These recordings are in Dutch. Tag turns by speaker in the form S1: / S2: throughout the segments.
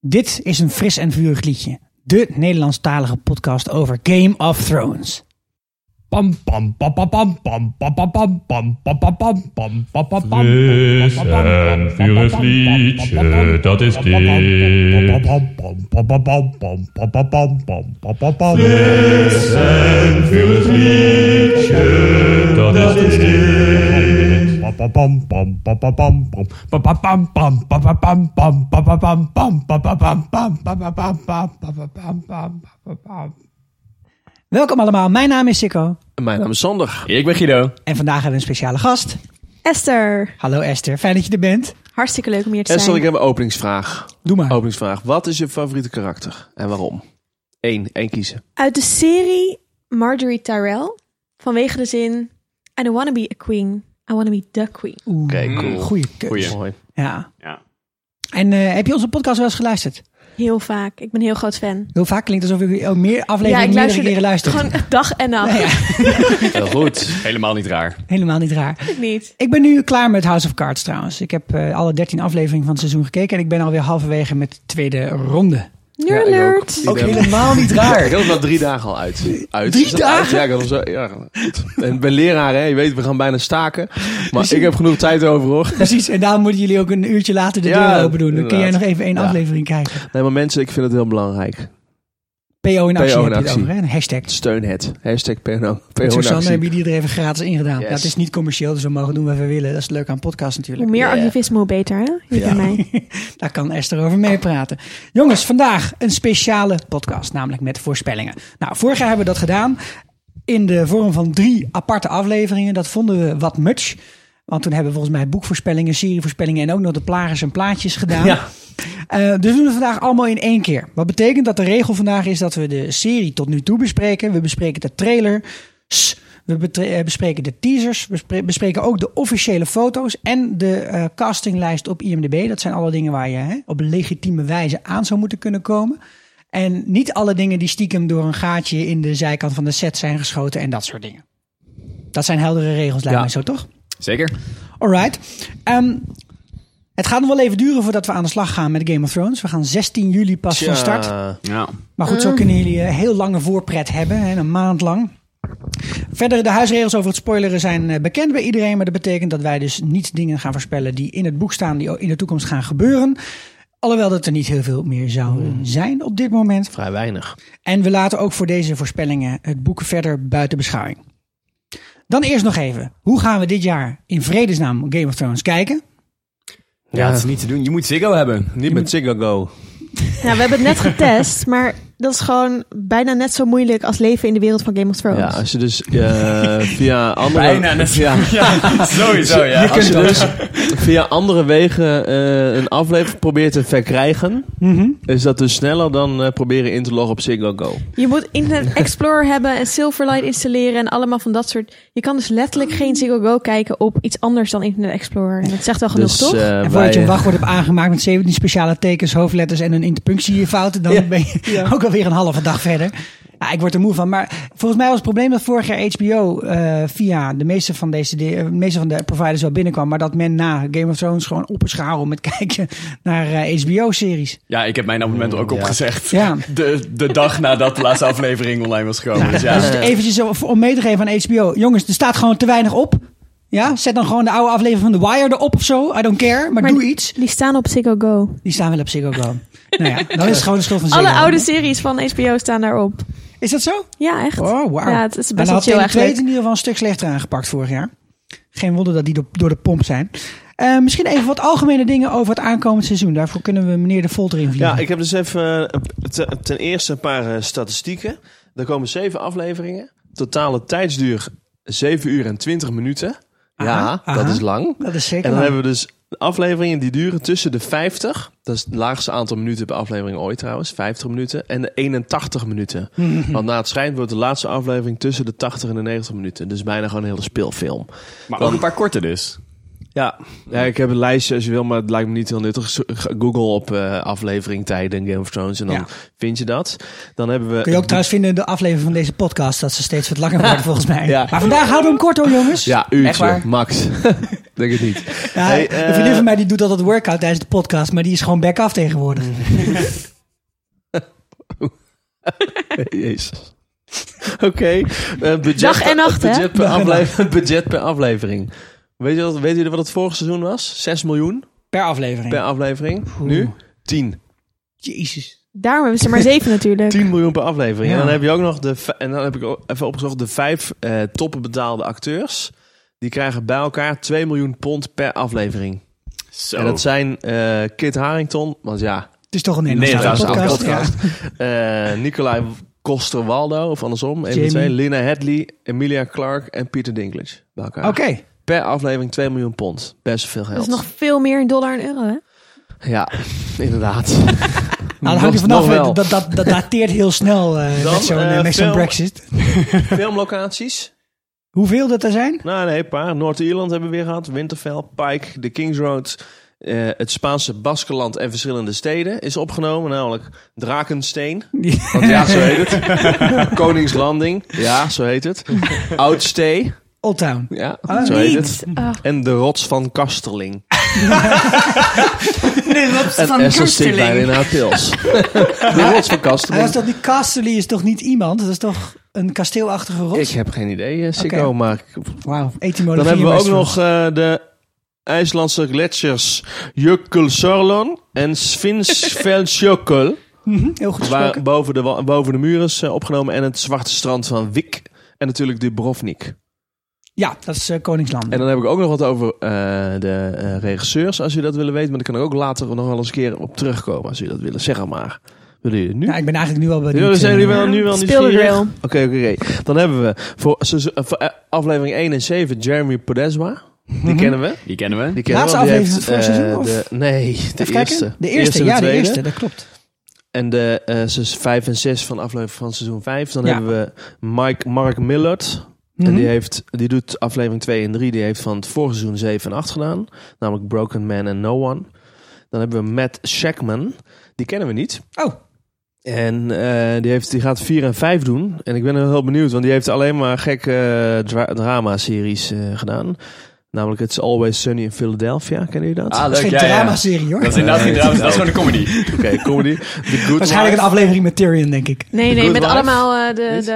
S1: Dit is een fris en vurig liedje. De Nederlandstalige podcast over Game of Thrones.
S2: Pam pam pam pam pam pam pam pam pam pam pam pam pam pam pam pam pam
S3: Fris en vurig liedje, dat is dit. Fris en vurig liedje, dat is dit.
S1: Welkom allemaal, mijn naam is Sikko.
S4: Mijn naam is Sander.
S5: Ik ben Guido.
S1: En vandaag hebben we een speciale gast.
S6: Esther,
S1: Hallo Esther, fijn dat je er bent.
S6: hartstikke leuk om hier te
S4: En
S6: zijn.
S4: zal ik hebben een openingsvraag.
S1: Doe maar.
S4: Openingsvraag. Wat is je favoriete karakter en waarom? Eén, één kiezen.
S6: Uit de serie Marjorie Tyrell, vanwege de zin I don't wanna be a queen, I wanna be the queen.
S1: Oeh,
S4: Oké, cool.
S1: Goeie keus.
S5: Goeie.
S4: Mooi.
S1: Ja.
S5: Ja.
S1: En eh, heb je onze podcast wel eens geluisterd?
S6: Heel vaak, ik ben een heel groot fan.
S1: Heel vaak klinkt alsof je ook meer afleveringen meerdere keren luistert.
S6: gewoon dag en nacht,
S1: Nee, ja,
S5: Heel goed. Helemaal niet raar.
S1: helemaal niet raar.
S6: ik niet.
S1: Ik ben nu klaar met House of Cards trouwens. Ik heb eh, alle 13 afleveringen van het seizoen gekeken en ik ben alweer halverwege met de tweede ronde.
S4: Ja,
S6: Nerd
S4: ik
S6: alert.
S4: Die hebben-
S1: helemaal niet
S4: Ik had hem al drie dagen al uit. uit.
S1: Drie
S4: Is dat uit?
S1: dagen?
S4: Ja, ik had hem zo, ja. goed. En ik ben leraar, hè. Je weet, we gaan bijna staken. Maar ik heb genoeg tijd over, hoor.
S1: Precies, en daarom moeten jullie ook een uurtje later de
S4: Ja,
S1: deur open doen. Dan kun jij nog
S4: inderdaad.
S1: even één
S4: Ja.
S1: aflevering kijken.
S4: Nee, maar mensen, ik vind het heel belangrijk.
S1: PO in actie
S4: PO
S1: heb
S4: in
S1: je het
S4: actie.
S1: over, hè? Een hashtag.
S4: Steun het. Hashtag PNO.
S1: Suzanne,
S4: PNO.
S1: hebben jullie er even gratis in gedaan.
S4: Yes.
S1: Dat is niet commercieel, dus we mogen doen wat we willen. Dat is leuk aan podcast
S6: Hoe
S1: natuurlijk.
S6: meer
S4: Ja.
S6: activisme, hoe beter, hè? Je
S4: Ja.
S6: kent mij.
S1: Daar kan Esther over meepraten. Jongens, vandaag een speciale podcast, namelijk met voorspellingen. Nou, vorig jaar hebben we dat gedaan in de vorm van drie aparte afleveringen. Dat vonden we wat much. Want toen hebben we volgens mij boekvoorspellingen, serievoorspellingen en ook nog de plagers en plaatjes gedaan. Eh, dus we doen het vandaag allemaal in één keer. Wat betekent dat de regel vandaag is dat we de serie tot nu toe bespreken. We bespreken de trailer. We betre- eh, bespreken de teasers, we spre- bespreken ook de officiële foto's en de eh, castinglijst op IMDb. Dat zijn alle dingen waar je hè, op legitieme wijze aan zou moeten kunnen komen. En niet alle dingen die stiekem door een gaatje in de zijkant van de set zijn geschoten en dat soort dingen. Dat zijn heldere regels, lijkt
S4: Ja.
S1: mij zo, toch?
S5: Zeker.
S1: Alright. Ehm, het gaat nog wel even duren voordat we aan de slag gaan met Game of Thrones. We gaan 16 juli pas van start.
S5: Ja.
S1: Maar goed, zo kunnen jullie eh, heel lange voorpret hebben, hè, een maand lang. Verder, de huisregels over het spoileren zijn eh, bekend bij iedereen. Maar dat betekent dat wij dus niet dingen gaan voorspellen die in het boek staan, die in de toekomst gaan gebeuren. Alhoewel dat er niet heel veel meer zouden zijn op dit moment.
S4: Mm. Vrij weinig.
S1: En we laten ook voor deze voorspellingen het boek verder buiten beschouwing. Dan eerst nog even. Hoe gaan we dit jaar in vredesnaam Game of Thrones kijken?
S5: Ja, het is niet te doen. Je moet Ziggo hebben.
S4: Niet met Ziggo Go.
S6: Nou, we hebben het net getest, maar dat is gewoon bijna net zo moeilijk als leven in de wereld van Game of Thrones.
S4: Ja, als je dus eh, via andere...
S5: Bijna net zo.
S4: Ja.
S5: Ja, sowieso, ja.
S4: Als je dus via andere wegen eh, een aflevering probeert te verkrijgen,
S1: Mhm.
S4: is dat dus sneller dan eh, proberen in te loggen op Ziggo Go.
S6: Je moet Internet Explorer hebben en Silverlight installeren en allemaal van dat soort. Je kan dus letterlijk geen Ziggo Go kijken op iets anders dan Internet Explorer. En dat zegt wel genoeg,
S4: Dus
S6: toch?
S4: eh,
S1: En
S4: wij,
S1: voordat je een wachtwoord hebt aangemaakt met 17 speciale tekens, hoofdletters en een interpunctiefout, dan ben je ook alweer een halve dag verder. Ja, ik word er moe van. Maar volgens mij was het probleem dat vorig jaar HBO eh, via de meeste van deze de, eh, meeste van de providers wel binnenkwam. Maar dat men na Game of Thrones gewoon opscharen met kijken naar eh, HBO-series.
S5: Ja, ik heb mijn abonnement er ook opgezegd.
S1: Ja.
S5: De, de dag nadat de laatste aflevering online was gekomen. Dus
S1: Dus
S5: ja.
S1: eventjes zo voor- om mee te geven aan HBO. Jongens, er staat gewoon te weinig op. Ja, zet dan gewoon de oude aflevering van The Wire erop of zo. I don't care, maar,
S6: Maar
S1: doe
S6: die-
S1: iets.
S6: Die staan op Ziggo Go.
S1: Die staan wel op Ziggo Go. nou ja, dan is het gewoon de schuld van Ziggo.
S6: Alle oude series van HBO staan daarop.
S1: Is dat zo?
S6: Ja, echt.
S1: Oh, wauw.
S6: Ja, het is best
S1: En
S6: wel
S1: had
S6: chill
S1: Tele2 het
S6: eigenlijk.
S1: in ieder geval een stuk slechter aangepakt vorig jaar. Geen wonder dat die do- door de pomp zijn. Eh, misschien even wat algemene dingen over het aankomend seizoen. Daarvoor kunnen we meneer de Volter invliegen.
S4: ja, ik heb dus even eh, te- ten eerste een paar eh, statistieken. Er komen zeven afleveringen. Totale tijdsduur 7 uur en 20 minuten. ja,
S1: aha.
S4: dat is lang.
S1: Dat is zeker
S4: En dan
S1: waar.
S4: hebben we dus afleveringen die duren tussen de 50, dat is het laagste aantal minuten per aflevering ooit trouwens, 50 minuten, en de 81 minuten. Want na het schijnt wordt de laatste aflevering tussen de 80 en de 90 minuten. Dus bijna gewoon een hele speelfilm.
S5: Maar ook een paar korte dus. Ja,
S4: Ja, ik heb een lijstje als je wil, maar het lijkt me niet heel nuttig. Zo- ga- Google op eh, aflevering tijden Game of Thrones en dan
S1: Ja.
S4: vind je dat. Dan hebben we...
S1: Kun je ook trouwens vinden in de aflevering van deze podcast dat ze steeds wat langer worden volgens mij.
S4: Ja.
S1: Maar vandaag houden we hem kort hoor jongens.
S4: Ja,
S5: Echt
S4: uurtje,
S5: waar?
S4: max. Denk het niet.
S1: Ja,
S4: Hey,
S1: een vriendin
S4: eh,
S1: van mij die doet altijd workout tijdens de podcast, maar die is gewoon back-off tegenwoordig.
S4: Mhm. Jezus. Oké. eh, budget,
S6: Dag en nacht, hè?
S4: budget per,
S1: Dag en
S4: aflevering, budget per aflevering. Weet je wat, weten jullie wat het vorige seizoen was? 6 miljoen
S1: Per aflevering.
S4: per aflevering. Nu 10.
S1: Jezus.
S6: Daarom hebben ze er maar zeven natuurlijk.
S4: 10 miljoen per aflevering. En
S1: Ja.
S4: dan heb je ook nog de. v- En dan heb ik ook even opgezocht de vijf eh toppen betaalde acteurs. Die krijgen bij elkaar 2 miljoen pond per aflevering.
S5: zo.
S7: Oh.
S4: En dat zijn eh Kit Harington, want ja,
S1: Het is toch een
S5: Nederlandse
S1: Nederlandse podcast.
S4: podcast.
S1: ja.
S4: eh Nicolai Coster-Waldo of andersom, een van de
S1: Jamie.
S4: twee. Lina Hadley, Emilia Clark en Peter Dinklage bij elkaar.
S1: Oké.
S4: Per aflevering 2 miljoen pond. Best veel
S6: Dat is
S4: geld.
S6: nog veel meer in dollar en euro, hè?
S4: Ja, inderdaad.
S1: Nou, dan hangt er
S4: Nog- nog
S1: vanaf.
S4: wel.
S1: hè. Dat, dat, dat dateert heel snel eh,
S4: Dan,
S1: met zo'n
S4: eh,
S1: eh, met zo'n
S4: film.
S1: brexit.
S4: Filmlocaties?
S1: Hoeveel dat er zijn?
S4: Nou, nee, een paar. Noord-Ierland hebben we weer gehad. Winterfell, Pike, de King's Road. eh, het Spaanse Baskeland en verschillende steden is opgenomen. Namelijk Drakensteen. Want ja, zo heet het. Koningslanding. Ja, zo heet het. Oudstee.
S1: Old Town.
S4: Ja,
S1: Ah,
S4: zo heet het.
S6: Ah,
S4: En de rots van Kasterling.
S1: Nee, wat
S4: En Essel stikt bijna in haar pils. De rots van
S1: Maar Ah, is
S4: Kasterling.
S1: dat niet Casterly is toch niet iemand? Dat is toch een kasteelachtige
S4: Ik
S1: rots?
S4: heb geen idee, eh, Sikko,
S1: Oké. Oh,
S4: maar ik
S1: Wauw, etymologie.
S4: Dan hebben we
S1: in
S4: ook
S1: Westeros.
S4: nog eh, de IJslandse gletsjers Jökulsárlón en Svinsfellsjökull.
S1: Mhm, heel goed
S4: waar
S1: gesproken.
S4: boven de, wa- boven de muur is eh, opgenomen. En het zwarte strand van Wik. En natuurlijk Dubrovnik.
S1: Ja, dat is eh, Koningsland.
S4: En dan heb ik ook nog wat over eh, de eh, regisseurs, als jullie dat willen weten. Maar daar kan ik ook later nog wel eens een keer op terugkomen, als jullie dat willen. Zeg het maar. Willen jullie het nu?
S1: Ja, ik ben eigenlijk nu al bij
S4: Ja, we zijn nu wel,
S6: eh,
S4: nu wel
S6: speel de
S4: nieuwsgierig. Oké,
S6: drill.
S4: oké, oké. Dan hebben we voor, seizoen- eh, voor, eh, aflevering 1 en 7 Jeremy Podesma.
S1: mhm.
S4: Die kennen we.
S5: Die kennen we.
S4: Die kennen
S1: Laatste
S4: we, want die
S1: aflevering van het
S4: heeft,
S1: vorige
S4: eh,
S1: seizoen,
S4: de- nee, de
S1: Even kijken.
S4: eerste.
S1: De eerste,
S4: en
S1: ja, de
S4: tweede.
S1: eerste, dat klopt.
S4: En de eh, zes- vijf en zes van aflevering van seizoen 5. Dan
S1: Ja.
S4: hebben we Mike, Mark Millard. En die,
S1: Mhm.
S4: heeft, die doet aflevering 2 en 3. Die heeft van het vorige seizoen 7 en 8 gedaan. Namelijk Broken Man and No One. Dan hebben we Matt Shackman. Die kennen we niet.
S1: Oh,
S4: En eh, die, heeft, die gaat 4 en 5 doen. En ik ben heel benieuwd, want die heeft alleen maar gekke eh, dra- drama-series eh, gedaan. Namelijk It's Always Sunny in Philadelphia. Kennen jullie dat?
S5: Ah,
S1: dat is
S5: leuk.
S1: geen
S5: Ja, ja.
S1: drama-serie hoor.
S5: Dat is inderdaad geen drama, dat is gewoon een comedy.
S4: Oké, comedy. The Good
S1: Waarschijnlijk
S4: Wife.
S1: een aflevering met Tyrion, denk ik.
S6: Nee, nee,
S5: Good
S6: met
S5: Wife?
S6: allemaal eh, de...
S4: Niet?
S6: de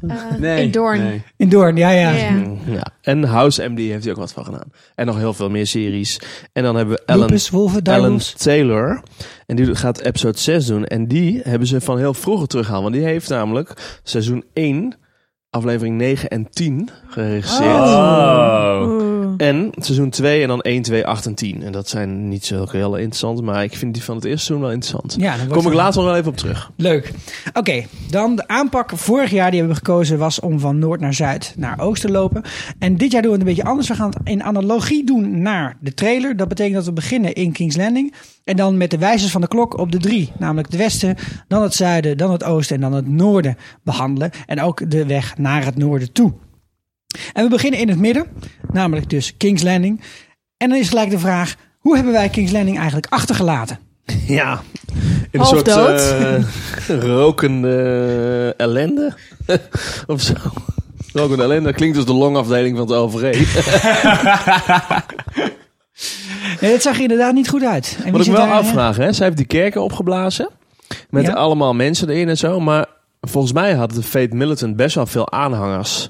S4: Wat?
S6: eh Eekdoorn.
S1: In Doorn, ja, ja.
S6: Ja, ja.
S4: Mm, Ja. En House MD heeft hij ook wat van gedaan. En nog heel veel meer series. En dan hebben we Ellen,
S1: Lupus, wolven,
S4: Ellen
S1: duivels.
S4: Taylor. En die gaat episode 6 doen. En die hebben ze van heel vroeger teruggehaald. Want die heeft namelijk seizoen 1, aflevering 9 en 10 geregisseerd.
S5: Oh.
S6: Oeh.
S4: En seizoen 2 en dan 1, 2, 8 en 10. En dat zijn niet zo heel interessant. Maar ik vind die van het eerste seizoen wel interessant.
S1: Ja, dan wordt
S4: Kom ik
S1: het-
S4: later nog wel even op terug.
S1: Leuk. Oké, dan de aanpak vorig jaar die hebben we gekozen was om van noord naar zuid naar oost te lopen. En dit jaar doen we het een beetje anders. We gaan het in analogie doen naar de trailer. Dat betekent dat we beginnen in King's Landing. En dan met de wijzers van de klok op de drie. Namelijk het westen, dan het zuiden, dan het oosten en dan het noorden behandelen. En ook de weg naar het noorden toe. En we beginnen in het midden, namelijk dus King's Landing. En dan is gelijk de vraag, hoe hebben wij King's Landing eigenlijk achtergelaten?
S4: Ja. In een
S6: Half
S4: soort
S6: dood.
S4: eh, rokende eh, ellende. of zo. Rokende ellende klinkt dus de longafdeling van het OVG.
S1: Nee, dat zag er inderdaad niet goed uit. En wie
S4: Wat ik
S1: zit
S4: me wel
S1: daar-
S4: afvraag, hè? Zij heeft die kerken opgeblazen. Met
S1: Ja.
S4: allemaal mensen erin en zo. Maar volgens mij had de Fate Militant best wel veel aanhangers.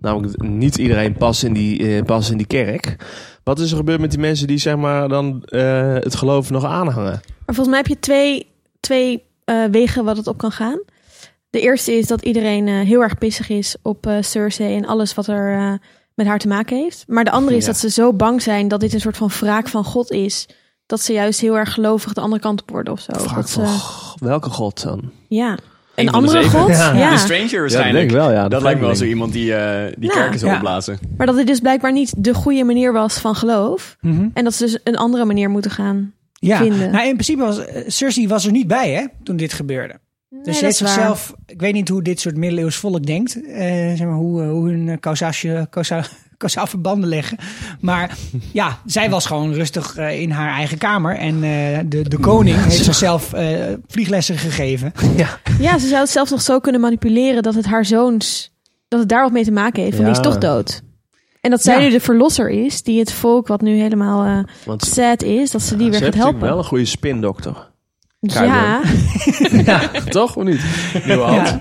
S4: Namelijk, niet iedereen past in die, eh, past in die kerk. Wat is er gebeurd met die mensen die zeg maar dan eh, het geloof nog aanhangen?
S6: Maar volgens mij heb je twee, twee eh, wegen wat het op kan gaan. De eerste is dat iedereen eh, heel erg pissig is op eh Cersei en alles wat er eh, met haar te maken heeft. Maar de andere is
S4: Ja.
S6: dat ze zo bang zijn dat dit een soort van wraak van God is. Dat ze juist heel erg gelovig de andere kant op worden of zo.
S4: Vraag
S6: Dat ze-
S4: van, "Goh, welke god dan?
S6: ja.
S5: Eén
S6: Een
S5: van de
S6: andere
S5: zeven.
S6: god? Ja.
S5: De Stranger
S4: Ja, ik
S5: waarschijnlijk.
S4: denk wel, ja.
S5: Dat lijkt me wel zo
S4: vreemdeling.
S5: iemand die, eh, die
S6: Ja.
S5: kerken zou
S1: Ja.
S5: opblazen.
S6: Maar dat dit dus blijkbaar niet de goede manier was van geloof.
S1: Mhm.
S6: En dat ze dus een andere manier moeten gaan.
S5: Dus
S1: ja.
S6: vinden.
S1: Nou, in principe was eh, Cersei was er niet bij, hè, toen dit gebeurde. Dus
S6: Nee,
S1: ze
S6: dat
S1: heeft
S6: is waar.
S1: zichzelf, ik weet niet hoe dit soort middeleeuws volk denkt, eh, zeg maar, hoe, eh, hoe hun eh, causatie, causa, kausaal verbanden leggen. Maar ja, zij was gewoon rustig eh, in haar eigen kamer. En eh, de, de koning heeft zichzelf eh, vlieglessen gegeven.
S6: Ja, ze zou het zelfs nog zo kunnen manipuleren dat het haar zoons, dat het daar wat mee te maken heeft. Want die
S4: Ja.
S6: is toch dood. En dat zij
S1: Ja.
S6: nu de verlosser is, die het volk wat nu helemaal eh,
S4: Want ze
S6: sad is, dat ze die weer
S4: heeft
S6: gaat
S4: natuurlijk
S6: helpen.
S4: wel een goede spindokter. Keiler.
S6: ja,
S4: Toch of niet? Nieuwe
S6: Oh.
S4: hand.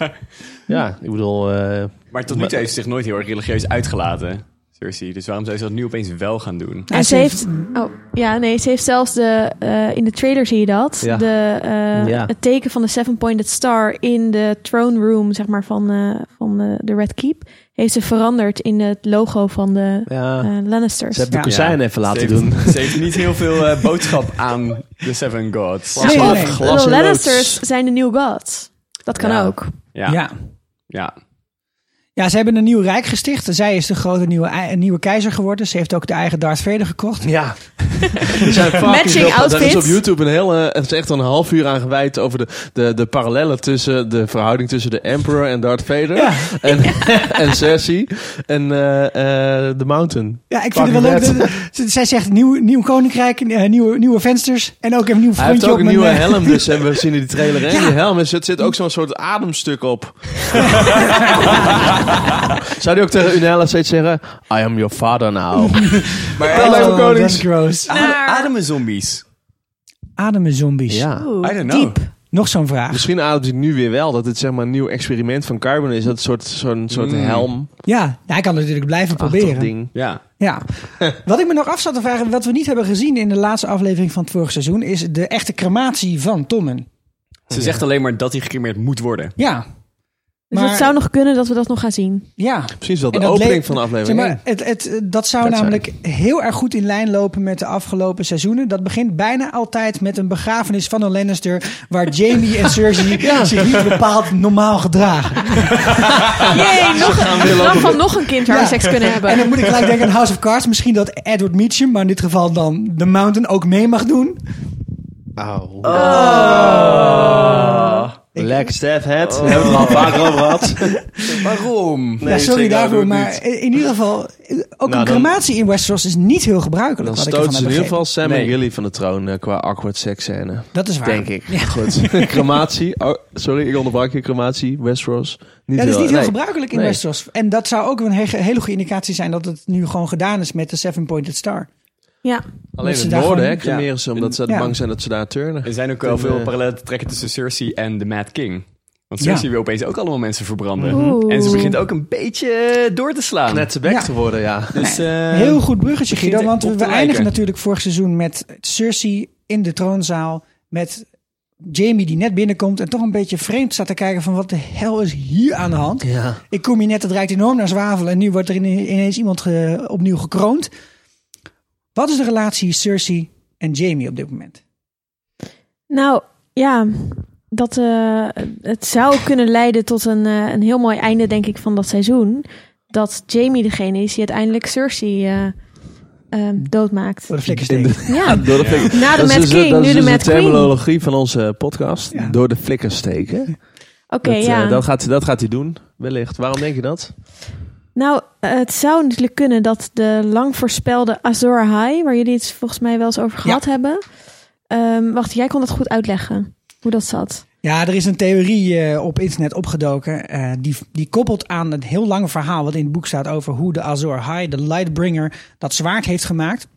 S4: Ja. ik bedoel, eh,
S5: Maar tot nu toe heeft ze zich nooit heel erg religieus uitgelaten, Cersei. Dus waarom zou ze dat nu opeens wel gaan doen?
S6: en ze heeft, oh, ja, nee, ze heeft zelfs de, eh, in de trailer zie je dat,
S4: Ja.
S6: de, eh,
S4: Ja.
S6: het teken van de seven-pointed star in de throne room, zeg maar, van, eh, van eh, de Red Keep, heeft ze veranderd in het logo van de
S4: ja,
S6: eh, Lannisters.
S4: ze hebben de
S1: Ja.
S4: kozijn even
S5: Ze
S4: laten
S5: heeft,
S4: doen.
S5: Ze heeft niet heel veel eh, boodschap aan de Seven Gods.
S1: Nee, nee,
S4: Of
S1: nee.
S4: glas
S6: de
S4: en
S6: Lannisters
S4: loods.
S6: zijn de nieuwe gods. Dat kan
S5: Ja.
S6: ook.
S5: Ja, ja.
S1: ja. Ja, ze hebben een nieuw rijk gesticht. Zij is de grote nieuwe, ei- nieuwe keizer geworden. Ze heeft ook de eigen Darth Vader gekocht.
S4: Ja. Er zijn fucking
S6: Matching
S4: veel- Er is op
S6: outfits.
S4: YouTube een hele, het is echt een half uur aan gewijd over de, de, de parallellen tussen de verhouding tussen de Emperor en Darth Vader. En, en Cersei. En eh, eh, The Mountain.
S1: Ja, ik vind het wel leuk.
S4: Fucking
S1: dat- dat- zij zegt nieuw, nieuw koninkrijk, eh, nieuwe, nieuwe vensters en ook een nieuw
S4: Hij
S1: frontje
S4: heeft ook
S1: op
S4: een
S1: mijn,
S4: nieuwe
S1: eh,
S4: helm, dus en we zien in die trailer. En
S1: Ja.
S4: die helm, er zit, zit ook zo'n soort ademstuk op. Zou die ook tegen Unella steeds zeggen: I am your father now.
S5: Maar adem-
S4: Wel leuk. Nieuwe
S1: Oh,
S4: konings.
S1: that's gross.
S5: eh, ademen zombies.
S1: Ademen zombies.
S4: Ja. nou. Dus-
S6: Oeh,
S5: I don't know.
S6: Diep.
S1: Nog zo'n vraag.
S4: Misschien ademt hij nu weer wel, dat het zeg maar een nieuw experiment van Carbon is. Dat het soort, zo'n soort
S5: Mm.
S4: helm.
S1: Ja, nou, hij kan het natuurlijk blijven
S4: achtig
S1: proberen.
S4: ding.
S5: Ja.
S1: Ja. Wat ik me nog af zat te vragen, wat we niet hebben gezien in de laatste aflevering van het vorige seizoen, is de echte crematie van Tommen.
S5: Ze zegt alleen maar dat hij gecremeerd moet worden.
S1: Ja,
S6: Dus
S1: Maar-
S6: het zou nog kunnen dat we dat nog gaan zien.
S1: ja.
S4: Precies wel de
S1: En dat
S4: opening
S1: leek-
S4: van de
S1: Zeg
S4: aflevering.
S1: maar, het, het, dat zou
S4: Dat zijn.
S1: namelijk heel erg goed in lijn lopen met de afgelopen seizoenen. Dat begint bijna altijd met een begrafenis van een Lannister. waar Jamie en Cersei zich niet bepaald normaal gedragen.
S6: Jee, nog een grap van nog een kind waar
S1: Ja.
S6: we seks kunnen hebben.
S1: En dan moet ik gelijk denken aan House of Cards. Misschien dat Edward Meacham, maar in dit geval dan The Mountain, ook mee mag doen. Oh.
S4: Auw. Black Staff Head.
S1: Oh.
S4: We hebben het er al vaker over gehad.
S5: Waarom?
S1: ja, sorry
S4: zeker,
S1: daarvoor,
S4: doe het
S1: maar in, in ieder geval. eh, Ook
S4: dan-
S1: een crematie in Westeros is niet heel gebruikelijk.
S4: Dan
S1: wat ik ervan
S4: stoten ze in
S1: heb
S4: ieder
S1: begrepen.
S4: geval Sam en
S5: Nee.
S4: Gilly van de troon eh, qua awkward seksscène.
S1: Dat is waar.
S4: Denk ik. Goed. crematie. Oh, sorry, ik onderbrak je. Crematie. Westeros. Niet
S1: Ja, dat is niet heel
S4: nee.
S1: gebruikelijk in
S4: Nee.
S1: Westeros. En dat zou ook een he- hele goede indicatie zijn dat het nu gewoon gedaan is met de Seven Pointed Star.
S6: Ja.
S4: Alleen
S1: Dat
S4: in
S1: ze
S4: het
S1: daar
S4: noorden, hè,
S1: gewoon-
S4: cremeren ze omdat ze
S1: Ja.
S4: bang zijn dat ze daar turnen.
S5: Er zijn ook wel
S4: En,
S5: veel
S4: eh,
S5: parallellen te trekken tussen Cersei en de Mad King. Want
S1: Ja.
S5: Cersei wil opeens ook allemaal mensen verbranden.
S4: Mhm.
S6: Oeh.
S5: En ze begint ook een beetje door te slaan.
S4: Net te bek
S1: Ja.
S4: te worden, ja.
S5: Dus, eh,
S7: Ehm,
S1: Heel goed bruggetje, Guido.
S5: begint
S1: Want we
S5: op te
S1: eindigen
S5: lijken.
S1: natuurlijk vorig seizoen met Cersei in de troonzaal. Met Jamie die net binnenkomt en toch een beetje vreemd staat te kijken van wat de hel is hier aan de hand.
S4: Ja.
S1: Ik kom hier net, het rijdt enorm naar zwavel en nu wordt er ine- ineens iemand ge- opnieuw gekroond. Wat is de relatie Cersei en Jamie op dit moment?
S6: Nou, ja. Dat, eh, het zou kunnen leiden tot een, eh, een heel mooi einde, denk ik, van dat seizoen. Dat Jamie degene is die uiteindelijk Cersei eh, ehm, doodmaakt.
S1: Voor de flikkersteek.
S6: Ja.
S4: Door de flikker.
S6: Na de
S4: dat is
S6: Mad
S4: dus,
S6: King,
S4: dat
S6: nu
S4: is
S6: de
S4: dus
S6: Mad
S4: de
S6: Queen. Oké,
S4: terminologie van onze podcast.
S1: Ja.
S4: Door de flikker steken. dat, eh,
S6: ja.
S4: dat, gaat, dat gaat hij doen, wellicht. Waarom denk je dat?
S6: Nou, eh, het zou natuurlijk kunnen dat de lang voorspelde Azor High, waar jullie het volgens mij wel eens over gehad hebben. Ehm, wacht, jij kon dat goed uitleggen, hoe dat zat.
S1: Ja, er is een theorie eh, op internet opgedoken. eh, die, die koppelt aan het heel lange verhaal wat in het boek staat over hoe de Azor High, de Lightbringer, dat zwaard heeft gemaakt.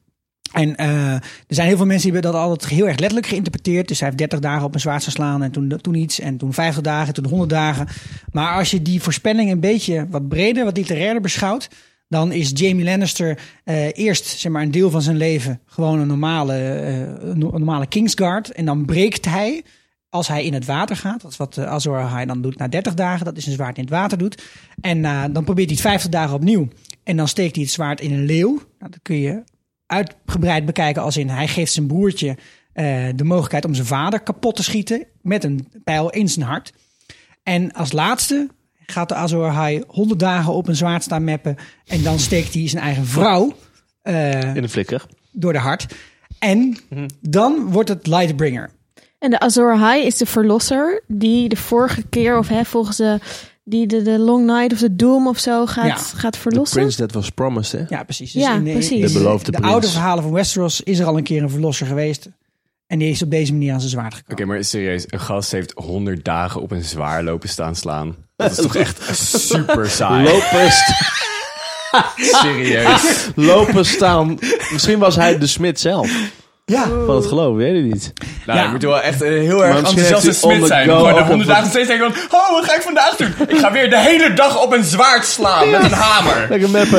S1: En eh, er zijn heel veel mensen die hebben dat altijd heel erg letterlijk geïnterpreteerd. Dus hij heeft 30 dagen op een zwaard geslaan en toen, toen iets en toen 50 dagen, toen 100 dagen. Maar als je die voorspelling een beetje wat breder, wat literairder beschouwt, dan is Jamie Lannister eh, eerst zeg maar, een deel van zijn leven gewoon een normale, eh, een no- een normale Kingsguard. En dan breekt hij als hij in het water gaat. Dat is wat eh, Azor Ahai dan doet na 30 dagen. Dat is een zwaard in het water doet. En eh, dan probeert hij het 50 dagen opnieuw. En dan steekt hij het zwaard in een leeuw. Nou, dat kun je uitgebreid bekijken als in hij geeft zijn broertje eh, de mogelijkheid om zijn vader kapot te schieten met een pijl in zijn hart. En als laatste gaat de Azor High 100 dagen op een zwaard staan meppen. En dan steekt hij zijn eigen vrouw eh,
S4: In de flikker.
S1: door de hart. En dan wordt het Lightbringer.
S6: En de Azor High is de verlosser die de vorige keer, of hè, volgens de, die de, de Long Night of de Doom of zo gaat,
S1: Ja.
S6: gaat
S4: The
S6: verlossen.
S4: Prince That Was Promised, hè?
S1: Ja, precies. Dus
S6: Ja,
S1: in de,
S6: precies.
S1: in
S6: De
S5: beloofde prins.
S1: oude verhalen van Westeros is er al een keer een verlosser geweest. En die is op deze manier aan zijn zwaard gekomen.
S5: Oké, maar serieus, een gast heeft 100 dagen op een zwaar lopen staan slaan. Dat is toch echt super saai.
S4: Lopers,
S5: Serieus.
S4: lopers staan. Misschien was hij de smid zelf
S1: Ja,
S4: van het geloof, weet je niet.
S5: Nou,
S1: Ja.
S5: je moet wel echt een heel erg
S4: misschien
S5: enthousiaste
S4: heeft hij on
S5: smid
S4: the
S5: zijn.
S4: go
S5: Gewoon
S4: ook
S5: de
S4: nog
S5: 100
S4: wat-
S5: dagen steeds denken van... Oh, wat ga ik vandaag doen? Ik ga weer de hele dag op een zwaard slaan met een hamer.
S4: Lekker meppen.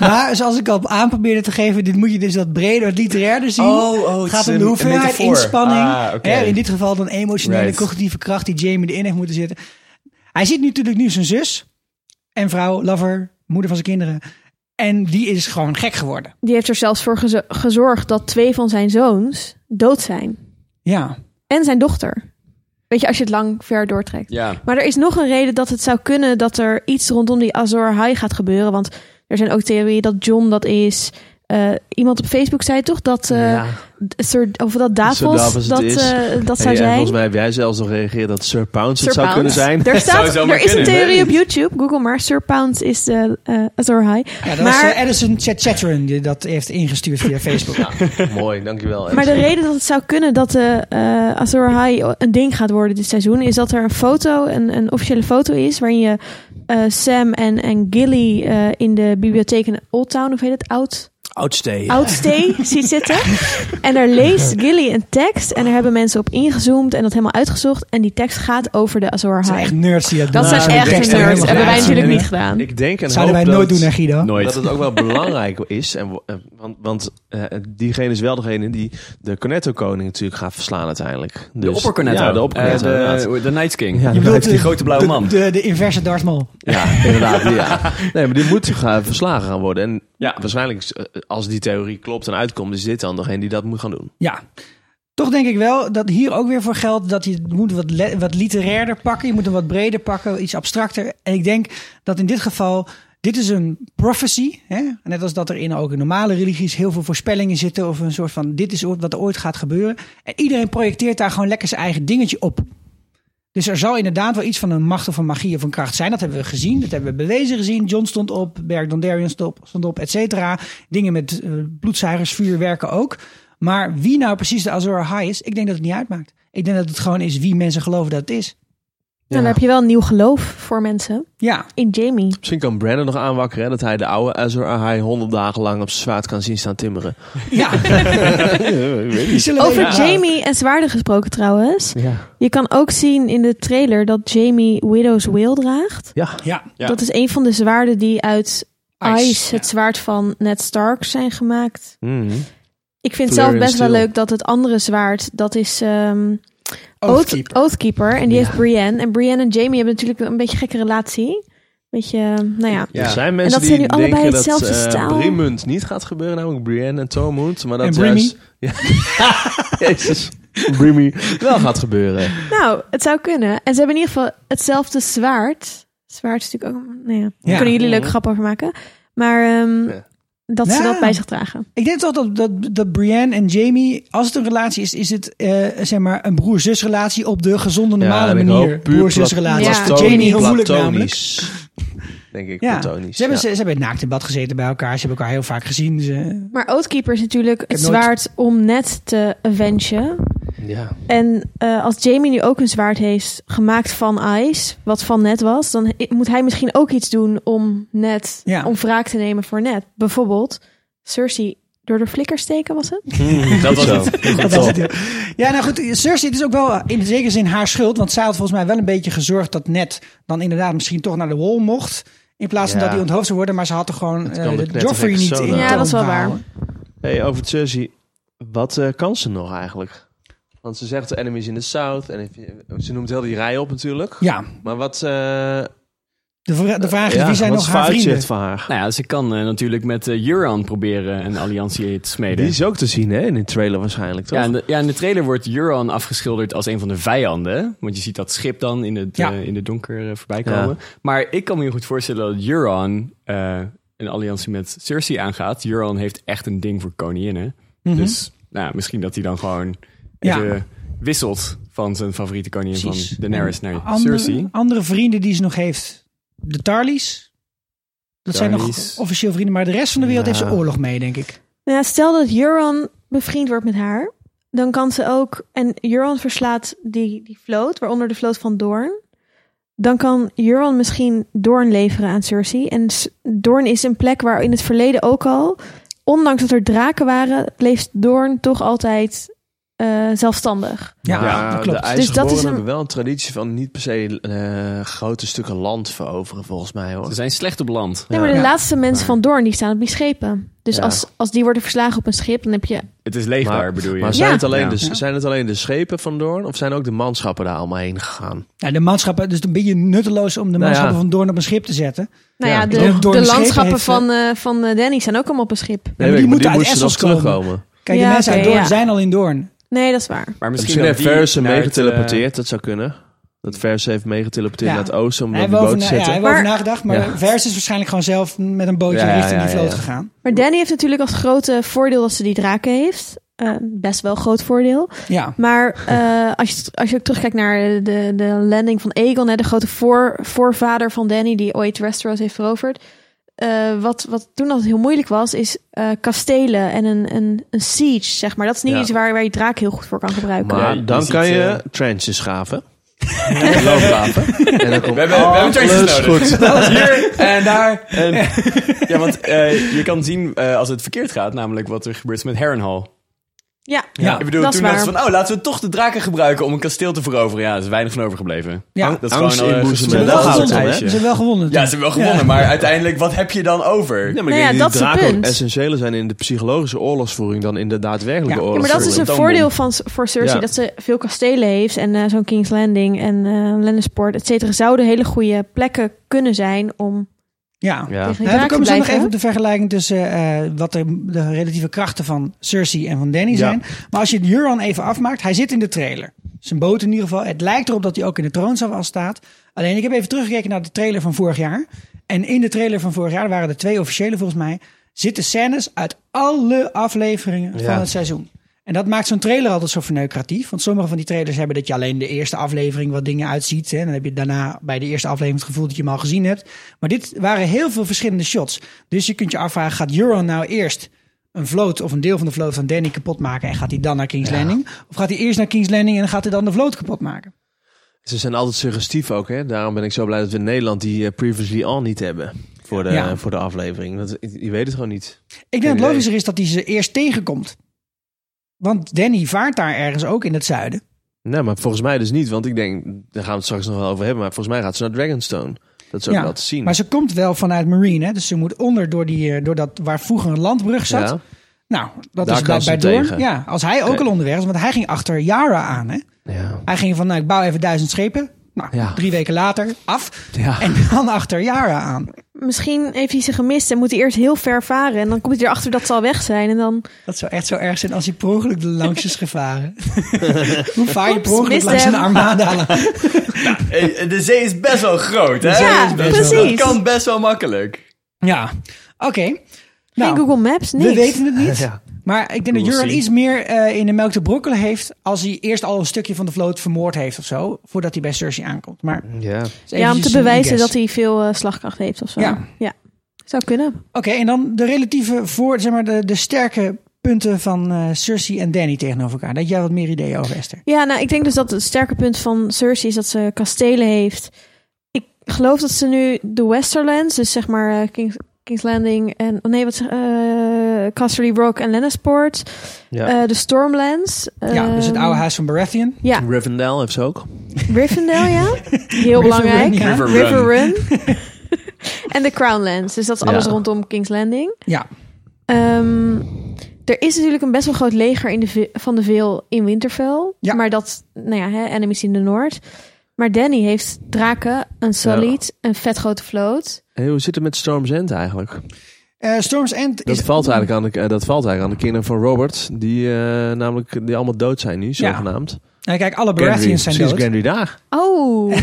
S1: maar zoals ik al aan probeerde te geven, dit moet je dus dat breder, literairder zien.
S5: Oh, oh, het
S1: het
S5: is
S1: gaat om
S5: een-
S1: de
S5: een
S1: hoeveelheid
S5: metafoor.
S1: inspanning.
S5: Ah, oké.
S1: Hè, in dit geval dan emotionele,
S5: Right.
S1: cognitieve kracht die Jamie erin heeft moeten zitten. Hij ziet nu natuurlijk nu zijn zus en vrouw, lover, moeder van zijn kinderen. En die is gewoon gek geworden.
S6: Die heeft er zelfs voor gezo- gezorgd dat twee van zijn zoons dood zijn.
S1: Ja,
S6: En zijn dochter. Weet je, als je het lang ver doortrekt.
S5: Ja,
S6: Maar er is nog een reden dat het zou kunnen dat er iets rondom die Azor High gaat gebeuren. Want er zijn ook theorieën dat John dat is. Eh, iemand op Facebook zei toch dat, eh Sir, of dat Davos,
S4: Davos het
S6: dat,
S4: is.
S6: eh, dat zou
S4: Hey, en
S6: zijn.
S4: volgens mij heb jij zelfs nog gereageerd dat Sir Pounce
S6: Sir
S4: het zou kunnen
S6: Pounce.
S4: zijn.
S6: Er, staat,
S5: zou zomaar
S6: er is een
S5: kunnen,
S6: theorie
S5: hè?
S6: op YouTube. Google maar. Sir Pounce is eh eh, Azor High.
S1: ja dat
S6: Maar-
S1: was eh, Addison Chatchatteren die dat heeft ingestuurd via Facebook.
S4: Mooi, dankjewel.
S6: Maar de reden dat het zou kunnen dat de eh Azor High een ding gaat worden dit seizoen... is dat er een foto, een, een officiële foto is... waarin je eh, Sam en, en Gilly eh, in de bibliotheek in Old Town... of heet het? Oud,
S4: Outstay.
S6: Oudstee ziet zitten. En daar leest Gilly een tekst. En daar hebben mensen op ingezoomd en dat helemaal uitgezocht. En die tekst gaat over de Azor
S1: Dat zijn
S6: High.
S1: echt nerds die dat doen.
S6: Dat zijn
S4: Nou,
S1: Zo'n
S4: ik denk
S1: tekst
S6: echt
S4: dat
S6: nerds.
S1: helemaal
S6: Hebben wij
S1: graag
S6: natuurlijk
S1: zien.
S6: niet gedaan.
S4: Ik denk en
S1: Zouden
S4: hoop
S1: wij
S4: dat,
S1: nooit doen, hè Guido?
S5: nooit.
S4: dat het ook wel belangrijk is. En, wo- en- want want eh, diegene is wel degene die de Cornetto-koning natuurlijk gaat verslaan uiteindelijk.
S5: De
S4: Dus-
S5: oppercornetto.
S4: Ja, de oppercornetto,
S5: Eh,
S4: inderdaad.
S5: de, de Night King. Ja,
S4: Ja, Je
S1: bedoelt
S5: die
S1: de-
S5: grote blauwe man.
S1: De, de, de inverse Darth Maul.
S4: Ja, inderdaad. die, ja. Nee, maar die moet gaan verslagen gaan worden. En
S5: Ja.
S4: waarschijnlijk, eh, als die theorie klopt en uitkomt, is dit dan degene die dat moet gaan doen.
S1: Ja. Toch denk ik wel dat hier ook weer voor geldt dat je het moet wat, le- wat literairder pakken. Je moet hem wat breder pakken, iets abstracter. En ik denk dat in dit geval, dit is een prophecy. Hè? Net als dat er in ook in normale religies heel veel voorspellingen zitten. Of een soort van, dit is ooit- wat er ooit gaat gebeuren. En iedereen projecteert daar gewoon lekker zijn eigen dingetje op. Dus er zal inderdaad wel iets van een macht of een magie of een kracht zijn. Dat hebben we gezien. Dat hebben we bewezen gezien. John stond op. Berg Dondarrion stond op, stond op et cetera. Dingen met eh, bloedzuigers, vuurwerken ook. Maar wie nou precies de Azor High is, ik denk dat het niet uitmaakt. Ik denk dat het gewoon is wie mensen geloven dat het is.
S6: Nou, dan heb je wel een nieuw geloof voor mensen.
S1: Ja,
S6: In Jamie.
S4: Misschien kan Brandon nog aanwakkeren hè, dat hij de oude Azor Ahai honderd dagen lang op zijn zwaard kan zien staan timmeren.
S1: ja. Die zullen
S6: Over
S1: weten.
S6: Jamie en zwaarden gesproken trouwens.
S4: Ja.
S6: Je kan ook zien in de trailer dat Jamie Widow's Will draagt.
S4: Ja.
S1: Ja,
S5: Ja.
S6: Dat is een van de zwaarden die uit Ice,
S1: Ice,
S6: het zwaard van Ned Stark, zijn gemaakt.
S4: Mhm.
S6: Ik vind het zelf
S4: Valerian
S6: best wel
S4: Steel.
S6: leuk dat het andere zwaard, dat is ehm
S1: Oathkeeper.
S6: Oath- Oathkeeper. En die
S4: Ja.
S6: heeft Brienne. En Brienne en Jamie hebben natuurlijk een beetje een gekke relatie. Beetje, eh, nou ja.
S5: Ja.
S4: Er zijn
S6: En
S4: mensen
S6: dat
S4: die
S6: zijn nu allebei
S4: denken dat
S6: hetzelfde
S4: eh
S6: staal.
S4: Brimund niet gaat gebeuren, namelijk Brienne en Tormund. Maar dat
S1: En Brimmy.
S4: juist- Ja. Jezus. Brimmy. Wel gaat gebeuren.
S6: Nou, het zou kunnen. En ze hebben in ieder geval hetzelfde zwaard. Zwaard is natuurlijk ook... Nou ja, daar
S1: Ja.
S6: kunnen jullie leuke grappen over maken. Maar ehm,
S4: Ja.
S6: dat ze
S1: Ja.
S6: dat bij zich dragen.
S1: Ik denk toch dat, dat, dat Brienne en Jamie, als het een relatie is, is het eh, zeg maar een broer-zusrelatie op de gezonde, normale
S4: en ik
S1: manier.
S4: hoop puur
S1: Broer-zusrelatie. Dat
S6: plat-
S1: is voor
S6: platonisch.
S1: Jamie heel moeilijk namelijk.
S4: platonisch. Denk ik,
S1: Ja, ze hebben,
S4: platonisch.
S1: ze,
S4: ja.
S1: ze hebben het naakt in bad gezeten bij elkaar. Ze hebben elkaar heel vaak gezien. Ze,
S6: Maar Oathkeeper is natuurlijk het
S1: nooit-
S6: zwaard om net te avengen.
S4: Ja.
S6: En eh, als Jamie nu ook een zwaard heeft gemaakt van Ice, wat van net was, dan i- moet hij misschien ook iets doen om net
S1: Ja.
S6: om wraak te nemen voor net. Bijvoorbeeld Cersei door de flikker steken was het?
S5: dat was
S4: Zo.
S5: het.
S1: dat is het, ja. ja, nou goed, Cersei, het is ook wel eh, in zekere zin haar schuld. Want zij had volgens mij wel een beetje gezorgd dat Ned dan inderdaad misschien toch naar de wall mocht. In plaats van
S4: Ja.
S1: dat hij onthoofd zou worden. Maar ze had er gewoon
S4: kan
S1: eh, de
S4: de
S1: Joffrey
S4: knettergek
S1: niet
S4: zo
S1: in
S4: laten.
S6: Ja, dat is wel
S1: toom
S6: waar.
S1: houden.
S4: Hey, over het Cersei. Wat eh, kan ze nog eigenlijk? Want ze zegt de enemies in the south. En if je- ze noemt heel die rij op natuurlijk.
S1: Ja,
S4: Maar wat... eh
S1: de, vra- de vraag is,
S4: ja,
S1: wie zijn
S4: wat
S1: nog
S4: is het
S1: haar vrienden?
S4: uitzicht van haar?
S5: Nou ja, ze kan eh, natuurlijk met eh, Euron proberen een alliantie te smeden.
S4: Die is ook te zien hè, in de trailer waarschijnlijk, toch?
S5: Ja in, de, ja, in de trailer wordt Euron afgeschilderd als een van de vijanden. Want je ziet dat schip dan in het,
S1: Ja.
S5: eh, in het donker eh, voorbij
S4: Ja.
S5: komen. Maar ik kan me heel goed voorstellen dat Euron eh, een alliantie met Cersei aangaat. Euron heeft echt een ding voor koninginnen. Dus nou, ja, misschien dat hij dan gewoon
S1: Mhm. Ja.
S5: even wisselt van zijn favoriete koningin
S1: Precies.
S5: van Daenerys
S1: En
S5: naar
S1: andere,
S5: Cersei.
S1: Andere vrienden die ze nog heeft. de Tarlies. Dat zijn nog
S5: Tarlies.
S1: officieel vrienden, maar de rest van de wereld heeft
S4: Ja.
S1: ze oorlog mee, denk ik.
S6: Nou ja, stel dat Euron bevriend wordt met haar, dan kan ze ook. En Euron verslaat die, die vloot, waaronder de vloot van Doorn. Dan kan Euron misschien Doorn leveren aan Cersei. En S- Doorn is een plek waar in het verleden ook al, ondanks dat er draken waren, leeft Doorn toch altijd eh, zelfstandig.
S1: Ja, dat klopt.
S4: De
S6: is
S4: IJzerboren
S6: een-
S4: hebben wel een traditie van niet per se eh, grote stukken land veroveren, volgens mij hoor.
S5: Ze zijn slecht op land.
S6: Nee, maar de
S1: Ja.
S6: laatste mensen van Doorn die staan op die schepen. Dus
S4: Ja.
S6: als, als die worden verslagen op een schip, dan heb je.
S5: Het is leeg
S4: Maar-
S5: daar, bedoel je.
S4: Maar zijn,
S6: Ja.
S4: het alleen
S5: Ja.
S4: de,
S1: Ja.
S4: zijn het alleen de schepen van Doorn of zijn ook de manschappen daar allemaal heen gegaan?
S1: Nou, de manschappen, dus een beetje nutteloos om de manschappen
S4: Nou ja.
S1: van Doorn op een schip te zetten.
S6: Nou ja,
S4: Ja.
S1: Doorn-
S6: de,
S1: Doorn
S6: de
S1: schepen
S6: landschappen
S1: heeft,
S6: van, eh van eh, Danny zijn ook allemaal op een schip.
S1: maar die
S4: weet ik,
S1: moeten uit
S4: moesten
S1: Essos
S4: nog
S1: komen.
S4: terugkomen.
S1: Kijk,
S6: Ja,
S1: de mensen uit
S6: oké,
S1: Doorn
S6: ja.
S1: zijn al in Doorn.
S6: Nee, dat is waar.
S5: Maar
S4: Misschien
S5: dat
S4: heeft
S5: die
S4: Ferris hem
S5: naar het, eh,
S4: meegeteleporteerd, dat zou kunnen. Dat Ferris heeft meegeteleporteerd
S1: Ja.
S4: naar het oosten om
S1: Hij
S4: op
S1: heeft
S4: die
S1: over,
S4: boot te
S1: na, ja, hij
S4: zitten.
S1: heeft over
S6: Maar-
S1: nagedacht, maar
S4: Ja.
S1: Vers is waarschijnlijk gewoon zelf met een bootje
S4: Ja, ja,
S1: richting
S4: ja,
S1: die vloot
S4: ja.
S1: gegaan.
S6: Maar Danny heeft natuurlijk als grote voordeel dat ze die draken heeft. Eh, best wel groot voordeel.
S1: Ja,
S6: Maar eh, als, je, als je ook terugkijkt naar de, de landing van Aegon, hè, de grote voor, voorvader van Danny, die ooit Westeros heeft veroverd. eh, wat, wat toen altijd heel moeilijk was, is eh, kastelen en een, een, een siege, zeg maar. Dat is niet
S5: Ja.
S6: iets waar, waar je draak heel goed voor kan gebruiken.
S4: Maar
S5: Ja, je
S4: dan
S5: ziet,
S4: kan je
S5: eh,
S4: trenches schaven. Loopgraven. en dan komt
S5: We hebben, we hebben trenches
S4: alles
S5: nodig.
S4: goed.
S5: Hier en daar. En, ja, want eh, je kan zien eh, als het verkeerd gaat, namelijk wat er gebeurt met Harrenhal.
S6: ja.
S1: Ja.
S5: Ik bedoel,
S6: Dat is
S5: toen dachten ze
S6: waar.
S5: van, oh, laten we toch de draken gebruiken om een kasteel te veroveren. Ja, er is weinig van overgebleven.
S1: ja.
S5: Dat is
S4: Angst
S5: gewoon eh,
S4: inboezemen,
S1: Ze
S5: gespeeld
S1: hebben
S4: daar
S1: wel
S4: gaat
S5: als
S4: het
S5: een
S4: om,
S1: gewonnen.
S4: hè?
S1: Ze
S5: ijsje.
S1: hebben wel gewonnen.
S5: Ja, ze hebben wel gewonnen,
S1: Ja.
S5: maar uiteindelijk, wat heb je dan over?
S4: Ja, maar
S6: Nou ja,
S4: ik denk
S6: dat
S4: dat
S6: is
S4: die
S6: het
S4: draken ook
S6: punt.
S4: essentiëler zijn in de psychologische oorlogsvoering dan in de daadwerkelijke
S1: Ja. Ja,
S6: Ja, maar
S4: oorlogsvoering.
S6: dat is een
S5: Toonbom.
S6: voordeel van, voor Cersei.
S4: Ja.
S6: Dat ze veel kastelen heeft. En eh, zo'n King's Landing en eh Lannisport, et cetera. Zouden hele goede plekken kunnen zijn om
S1: Ja.
S4: Ja.
S6: tegen de
S1: Ja, we
S6: draak te
S1: komen zo nog even
S6: blijven.
S1: op de vergelijking tussen eh, wat de, de relatieve krachten van Cersei en van Danny zijn. Maar als je het Euron even afmaakt, hij zit in de trailer. Zijn boot in ieder geval. Het lijkt erop dat hij ook in de troonzaal al staat. Alleen ik heb even teruggekeken naar de trailer van vorig jaar. En in de trailer van vorig jaar waren er twee officiële volgens mij. Zitten scènes uit alle afleveringen van
S4: Ja.
S1: het seizoen. En dat maakt zo'n trailer altijd zo verneukeratief. Want sommige van die trailers hebben dat je alleen de eerste aflevering wat dingen uitziet. Hè. Dan heb je daarna bij de eerste aflevering het gevoel dat je hem al gezien hebt. Maar dit waren heel veel verschillende shots. Dus je kunt je afvragen, gaat Euron nou eerst een vloot of een deel van de vloot van Danny kapot maken... en gaat hij dan naar King's Landing? Of gaat hij eerst naar King's Landing en gaat hij dan de vloot kapot maken?
S4: Ze zijn altijd suggestief ook, hè? Daarom ben ik zo blij dat we in Nederland die eh, Previously On niet hebben. Voor de,
S1: Ja.
S4: voor de aflevering. Dat, je weet het gewoon niet.
S1: Ik denk dat
S4: Geen
S1: het
S4: idee.
S1: logischer is dat hij ze eerst tegenkomt. Want Danny vaart daar ergens ook in het zuiden.
S4: Nee, maar volgens mij dus niet. Want ik denk, daar gaan we het straks nog wel over hebben. Maar volgens mij gaat ze naar Dragonstone. Dat is ook
S1: Ja,
S4: wel te zien.
S1: Maar ze komt wel vanuit Marine. Hè? Dus ze moet onder door, die, eh, door dat waar vroeger een landbrug zat.
S4: Ja.
S1: Nou, dat
S4: Daar
S1: is
S4: kan
S1: bij,
S4: ze
S1: bij Doorn.
S4: tegen.
S1: Ja, als hij ook
S4: Oké.
S1: al onderweg is, want hij ging achter Yara aan. Hè?
S4: Ja.
S1: Hij ging van, nou, ik bouw even duizend schepen. Nou,
S4: Ja.
S1: drie weken later af.
S4: Ja.
S1: En dan achter Yara aan.
S6: Misschien heeft hij ze gemist en moet hij eerst heel ver varen. En dan komt hij erachter dat ze al weg zijn. En dan
S1: Dat zou echt zo erg zijn als hij per ongeluk er langs is gevaren. Hoe vaar je per
S6: Oeps,
S1: ongeluk
S6: miste
S1: langs
S6: hem.
S1: een armada?
S5: Eh, De zee is best wel groot, hè?
S6: zee is Ja, best wel precies. groot.
S5: Dat kan best wel makkelijk.
S1: ja, oké.
S6: geen
S1: Nou,
S6: Google Maps, niks.
S1: we weten het niet.
S4: Ja.
S1: Maar ik denk dat
S5: We'll
S1: Juran
S5: see.
S1: iets meer eh, in de melk te brokkelen heeft... als hij eerst al een stukje van de vloot vermoord heeft of zo... voordat hij bij Cersei aankomt. Maar
S4: ja.
S6: ja, om te bewijzen dat hij veel eh, slagkracht heeft of zo.
S1: Ja.
S6: Ja. Zou kunnen.
S1: Oké, en dan de relatieve voor, zeg maar, de, de sterke punten van eh, Cersei en Danny tegenover elkaar. Dat jij wat meer ideeën over Esther.
S6: Ja, nou, ik denk dus dat het sterke punt van Cersei is dat ze kastelen heeft. Ik geloof dat ze nu de Westerlands, dus zeg maar eh, Kings, King's Landing en... oh nee, wat zeg... eh Casterly Rock en Lannisport.
S4: ja.
S6: eh, de Stormlands.
S1: ja, dus het
S6: ehm,
S1: oude huis van Baratheon.
S6: Ja,
S4: Rivendell heeft ze ook.
S6: Rivendell, ja. Heel belangrijk.
S1: Run, ja.
S5: River Run.
S6: River Run. en de Crownlands. Dus dat is alles
S4: Ja.
S6: rondom King's Landing.
S1: Ja,
S6: Ehm, er is natuurlijk een best wel groot leger in de ve- van de Veel in Winterfell.
S1: Ja.
S6: Maar dat, nou ja, hè, enemies in de Noord. Maar Danny heeft draken, een solid, een vet grote vloot.
S4: Hey, hoe zit het met Storm's End eigenlijk?
S1: Eh, Storm's End
S4: Dat
S1: is...
S4: valt, eigenlijk aan de, eh, dat valt eigenlijk aan de kinderen van Robert. Die eh, namelijk die allemaal dood zijn nu,
S1: Ja.
S4: zogenaamd.
S1: Nou, kijk, alle
S4: Gendry.
S1: Baratheons zijn
S4: Precies,
S1: dood.
S4: Gendry daar.
S6: Oh,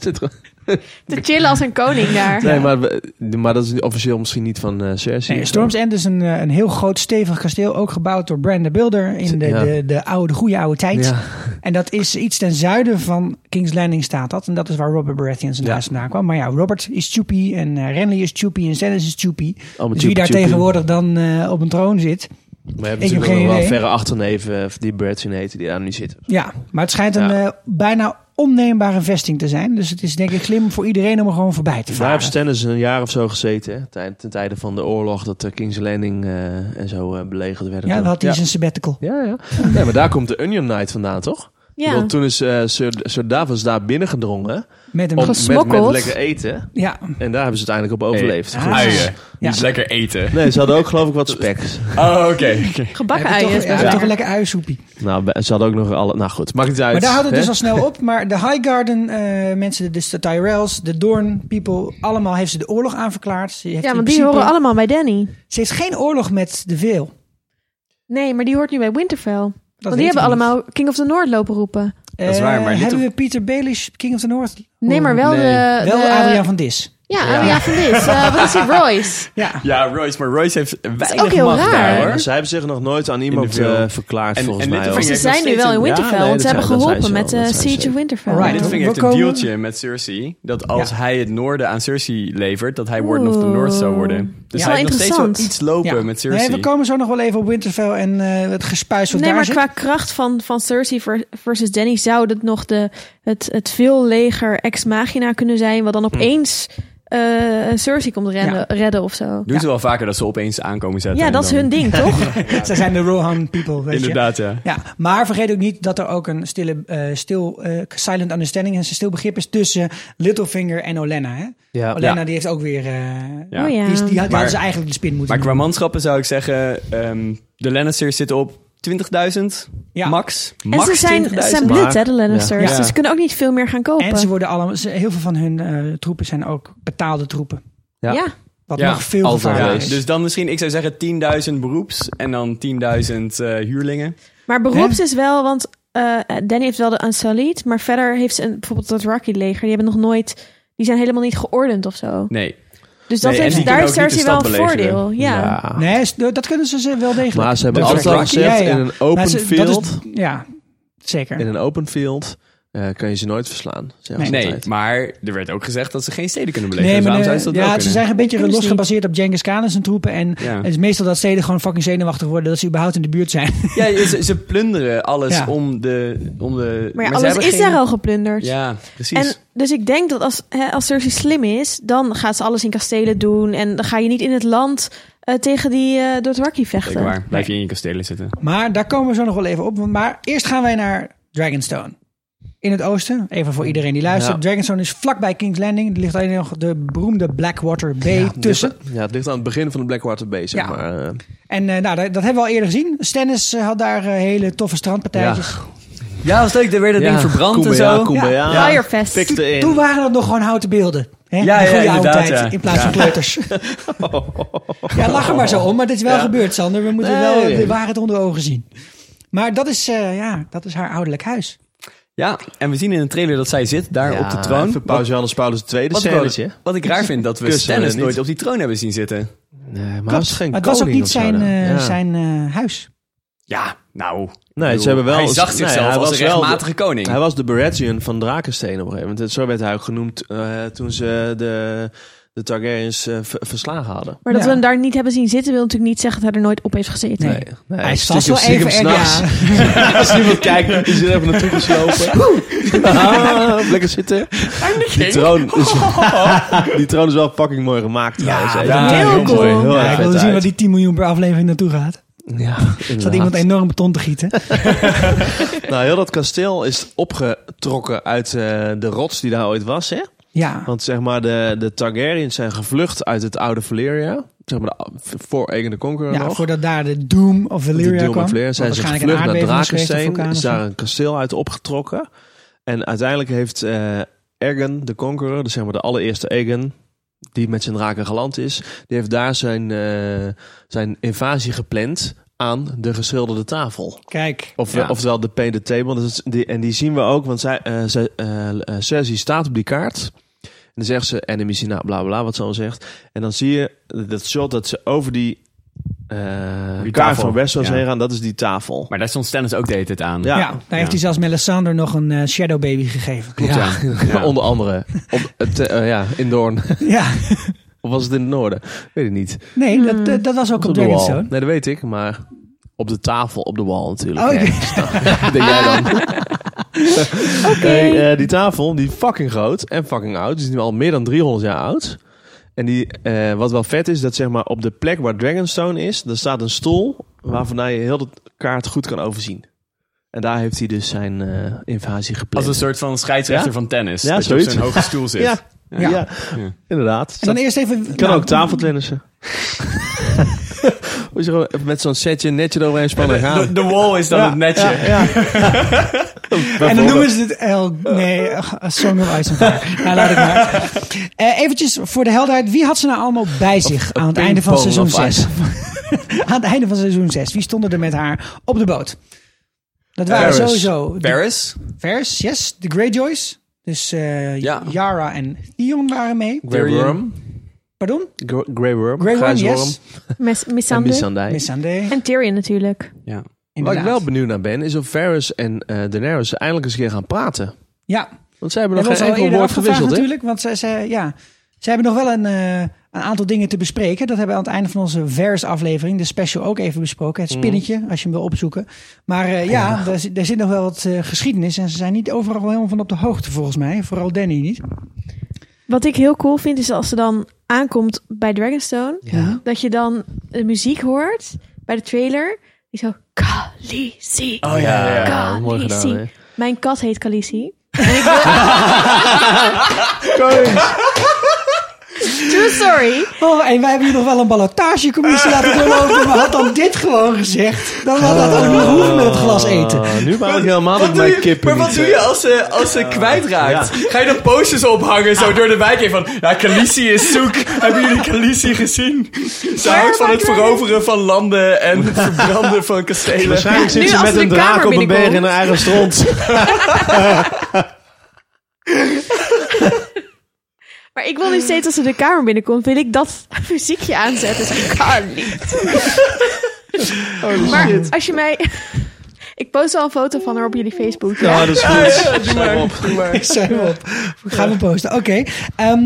S4: Zit er-
S6: Te chillen als een koning daar.
S4: Nee, maar, we- maar dat is officieel misschien niet van eh Cersei.
S1: Nee, Storm's End is een, eh, een heel groot, stevig kasteel. Ook gebouwd door Brand the Builder in de,
S4: Ja.
S1: de, de, oude, de goede oude tijd.
S4: Ja.
S1: En dat is iets ten zuiden van King's Landing staat dat. En dat is waar Robert Baratheon zijn
S4: Ja.
S1: huis vandaan kwam. Maar ja, Robert is Choopy en eh, Renly is Choopy en Stannis is Choopy. Dus
S4: Allemaal
S1: wie
S4: Choopy,
S1: daar
S4: Choopy.
S1: tegenwoordig dan eh, op een troon zit.
S4: We hebben
S1: Ik heb
S4: natuurlijk
S1: geen
S4: nog wel
S1: idee.
S4: verre achterneven eh, die Bradson heet, die daar nu zit.
S1: Ja, maar het schijnt een
S4: Ja.
S1: eh, bijna onneembare vesting te zijn. Dus het is denk ik slim voor iedereen om er gewoon voorbij te
S4: Daar heeft
S1: varen.
S4: Stennis een jaar of zo gezeten. Hè? Ten, ten tijde van de oorlog dat eh, King's Landing eh, en zo eh, belegerd werden.
S1: Ja, dan had hij
S4: ja.
S1: zijn sabbatical.
S4: Ja, ja. Nee, maar daar komt de Onion Knight vandaan, toch?
S6: Ja,
S4: Want toen is eh, Sir, Sir Davos daar binnengedrongen.
S1: Met
S4: Om,
S1: een...
S4: met, met
S6: Gesmokkeld.
S4: lekker eten.
S1: Ja,
S4: En daar hebben ze uiteindelijk op overleefd.
S1: Ah.
S4: Goed.
S5: Uien.
S1: Ja.
S5: Niet lekker eten.
S4: Nee, ze hadden ook geloof ik wat spek.
S5: Oh, oké.
S6: gebakken
S1: Heb je
S6: uien
S1: toch,
S6: is
S1: ja,
S6: best
S1: toch
S6: lekker.
S1: een lekker uiensoepie.
S4: Nou, be- ze hadden ook nog alle... Nou goed, maakt niet uit.
S1: Maar daar houdt het
S4: hè?
S1: dus al snel op. Maar de Highgarden eh, mensen, dus de Tyrells, de Dorn people, allemaal heeft ze de oorlog aanverklaard. Ze heeft
S6: Ja,
S1: in
S6: want die
S1: principe-
S6: horen allemaal bij Danny.
S1: Ze heeft geen oorlog met de Veel.
S6: Nee, maar die hoort nu bij Winterfell.
S1: Dat
S6: want die
S1: weten
S6: hebben
S1: we niet.
S6: allemaal King of the North lopen roepen.
S5: Dat is
S1: Eh,
S5: waar, maar dit
S1: hebben
S5: hoeft-
S1: we Peter Baelish, King of the North? Oh.
S6: Nee, maar wel
S4: Nee.
S6: de...
S1: Wel
S6: de-
S1: Adriaan van Dis.
S6: Ja, Adriaan van Dis. Eh, wat is die Royce?
S1: Ja.
S5: Ja, Royce. Maar Royce heeft weinig
S6: ook heel
S5: macht
S6: raar.
S5: daar,
S4: Maar
S5: hoor.
S4: Zij hebben zich nog nooit aan iemand
S5: film.
S4: eh, verklaard,
S5: En-
S4: volgens
S5: en dit
S4: mij.
S5: vind
S4: hoor.
S5: ik-
S6: Ze
S5: nog
S6: zijn nu
S5: steeds
S6: wel in
S5: een-
S6: Winterfell,
S4: Ja, nee,
S6: want
S4: dat
S6: ze hebben
S4: zijn- dat
S6: geholpen
S4: zijn
S6: met
S4: ze wel,
S6: de
S4: dat zijn
S6: Siege
S4: ze.
S6: of Winterfell.
S1: Alright.
S5: En Ah, dit
S1: We
S5: ving heeft een
S1: komen-
S5: dealtje met Cersei. Dat als
S1: Ja.
S5: hij het noorden aan Cersei levert, dat hij Warden of the
S6: Oeh.
S5: North zou worden. Dus hij
S6: Ja. Wel
S5: heeft nog steeds wel
S6: interessant.
S5: iets lopen
S1: Ja.
S5: met
S1: Nee,
S5: Cersei.
S1: we komen zo nog wel even op Winterfell en eh, het gespuis wat
S6: Nee,
S1: daar
S6: maar
S1: zit.
S6: qua kracht van, van Cersei ver- versus Danny zou dat nog de, het, het veel leger ex machina kunnen zijn, wat dan
S4: Hm.
S6: opeens eh, Cersei komt rennen,
S1: Ja.
S6: redden of zo.
S5: Doen ze wel vaker dat ze opeens aankomen zetten.
S6: Ja,
S5: en
S6: dat is
S5: dan-
S6: hun ding, toch?
S1: Ze zijn de Rohan people, weet je.
S5: Inderdaad, ja.
S1: Ja, maar vergeet ook niet dat er ook een stille, eh, stil, eh, silent understanding en stil begrip is tussen Littlefinger en Olenna. Hè?
S4: Ja.
S1: Olenna
S5: Ja.
S1: die heeft ook weer... eh,
S5: Ja.
S6: Oh ja.
S1: Die, is- die had- die
S5: Maar-
S1: hadden ze eigenlijk de spin moeten
S5: Maar qua
S1: doen.
S5: manschappen zou ik zeggen, ehm, de Lannisters zitten op 20.000
S1: Ja.
S5: max.
S6: En
S5: max
S6: ze zijn,
S5: 20.000.
S6: ze zijn blut, hè, de
S4: Maar-
S6: Lannisters.
S5: Ja.
S6: Dus ze kunnen ook niet veel meer gaan kopen.
S1: En ze worden allemaal, ze- heel veel van hun eh, troepen zijn ook betaalde troepen.
S6: ja.
S4: Ja.
S1: Wat
S5: Ja,
S1: nog veel
S4: altijd.
S5: Ja,
S1: gevaarlijker is.
S5: dus dan misschien, ik zou zeggen 10.000 beroeps en dan 10.000 eh, huurlingen.
S6: maar beroeps is wel, want eh, Danny heeft wel de Unsullied, maar verder heeft ze een, bijvoorbeeld dat Rocky-leger, die hebben nog nooit, die zijn helemaal niet geordend of zo.
S5: Nee.
S6: Dus dat
S5: Nee, en
S6: heeft,
S5: die
S6: daar
S5: kunnen
S6: heeft
S5: ook niet de
S6: Cersei wel een
S5: stad belegeren.
S6: voordeel. Ja.
S1: Nee, s- dat kunnen ze ze wel degelijk.
S4: Maar ze hebben
S5: Dus
S4: altijd
S5: dat
S4: al
S5: is
S4: gezegd,
S1: Ja, ja.
S4: in een
S1: Maar
S4: open
S1: ze- dat is-
S4: field...
S1: ja, zeker.
S4: In een open field eh, kan je ze nooit verslaan. zeggen ze
S5: Nee,
S4: altijd.
S5: maar er werd ook gezegd dat ze geen steden kunnen belegeren.
S1: Nee,
S5: Nee,
S1: maar
S5: waarom
S1: de-
S5: zouden ze dat wel
S1: ja,
S5: kunnen?
S1: ze zijn een beetje
S6: Kunnen ze
S1: los
S6: niet.
S1: gebaseerd op Genghis Khan en zijn troepen. En
S5: Ja.
S1: het is meestal dat steden gewoon fucking zenuwachtig worden dat ze überhaupt in de buurt zijn.
S5: Ja, ze, ze plunderen alles
S1: Ja.
S5: om de... Om de
S6: Maar ja,
S5: ze
S6: alles
S5: hebben
S6: is
S5: geen-
S6: daar al geplunderd.
S5: Ja, precies.
S6: En dus ik denk dat als, hè, als Cersei slim is, dan gaat ze alles in kastelen doen. En dan ga je niet in het land eh, tegen die eh Dothraki vechten.
S5: Zeker waar. Blijf je in je kastelen zitten.
S1: Maar daar komen we zo nog wel even op. Maar eerst gaan wij naar Dragonstone. In het oosten, even voor iedereen die luistert.
S4: Ja.
S1: Dragonstone is vlakbij King's Landing. Er ligt alleen nog de beroemde Blackwater Bay tussen.
S4: Ja, het ligt aan het begin van de Blackwater Bay, zeg
S1: Ja.
S4: maar. eh.
S1: En eh, nou, dat, dat hebben we al eerder gezien. Stennis eh, had daar eh, hele toffe strandpartijtjes.
S5: Ja, was leuk. Er werd dat
S4: Ja, Kumbaya, Kumbaya.
S1: Ja.
S6: Firefest.
S4: Pikte
S1: Toen-
S4: in.
S1: Toen waren dat nog gewoon houten beelden. Hè?
S5: ja,
S1: De goede oude
S5: inderdaad,
S1: tijd,
S5: ja.
S1: in plaats van kleuters. ja, lach er maar zo om, maar dit is wel gebeurd, Sander. We moeten wel
S4: Nee.
S1: de waarheid onder ogen zien. Maar dat is, eh, ja, dat is haar ouderlijk huis.
S5: Ja, en we zien in de trailer dat zij zit daar op de troon.
S4: Even Paus Johannes Paulus II, de
S5: Wat ik,
S4: scènetje.
S5: wel- wat ik raar vind, dat we
S4: Kussen we
S5: Stennis
S4: niet.
S5: nooit op die troon hebben zien zitten.
S4: Nee, maar
S1: Klopt.
S4: hij is geen
S1: maar het was ook
S4: koning
S1: niet
S4: of zo
S1: zijn,
S4: dan.
S1: eh,
S4: Ja.
S1: zijn eh, huis.
S5: Ja, nou. ik
S4: Nee,
S5: bedoel,
S4: ze hebben wel...
S5: Hij zag
S4: nee,
S5: zichzelf
S4: hij
S5: als
S4: was
S5: een
S4: wel de-
S5: rechtmatige koning.
S4: Hij was de Baratheon van Drakensteen op een gegeven moment. Zo werd hij ook genoemd eh, toen ze de, de Targaryens eh, ver- verslagen hadden.
S6: Maar dat
S1: Ja.
S6: we hem daar niet hebben zien zitten, wil natuurlijk niet zeggen dat hij er nooit op heeft gezeten.
S1: Nee. hij zat wel
S4: stiekem-
S1: even
S4: stiekem
S1: ergens.
S4: s'nachts. Als iemand kijkt, is er even naartoe geslopen. Ah, lekker zitten. Die troon, is, die troon is wel fucking mooi gemaakt trouwens. hè.
S5: Oh. ja, heel
S4: mooi,
S6: cool.
S4: Heel
S1: Ja,
S4: erg
S1: ik wilde
S4: vet
S1: zien waar
S4: uit.
S1: die 10 miljoen per aflevering naartoe gaat.
S4: Ja,
S1: Zat
S4: inderdaad.
S1: iemand enorm beton te gieten.
S4: Nou, heel dat kasteel is opgetrokken uit eh, de rots die daar ooit was, hè?
S1: Ja,
S4: Want zeg maar, de, de Targaryens zijn gevlucht uit het oude Valyria. Zeg maar, de, voor Aegon de Conqueror
S1: ja
S4: eh, nog.
S1: voordat daar de Doom of Valyria
S4: de Doom
S1: kwam.
S4: of Valyria zijn
S1: Want
S4: ze
S1: waarschijnlijk
S4: gevlucht
S1: een
S4: naar
S1: aardbeving is geweest, een
S4: Drakensteen.
S1: vulkaan of
S4: Is
S1: zo.
S4: daar een kasteel uit opgetrokken. En uiteindelijk heeft eh Ergen de Conqueror, dus zeg maar de allereerste Ergen, die met zijn draken geland is, die heeft daar zijn, eh, zijn invasie gepland aan de geschilderde tafel.
S1: Kijk,
S4: Of,
S5: Ja.
S4: Oftewel de eh, painted table. Dat is die, en die zien we ook, want zij, eh, zij, eh, eh, Cersei staat op die kaart. dan zegt ze enemies na bla bla, wat ze al zegt. En dan zie je dat shot dat ze over die, eh
S5: Die
S4: kaart
S5: tafel,
S4: van Westeros
S5: ja.
S4: heen gaan. Dat is die tafel.
S5: Maar daar stond Stennis ook de hele tijd aan.
S4: Ja.
S1: Ja, daar heeft hij zelfs Melisandre nog een eh, shadow baby gegeven.
S5: Klopt, ja. Ja.
S4: Onder andere. Op het, eh, ja, in Doorn.
S1: Ja,
S4: of was het in het noorden? Weet ik niet.
S1: nee, dat, dat, dat was ook op
S4: de wall.
S1: Dragonstone.
S4: Nee, dat weet ik, maar op de tafel op de wall natuurlijk.
S1: Oh,
S4: Nee,
S1: oké.
S4: dus dat- denk jij dan. Hey, eh, die tafel, die fucking groot en fucking oud. Die is nu al meer dan 300 jaar oud. En die, eh, wat wel vet is, dat zeg maar op de plek waar Dragonstone is, daar staat een stoel waarvan je heel de kaart goed kan overzien. En daar heeft hij dus zijn eh, invasie
S5: Als
S4: gepland.
S5: een soort van scheidsrechter
S4: Ja?
S5: van tennis.
S4: Ja,
S5: dat je op
S4: zoiets.
S5: zo'n hoge stoel zit.
S4: Ja, ja.
S1: Ja.
S5: Ja.
S4: inderdaad.
S1: En dan eerst even...
S4: Ik kan
S1: nou,
S4: ook tafeltennissen. Moet je gewoon even met zo'n setje netje eroverheen spannen en gaan.
S5: De, de wall is dan het netje.
S1: En dan noemen ze het... El, nee, ach, A Song of Ice and Fire. nou, laat ik maar. Eh eventjes voor de helderheid. Wie had ze nou allemaal bij zich aan het einde van
S4: pingpong
S1: seizoen
S4: of ice.
S1: 6? aan het einde van seizoen 6. Wie stonden er met haar op de boot? Dat waren
S5: Varys.
S1: sowieso... de-
S5: Paris?
S1: Varys, yes. De Greyjoys. Dus eh
S5: Ja.
S1: Yara en Theon waren mee.
S4: Grey
S5: Tyrion.
S4: Worm.
S1: Pardon?
S4: Gr- Grey Worm.
S1: Grey Worm,
S4: Grijze
S1: yes.
S6: Mes-
S4: En
S6: Missandei.
S4: Missandei.
S1: Missandei.
S6: En Tyrion natuurlijk.
S5: Ja.
S4: Waar ik
S1: Inderdaad.
S4: wel benieuwd naar ben, is of Varys en eh, Daenerys eindelijk eens een keer gaan praten.
S1: Ja,
S4: Want zij hebben
S1: dat
S4: nog
S1: was
S4: geen
S1: al
S4: enkel
S1: eerder
S4: woord
S1: afgevraagd
S4: gewisseld, hè?
S1: natuurlijk. Want ze, ze, ja, ze hebben nog wel een, eh, een aantal dingen te bespreken. Dat hebben we aan het einde van onze vers-aflevering, de special, ook even besproken.
S4: Mhm.
S1: Het spinnetje, als je hem wil opzoeken. Maar eh, ja, daar, zit- daar zit nog wel wat eh, geschiedenis. En ze zijn niet overal helemaal van op de hoogte, volgens mij. Vooral Danny niet.
S6: Wat ik heel cool vind is als ze dan aankomt bij Dragonstone.
S1: Ja.
S6: Dat je dan de muziek hoort bij de trailer. Die zo... Khaleesi.
S5: Oh ja, ja.
S6: ja, mooi
S4: mooi
S6: Khaleesi.
S4: gedaan,
S6: gedaan,
S4: hè?
S6: hè? Mijn kat heet Khaleesi. True story.
S1: Oh, en wij hebben hier nog wel een ballotagecommissie laten doorlopen. Maar had dan dit gewoon gezegd, dan had dat ook niet hoeven met het glas eten.
S4: Ah, nu maak ik helemaal dat
S5: doe
S4: mijn
S5: je,
S4: kippen
S5: maar wat
S4: niet,
S5: doe
S4: eh,
S5: je als ze, als ze kwijtraakt? Ga je dan posters ophangen zo door de wijk heen van... Ja, Khaleesi is zoek. Hebben jullie Khaleesi gezien? Ze houdt van het veroveren van landen en het verbranden van kastelen.
S4: Waarschijnlijk zit
S6: Nu
S4: ze
S6: als
S4: met
S6: ze
S4: een
S6: de
S4: draak
S6: kamer
S4: op een berg
S6: binnenkomt.
S4: in haar eigen stront.
S6: Maar ik wil nu steeds als ze de kamer binnenkomt, wil ik dat muziekje aanzetten. Dat kan niet. maar als je mij... Ik post wel een foto van haar op jullie Facebook.
S4: Ja, dat is goed.
S5: Doe maar, doe maar.
S1: Zijn we op. Gaan we posten. Oké. ehm,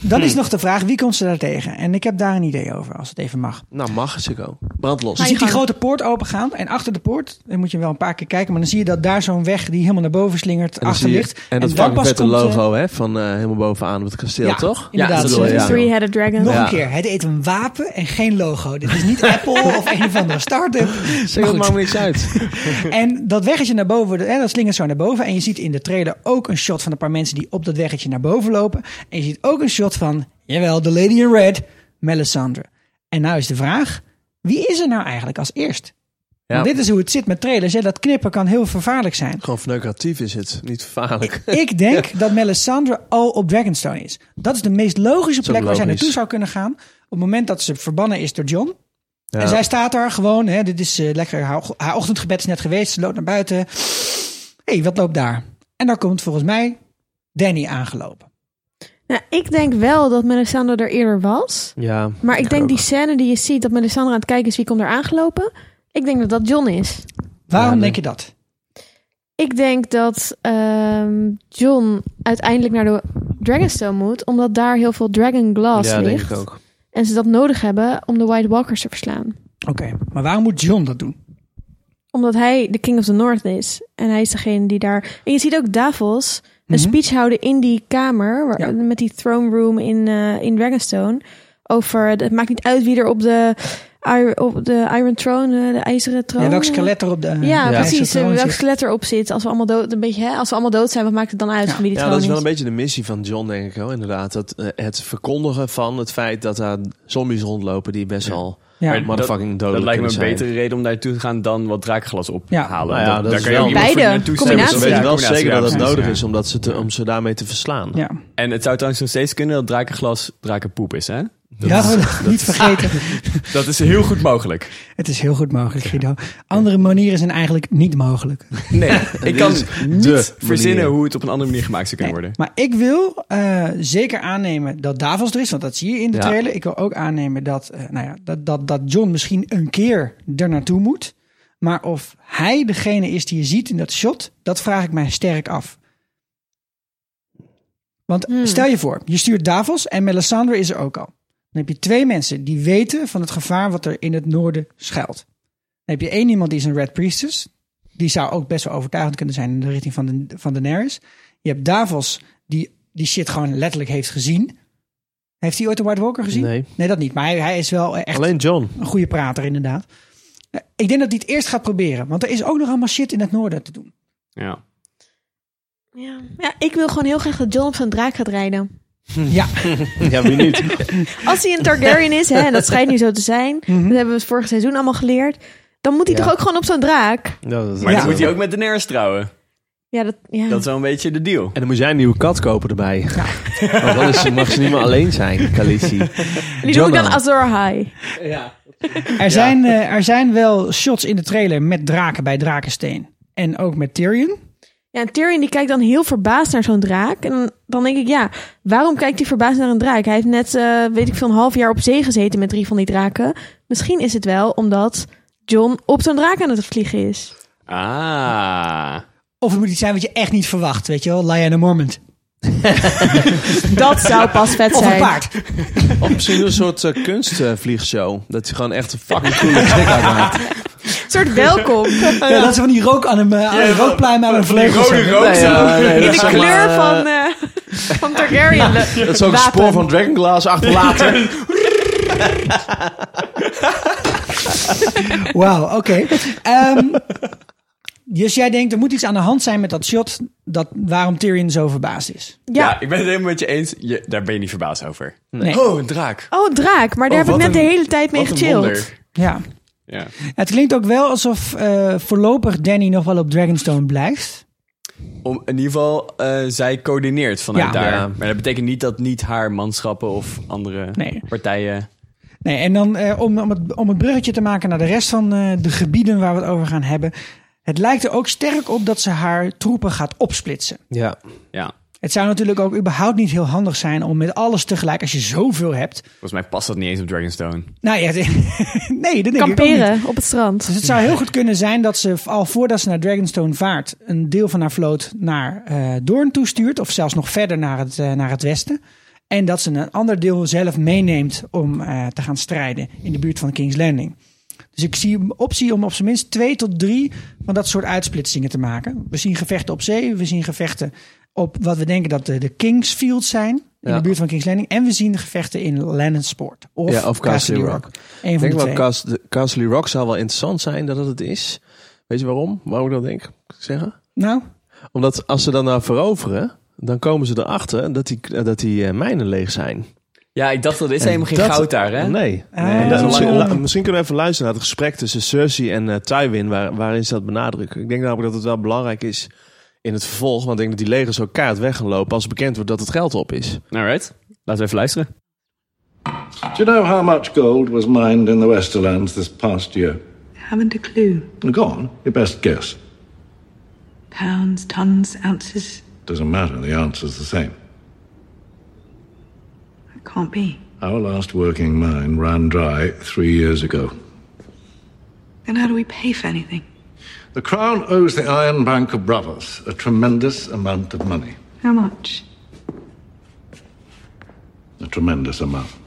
S6: Hm.
S1: dan is nog de vraag, wie komt ze daar tegen? En ik heb daar een idee over, als het even mag.
S4: Nou, mag ze go. Brand los.
S1: Je
S6: Ga je
S1: ziet die
S6: gang.
S1: grote poort opengaan en achter de poort, dan moet je wel een paar keer kijken, maar dan zie je dat daar zo'n weg die helemaal naar boven slingert,
S4: En, dan
S1: achter
S4: zie je-
S1: ligt.
S4: en dat
S1: dan
S4: fucking vette
S1: komt, eh,
S4: logo hè, van eh, helemaal bovenaan op het kasteel,
S1: ja,
S4: toch?
S1: Inderdaad,
S5: dat
S1: ze-
S5: wil je,
S6: The
S5: ja.
S6: Three-Headed Dragon.
S1: Nog
S4: Ja.
S1: een keer, het eet een wapen en geen logo. Dit is niet Apple of een of andere start-up.
S4: Zeg,
S1: Maar
S4: dat
S1: goed.
S4: maakt me niks uit.
S1: En dat weggetje naar boven, hè, dat slingert zo naar boven. En je ziet in de trailer ook een shot van een paar mensen die op dat weggetje naar boven lopen. En je ziet ook een shot van, jawel, de Lady in Red, Melisandre. En nou is de vraag, wie is er nou eigenlijk als eerst? Want
S4: Ja.
S1: dit is hoe het zit met trailers. Hè? Dat knippen kan heel vervaarlijk zijn.
S4: Gewoon verneukeratief is het. Niet gevaarlijk.
S1: Ik denk dat Melisandre al op Dragonstone is. Dat is de meest logische
S4: ook
S1: plek waar zij
S4: logisch.
S1: naartoe zou kunnen gaan. Op het moment dat ze verbannen is door John.
S4: Ja.
S1: En zij staat daar gewoon. Hè, dit is eh, lekker. Haar, och- haar ochtendgebed is net geweest. Ze loopt naar buiten. Hé, hey, wat loopt daar? En daar komt volgens mij Danny aangelopen.
S6: Nou, ik denk wel dat Melisandre er eerder was.
S4: Ja.
S6: Maar ik denk die scène die je ziet, dat Melisandre aan het kijken is wie komt er aangelopen. Ik denk dat dat John is.
S1: Waarom
S4: Ja, nee.
S1: denk je dat?
S6: Ik denk dat ehm, John uiteindelijk naar de Dragonstone moet, omdat daar heel veel Dragon Glass
S4: Ja, denk
S6: ligt.
S4: ik ook.
S6: En ze dat nodig hebben om de White Walkers te verslaan.
S1: Oké, maar waarom moet John dat doen?
S6: Omdat hij de King of the North is. En hij is degene die daar. En je ziet ook Davos een
S1: Mhm.
S6: speech houden in die kamer. Waar,
S1: Ja.
S6: Met die throne room in, eh, in Dragonstone. Over. Het maakt niet uit wie er op de, ir- op de Iron Throne, eh, de ijzeren troon.
S1: Ja, welk
S6: eh,
S1: skelet er op de.
S6: Ja,
S4: Mm. Ja.
S6: precies. eh,
S1: Troon
S6: welk
S1: zit.
S6: skelet erop zit. Als we allemaal dood, een beetje, hè, als we allemaal dood zijn, wat maakt het dan uit
S1: Ja.
S6: van wie die
S4: Ja,
S6: troon
S4: dat is wel een beetje de missie van John, denk ik wel, inderdaad. Dat, eh, het verkondigen van het feit dat daar zombies rondlopen die best wel
S1: Ja.
S5: Maar-
S4: motherfucking
S5: Dat,
S4: dodelijk
S5: lijkt me een
S4: kunnen zijn.
S5: betere reden om naartoe te gaan dan wat draakglas
S1: Ja.
S5: ophalen.
S4: Nou ja, dat is
S5: daar kan je ook
S4: wel-
S5: iemand voor
S6: Beide,
S5: naartoe sturen.
S4: Ja,
S6: combinatie.
S4: ze weten wel zeker dat het
S5: Combinatie,
S4: nodig
S5: ja.
S4: is omdat ze te- om ze daarmee te verslaan.
S1: Ja.
S5: En het zou trouwens nog steeds kunnen dat drakenglas drakenpoep is, hè?
S1: Je had het niet vergeten.
S5: Dat is heel goed mogelijk.
S1: Het is heel goed mogelijk, Guido. Andere manieren zijn eigenlijk niet mogelijk.
S5: Nee, ik kan
S4: is
S5: niet
S4: de
S5: verzinnen
S4: manier.
S5: hoe het op een andere manier gemaakt zou kunnen worden.
S1: Maar ik wil eh, zeker aannemen dat Davos er is, want dat zie je in de
S5: Ja.
S1: trailer. Ik wil ook aannemen dat, eh, nou ja, dat, dat, dat John misschien een keer er naartoe moet. Maar of hij degene is die je ziet in dat shot, dat vraag ik mij sterk af. Want stel je voor, je stuurt Davos en Melisandre is er ook al. Dan heb je twee mensen die weten van het gevaar wat er in het noorden schuilt. Dan heb je één iemand die is een Red Priestess. Die zou ook best wel overtuigend kunnen zijn in de richting van, de, van Daenerys. Je hebt Davos, die die shit gewoon letterlijk heeft gezien. Heeft hij ooit een White Walker gezien?
S4: Nee.
S1: dat niet. Maar hij, hij is wel eh, echt
S4: Alleen John.
S1: een goede prater, inderdaad. Eh, Ik denk dat hij het eerst gaat proberen. Want er is ook nog allemaal shit in het noorden te doen.
S5: Ja.
S6: Ja. ja, ik wil gewoon heel graag dat John op zijn draak gaat rijden.
S1: Ja,
S4: Ja, wie niet?
S6: Als hij een Targaryen is, hè, en dat schijnt nu zo te zijn, dat hebben we het vorig seizoen allemaal geleerd, dan moet hij
S4: Mhm. Ja.
S6: toch ook gewoon op zo'n draak?
S4: Ja, dat is-
S5: Maar
S1: Ja.
S5: dan moet hij ook met Daenerys trouwen.
S6: Ja, dat, ja.
S5: Dat is wel een beetje de deal.
S4: En dan moet jij een nieuwe kat kopen erbij. Want dan is, mag ze niet meer alleen zijn, Khaleesi.
S6: die doe ik dan
S4: Jonah.
S6: Azor High.
S1: er, Zijn, eh, er zijn wel shots in de trailer met draken bij Drakensteen. En ook met Tyrion.
S6: Ja, en Tyrion die kijkt dan heel verbaasd naar zo'n draak. En dan- dan denk ik, ja, waarom kijkt hij verbaasd naar een draak? Hij heeft net, eh, weet ik veel, een half jaar op zee gezeten met drie van die draken. Misschien is het wel omdat John op zo'n draak aan het vliegen is.
S5: Ah.
S1: Of het moet iets zijn wat je echt niet verwacht. Weet je wel, Lyanna Mormont.
S6: Dat zou pas vet
S1: Of een
S6: zijn.
S1: paard.
S4: Of misschien een soort eh, kunstvliegshow. Dat hij gewoon echt een fucking coole trick uitmaakt.
S6: Een soort welkom.
S1: Ja, dat ze van die rook aan hem, eh, aan een rookpluim aan hun vleugels
S5: Rode
S1: hebben.
S5: rook.
S4: Nee, ja, nee,
S6: In
S4: dat
S6: de
S4: is ook
S6: kleur
S4: maar, eh,
S6: van, eh, van Targaryen.
S4: Dat is ook een spoor van Dragonglass achterlaten.
S1: Wauw, oké. Ehm, dus jij denkt, er moet iets aan de hand zijn met dat shot... Dat, waarom Tyrion zo verbaasd is.
S5: Ja.
S6: Ja.
S5: ik ben het helemaal met je eens. Je, daar ben je niet verbaasd over.
S1: Nee.
S5: Oh, een draak.
S6: Oh, een draak. Maar daar
S5: Oh,
S6: heb ik
S5: wat
S6: net
S5: een-
S6: de hele tijd mee
S5: Wat een
S6: gechilled.
S5: wonder.
S1: Ja.
S5: Ja.
S1: Het klinkt ook wel alsof eh, voorlopig Danny nog wel op Dragonstone blijft.
S5: Om, in ieder geval, eh, zij coördineert vanuit
S1: Ja.
S5: daar.
S4: Ja.
S5: Maar dat betekent niet dat niet haar manschappen of andere
S1: Nee.
S5: partijen...
S1: Nee, en dan eh, om, om, het, om het bruggetje te maken naar de rest van eh, de gebieden waar we het over gaan hebben. Het lijkt er ook sterk op dat ze haar troepen gaat opsplitsen.
S4: Ja.
S5: Ja,
S1: Het zou natuurlijk ook überhaupt niet heel handig zijn om met alles tegelijk, als je zoveel hebt.
S5: volgens mij past dat niet eens op Dragonstone.
S1: Nou ja, nee, dat denk ik ook niet.
S6: Kamperen op het strand.
S1: Dus het zou heel goed kunnen zijn dat ze al voordat ze naar Dragonstone vaart, een deel van haar vloot naar eh Doorn toestuurt. Of zelfs nog verder naar het, eh, naar het westen. En dat ze een ander deel zelf meeneemt om eh, te gaan strijden in de buurt van King's Landing. Dus ik zie een optie om op zijn minst twee tot drie van dat soort uitsplitsingen te maken. We zien gevechten op zee, we zien gevechten op wat we denken dat de, de Kingsfields zijn. In
S4: Ja.
S1: de buurt van King's Landing. En we zien de gevechten in Lannonsport. Of,
S4: Ja, of
S1: Castle, Rock. Eén van
S4: Ik denk
S1: de
S4: wel,
S1: twee.
S4: Cas- de- Castle Rock zou wel interessant zijn dat het het is. Weet je waarom? Waarom ik dat denk? Kan ik Zeggen?
S1: nou,
S4: Omdat als ze dan nou veroveren, dan komen ze erachter dat die, dat die eh, mijnen leeg zijn.
S5: Ja, ik dacht dat is helemaal geen
S4: dat-
S5: goud daar, hè?
S4: Nee.
S1: Ah.
S4: En dat-
S5: Ah.
S4: misschien, la- misschien kunnen we even luisteren naar het gesprek tussen Cersei en eh, Tywin, waar, waarin ze dat benadrukken. Ik denk namelijk dat het wel belangrijk is in het vervolg, want ik denk dat die legers ook kaart weg gaan lopen als bekend wordt dat het geld op is.
S5: Alright, laten we even luisteren.
S8: Do you know how much gold was mined in the Westerlands this past year?
S9: Haven't a clue.
S8: Go on, your best guess.
S9: Pounds, tons, ounces.
S8: Doesn't matter, the answer's the same.
S9: It can't be.
S8: Our last working mine ran dry three years ago.
S9: Then how do we pay for anything?
S8: The Crown owes the Iron Bank of Bravos a tremendous amount of money.
S9: How much?
S8: A tremendous amount.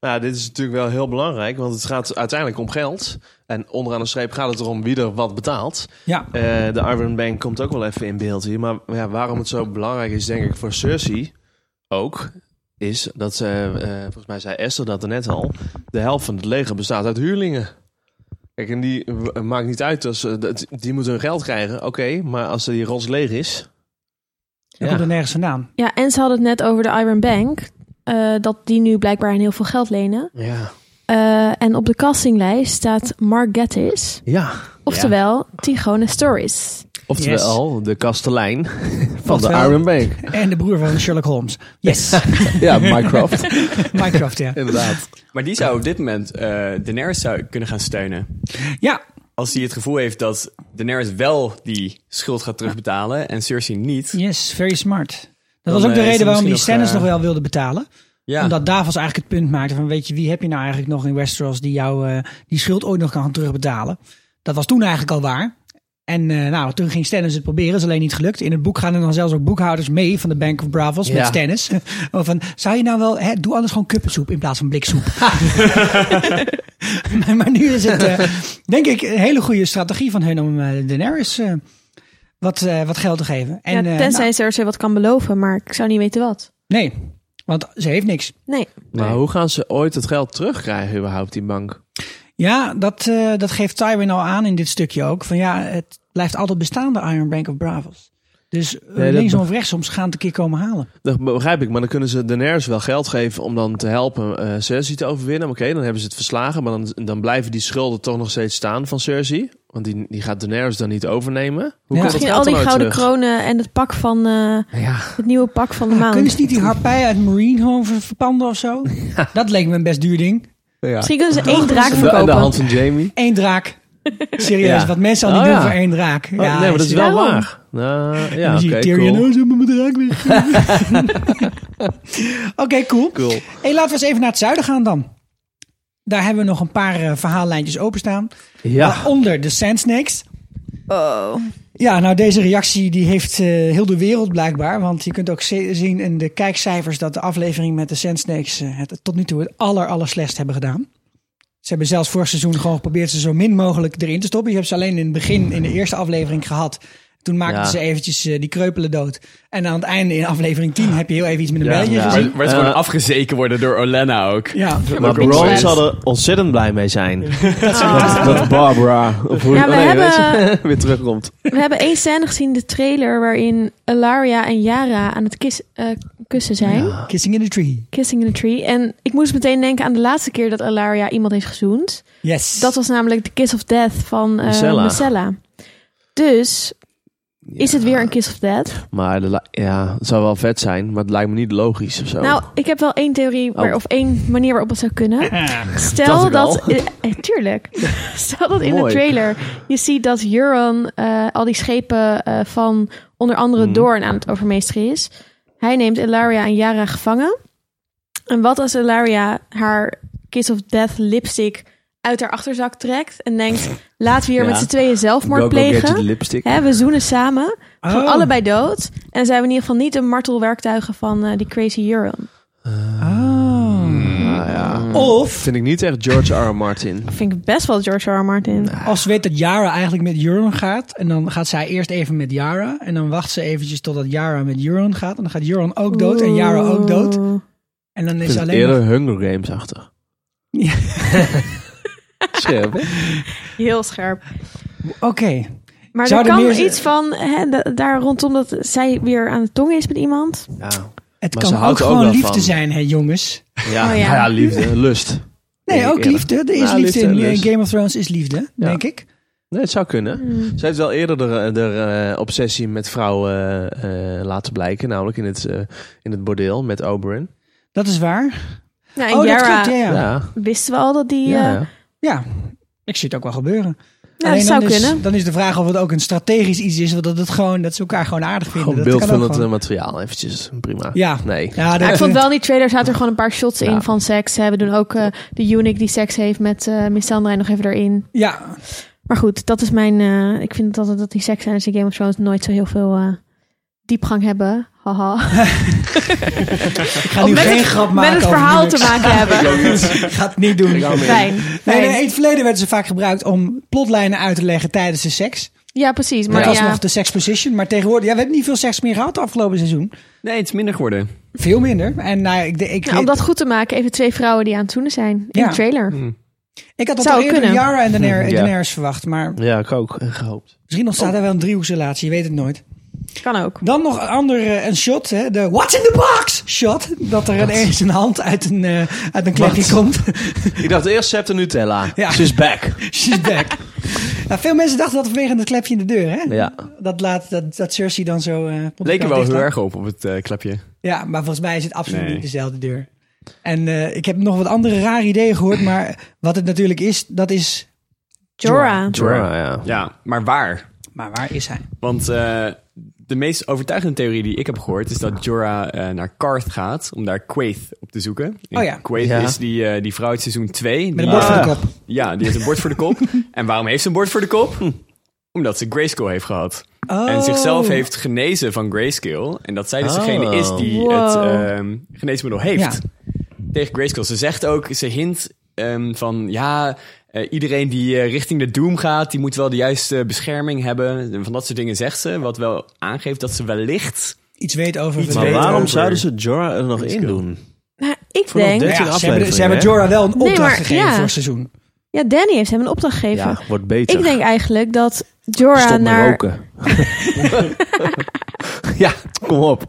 S4: Nou, dit is natuurlijk wel heel belangrijk, want het gaat uiteindelijk om geld. En onderaan de streep gaat het erom wie er wat betaalt.
S1: ja.
S4: Eh, de Iron Bank komt ook wel even in beeld hier. Maar ja, waarom het zo belangrijk is, denk ik, voor Cersei ook, is dat ze, eh, volgens mij zei Esther dat er net al, de helft van het leger bestaat uit huurlingen. Kijk, en die eh, maakt niet uit, als, ze- dat- die moeten hun geld krijgen, oké, maar als die rots leeg is...
S1: dat
S4: Ja.
S1: komt er nergens vandaan.
S6: Ja, en ze hadden het net over de Iron Bank. eh, dat die nu blijkbaar aan heel veel geld lenen.
S4: Ja.
S6: Eh, en op de castinglijst staat Mark Gatiss.
S4: Ja.
S6: Oftewel, Tigone Stories.
S4: Oftewel, de kastelein van de
S1: Oftewel-
S4: Iron Bank.
S1: En de broer van Sherlock Holmes. Yes,
S4: Ja, Minecraft.
S1: Minecraft, ja.
S4: Inderdaad.
S5: Maar die zou op dit moment eh Daenerys zou kunnen gaan steunen.
S1: Ja,
S5: Als hij het gevoel heeft dat Daenerys wel die schuld gaat terugbetalen en Cersei niet.
S1: yes, very smart. Dat
S5: Dan,
S1: was ook de
S5: eh, is
S1: reden
S5: er
S1: waarom die
S5: misschien
S1: Stannis
S5: nog,
S1: nog
S5: eh,
S1: wel wilde betalen.
S5: Ja,
S1: Omdat Davos eigenlijk het punt maakte van weet je, wie heb je nou eigenlijk nog in Westeros die jou eh, die schuld ooit nog kan gaan terugbetalen. Dat was toen eigenlijk al waar. En eh, nou, toen ging Stannis het proberen, is alleen niet gelukt. In het boek gaan er dan zelfs ook boekhouders mee van de Bank of Bravos met
S5: Ja.
S1: Stannis. Of van, zou je nou wel, hè, doe anders gewoon kuppensoep in plaats van bliksoep. maar, maar nu is het, eh, denk ik, een hele goede strategie van hun om eh, Daenerys eh, wat, eh, wat geld te geven. En,
S6: ja,
S1: eh,
S6: tenzij
S1: nou,
S6: Cersei wat kan beloven, maar ik zou niet weten wat.
S1: nee, want ze heeft niks.
S6: Nee.
S4: Maar hoe gaan ze ooit het geld terugkrijgen überhaupt, die bank?
S1: Ja, dat, eh, dat geeft Tywin al aan in dit stukje ook. Van ja, het blijft altijd bestaan, de Iron Bank of Bravos. Dus eh,
S4: Nee, dat
S1: linksom
S4: be-
S1: of rechtsom, ze gaan het een keer komen halen.
S4: Dat begrijp ik, maar dan kunnen ze Daenerys wel geld geven om dan te helpen eh Cersei te overwinnen. Maar Oké, dan hebben ze het verslagen, maar dan, dan blijven die schulden toch nog steeds staan van Cersei. Want die, die gaat Daenerys dan niet overnemen. Hoe
S1: Ja.
S4: komt
S6: Misschien
S4: dat nou eh,
S6: al
S4: geld
S6: die
S4: dan ooit
S6: gouden
S4: terug?
S6: kronen en het pak van eh,
S4: Ja,
S6: het nieuwe pak van de maand.
S1: Kunnen ze niet die harpij uit Marinehoven verpanden of zo? Dat leek me een best duur ding.
S6: Misschien kunnen ze één draak
S4: de, en de hand
S6: verkopen.
S4: van Jamie.
S1: Eén draak. Serieus,
S5: Ja.
S1: wat mensen al niet
S4: Oh,
S1: doen
S4: ja.
S1: voor één draak.
S4: Oh, nee, maar dat is wel
S6: daarom.
S4: waar. Nou, ja,
S1: dan zie
S4: oké,
S1: je Tyrion,
S4: cool.
S1: oh, ze hebben mijn draak weggegeven. Oké, cool.
S4: cool.
S1: Hey, laten we eens even naar het zuiden gaan dan. Daar hebben we nog een paar eh, verhaallijntjes openstaan.
S4: Ja,
S1: Waaronder de Sand Snakes.
S6: Oh.
S1: Ja, nou deze reactie die heeft eh, heel de wereld blijkbaar. Want je kunt ook ze- zien in de kijkcijfers dat de aflevering met de Sand Snakes eh, het tot nu toe het aller, aller slechtst hebben gedaan. Ze hebben zelfs vorig seizoen gewoon geprobeerd ze zo min mogelijk erin te stoppen. Je hebt ze alleen in het begin in de eerste aflevering gehad. Toen maakten
S4: Ja.
S1: ze eventjes eh, die kreupelen dood. En aan het einde in aflevering 10 heb je heel even iets met een
S4: Ja,
S1: belletje
S4: ja.
S5: waar,
S1: gezien.
S5: waar ze
S4: Eh,
S5: gewoon afgezeken worden door Olenna ook.
S1: Ja,
S4: maar
S5: ook wel
S4: Bron
S5: eens.
S4: zal er ontzettend blij mee zijn. Dat, dat Barbara, of hoe,
S6: Ja, we
S4: oh nee, weet je,
S6: hebben-
S4: weer terugkomt.
S6: We hebben één scène gezien, de trailer, waarin Alaria en Yara aan het kis- eh, kussen zijn.
S1: Kissing in the Tree.
S6: Kissing in a Tree. En ik moest meteen denken aan de laatste keer dat Alaria iemand heeft gezoend.
S1: Yes.
S6: Dat was namelijk de Kiss of Death van eh
S4: Micella.
S6: Micella. Dus is het weer een Kiss of Death?
S4: Maar de la- ja, het zou wel vet zijn, maar het lijkt me niet logisch of zo.
S6: Nou, ik heb wel één theorie waar,
S4: Oh.
S6: of één manier waarop het zou kunnen.
S4: Dacht
S6: Stel
S4: ik
S6: dat.
S4: al.
S6: eh, eh, tuurlijk. Stel dat in de
S4: Mooi.
S6: trailer je ziet dat Euron eh, al die schepen eh, van onder
S4: Mhm.
S6: andere Doorn aan het overmeesteren is. Hij neemt Elaria en Yara gevangen. En wat als Elaria haar Kiss of Death lipstick uit haar achterzak trekt en denkt: laten we hier
S4: Ja.
S6: met z'n tweeën zelfmoord
S4: Go, go, get you the
S6: plegen.
S4: lipstick.
S6: Hè, we zoenen samen.
S1: Oh.
S6: Gewoon allebei dood. En zijn we in ieder geval niet de martelwerktuigen van eh, die crazy Euron.
S1: Ah.
S4: Nou ja.
S1: Oh. Of,
S4: Vind ik niet echt George R. R. Martin.
S6: Vind ik best wel George R. R. Martin.
S1: als ze weet dat Yara eigenlijk met Euron gaat. En dan gaat zij eerst even met Yara. En dan wacht ze eventjes totdat Yara met Euron gaat. En dan gaat Euron ook dood en Yara ook dood.
S6: Oeh.
S1: En dan
S4: Ik
S1: is
S4: vind
S1: alleen
S4: het
S1: maar-
S4: eerder Hunger Games achter.
S1: Ja.
S4: Scherp, hè?
S6: Heel scherp.
S1: Oké.
S6: Maar
S1: Zou
S6: er
S1: er
S6: kan
S1: meer-
S6: iets van, hè, da- daar rondom dat zij weer aan de tong is met iemand.
S4: Ja.
S1: Het
S4: Maar ze
S1: kan ook
S4: houdt er ook
S1: gewoon
S4: wel
S1: liefde
S4: van.
S1: zijn, hè, jongens.
S4: Ja.
S6: Oh, ja.
S4: ja. liefde. Lust.
S1: Nee,
S4: Denk ik
S1: ook
S4: eerder.
S1: liefde. Er is
S4: Nou,
S1: liefde,
S4: liefde
S1: in
S4: en
S1: eh,
S4: lust.
S1: Game of Thrones is liefde,
S4: Ja.
S1: denk ik.
S4: Nee, het zou kunnen.
S6: Hmm.
S4: Ze heeft wel eerder de, eh, obsessie met vrouwen eh, eh, laten blijken. Namelijk in het, eh, in het bordeel met Oberyn.
S1: Dat is waar.
S6: Nou, en
S1: Oh, dat
S6: Yara
S1: klopt. Ja, ja. ja.
S4: Ja.
S6: wisten we al dat die... eh,
S4: Ja.
S1: ik zie het ook wel gebeuren.
S6: dat
S1: Alleen
S6: zou
S1: dan is,
S6: kunnen.
S1: Dan is de vraag of het ook een strategisch iets is. Dat, het gewoon, dat ze elkaar gewoon aardig vinden.
S4: Gewoon
S1: dat
S4: beeld
S1: kan
S4: van
S1: ook
S4: het eh,
S1: gewoon.
S4: materiaal eventjes. Prima.
S1: Ja.
S4: Nee.
S1: Ja,
S6: Maar
S1: dat
S6: ik vond wel in die trailer zaten er gewoon een paar shots
S4: Ja.
S6: in van seks. Hè. We doen ook eh, de eunuch die seks heeft met eh Missandra nog even erin.
S1: Ja,
S6: Maar goed, dat is mijn... eh, ik vind altijd dat die seksscènes in Game of Thrones nooit zo heel veel eh, diepgang hebben. Haha.
S1: ik ga nu
S6: Oh, met
S1: geen
S6: het-
S1: grap maken
S6: Met het
S1: over
S6: verhaal te
S1: huwelijks.
S6: maken hebben.
S1: Ik ga het niet doen.
S6: Fijn.
S1: Nee,
S6: fijn.
S1: nee, in het verleden werden ze vaak gebruikt om plotlijnen uit te leggen tijdens de seks.
S6: Ja, precies.
S1: Maar
S6: Maar
S1: dat was
S6: ja.
S1: nog de seksposition. Maar tegenwoordig, ja, we hebben niet veel seks meer gehad afgelopen seizoen.
S5: Nee, het is minder geworden.
S1: Veel minder. En nou, ik, de- ik,
S6: Nou, om dat goed te maken, even twee vrouwen die aan het zoenen zijn. In
S1: Ja.
S6: de trailer.
S1: ik had dat
S6: zou
S1: al eerder
S6: kunnen.
S1: Yara en Daener-
S4: Ja.
S1: Daenerys verwacht. Maar
S4: Ja, ik ook. En gehoopt.
S1: misschien ontstaat
S6: Oh.
S1: daar wel een driehoeksrelatie. Je weet het nooit.
S6: Kan ook.
S1: Dan nog een ander eh, een shot. Hè, de what's in the box shot. Dat er ineens een hand uit een, eh, uit een kletje komt.
S4: Ik dacht eerst Septa Nutella.
S1: Ja.
S4: She's back.
S1: She's back. Nou, veel mensen dachten dat vanwege het klepje in de deur, hè?
S5: Ja.
S1: Dat, laat, dat, dat Cersei dan zo... eh komt
S5: Leek er
S1: het
S5: wel
S1: dicht
S5: heel
S1: aan.
S5: erg op, op het eh, klapje.
S1: Ja, maar volgens mij is het absoluut
S7: Nee.
S1: niet dezelfde deur. En eh, ik heb nog wat andere rare ideeën gehoord, maar wat het natuurlijk is, dat is...
S6: Jorah.
S5: Jorah, ja.
S7: Ja, maar waar?
S1: Maar waar is hij?
S7: Want eh, de meest overtuigende theorie die ik heb gehoord is dat Jorah eh, naar Karth gaat om daar Quaith op te zoeken. En
S1: Oh ja.
S7: Quaith
S5: Ja.
S7: is die, eh, die vrouw uit seizoen 2.
S1: Met een bord voor de kop.
S7: Ja, die heeft een bord voor de kop. en waarom heeft ze een bord voor de kop?
S1: Hm.
S7: Omdat ze grayscale heeft gehad.
S1: Oh.
S7: En zichzelf heeft genezen van grayscale. En dat zij dus
S5: Oh.
S7: degene is die
S6: Wow.
S7: het ehm, geneesmiddel heeft.
S1: Ja.
S7: Tegen grayscale. Ze zegt ook, ze hint ehm, van ja... eh, iedereen die eh, richting de Doom gaat, die moet wel de juiste bescherming hebben. En Van dat soort dingen zegt ze. Wat wel aangeeft dat ze wellicht...
S1: Iets weet over...
S7: Iets
S4: Maar
S7: weet
S4: waarom
S7: over-
S4: zouden ze Jorah er nog
S7: Let's
S4: in
S7: go.
S4: doen?
S6: Nou, ik
S4: Vanaf
S1: Nou
S6: denk...
S4: dit-
S1: ja,
S4: Dertien
S1: ze hebben, ze
S4: afleveringen,
S1: hebben
S4: hè?
S1: Jorah wel een opdracht
S6: maar-
S1: gegeven
S6: ja.
S1: voor het seizoen.
S6: Ja, Danny heeft hem een opdracht gegeven.
S4: Ja, wordt beter.
S6: ik denk eigenlijk dat Jorah
S4: Stop met
S6: naar...
S4: roken. ja, kom op.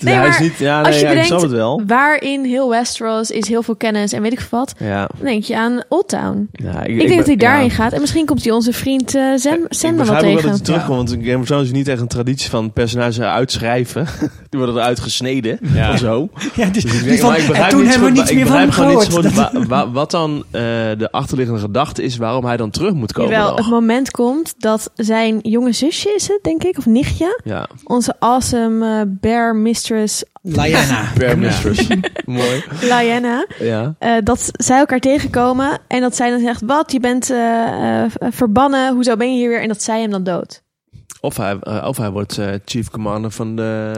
S6: Nee,
S4: hij is
S6: maar
S4: niet, ja, nee,
S6: als je
S4: ja, ik
S6: bedenkt-
S4: snap het wel.
S6: Waarin heel Westeros is heel veel kennis en weet ik veel wat.
S4: Ja,
S6: Dan denk je aan Old Town.
S4: ja,
S6: Ik, denk dat hij daarin
S4: ja.
S6: gaat. En misschien komt hij onze vriend eh Sam, Sam
S4: ik
S6: er wel
S4: begrijp ook wel
S6: tegen.
S4: dat het terugkomt, want in Game of Thrones is niet echt een traditie van personages uitschrijven. Die worden eruit gesneden,
S7: Ja.
S4: of zo.
S1: Ja, dus,
S4: Dus ik
S1: die
S4: denk,
S1: van,
S4: maar ik
S1: en
S4: begrijp
S1: toen
S4: niet zo
S1: hebben we niets
S4: goed- ik
S1: meer van hem
S4: begrijp gewoon niet zo
S1: gehoord. Dat-
S4: goed wa- wa- wat dan eh, de achterliggende gedachte is waarom hij dan terug moet komen.
S6: Jawel,
S4: nog.
S6: het moment komt dat zijn jonge zusje is het, denk ik, of nichtje.
S4: Ja,
S6: Onze awesome eh, bear mistress
S1: Lyanna.
S4: Bear Mistress. Mooi.
S6: Lyanna.
S4: Ja.
S6: eh, dat zij elkaar tegenkomen en dat zij dan zegt, wat, je bent eh, eh, verbannen, hoezo ben je hier weer? En dat zij hem dan dood.
S4: Of hij, eh, of hij wordt eh, chief commander van de,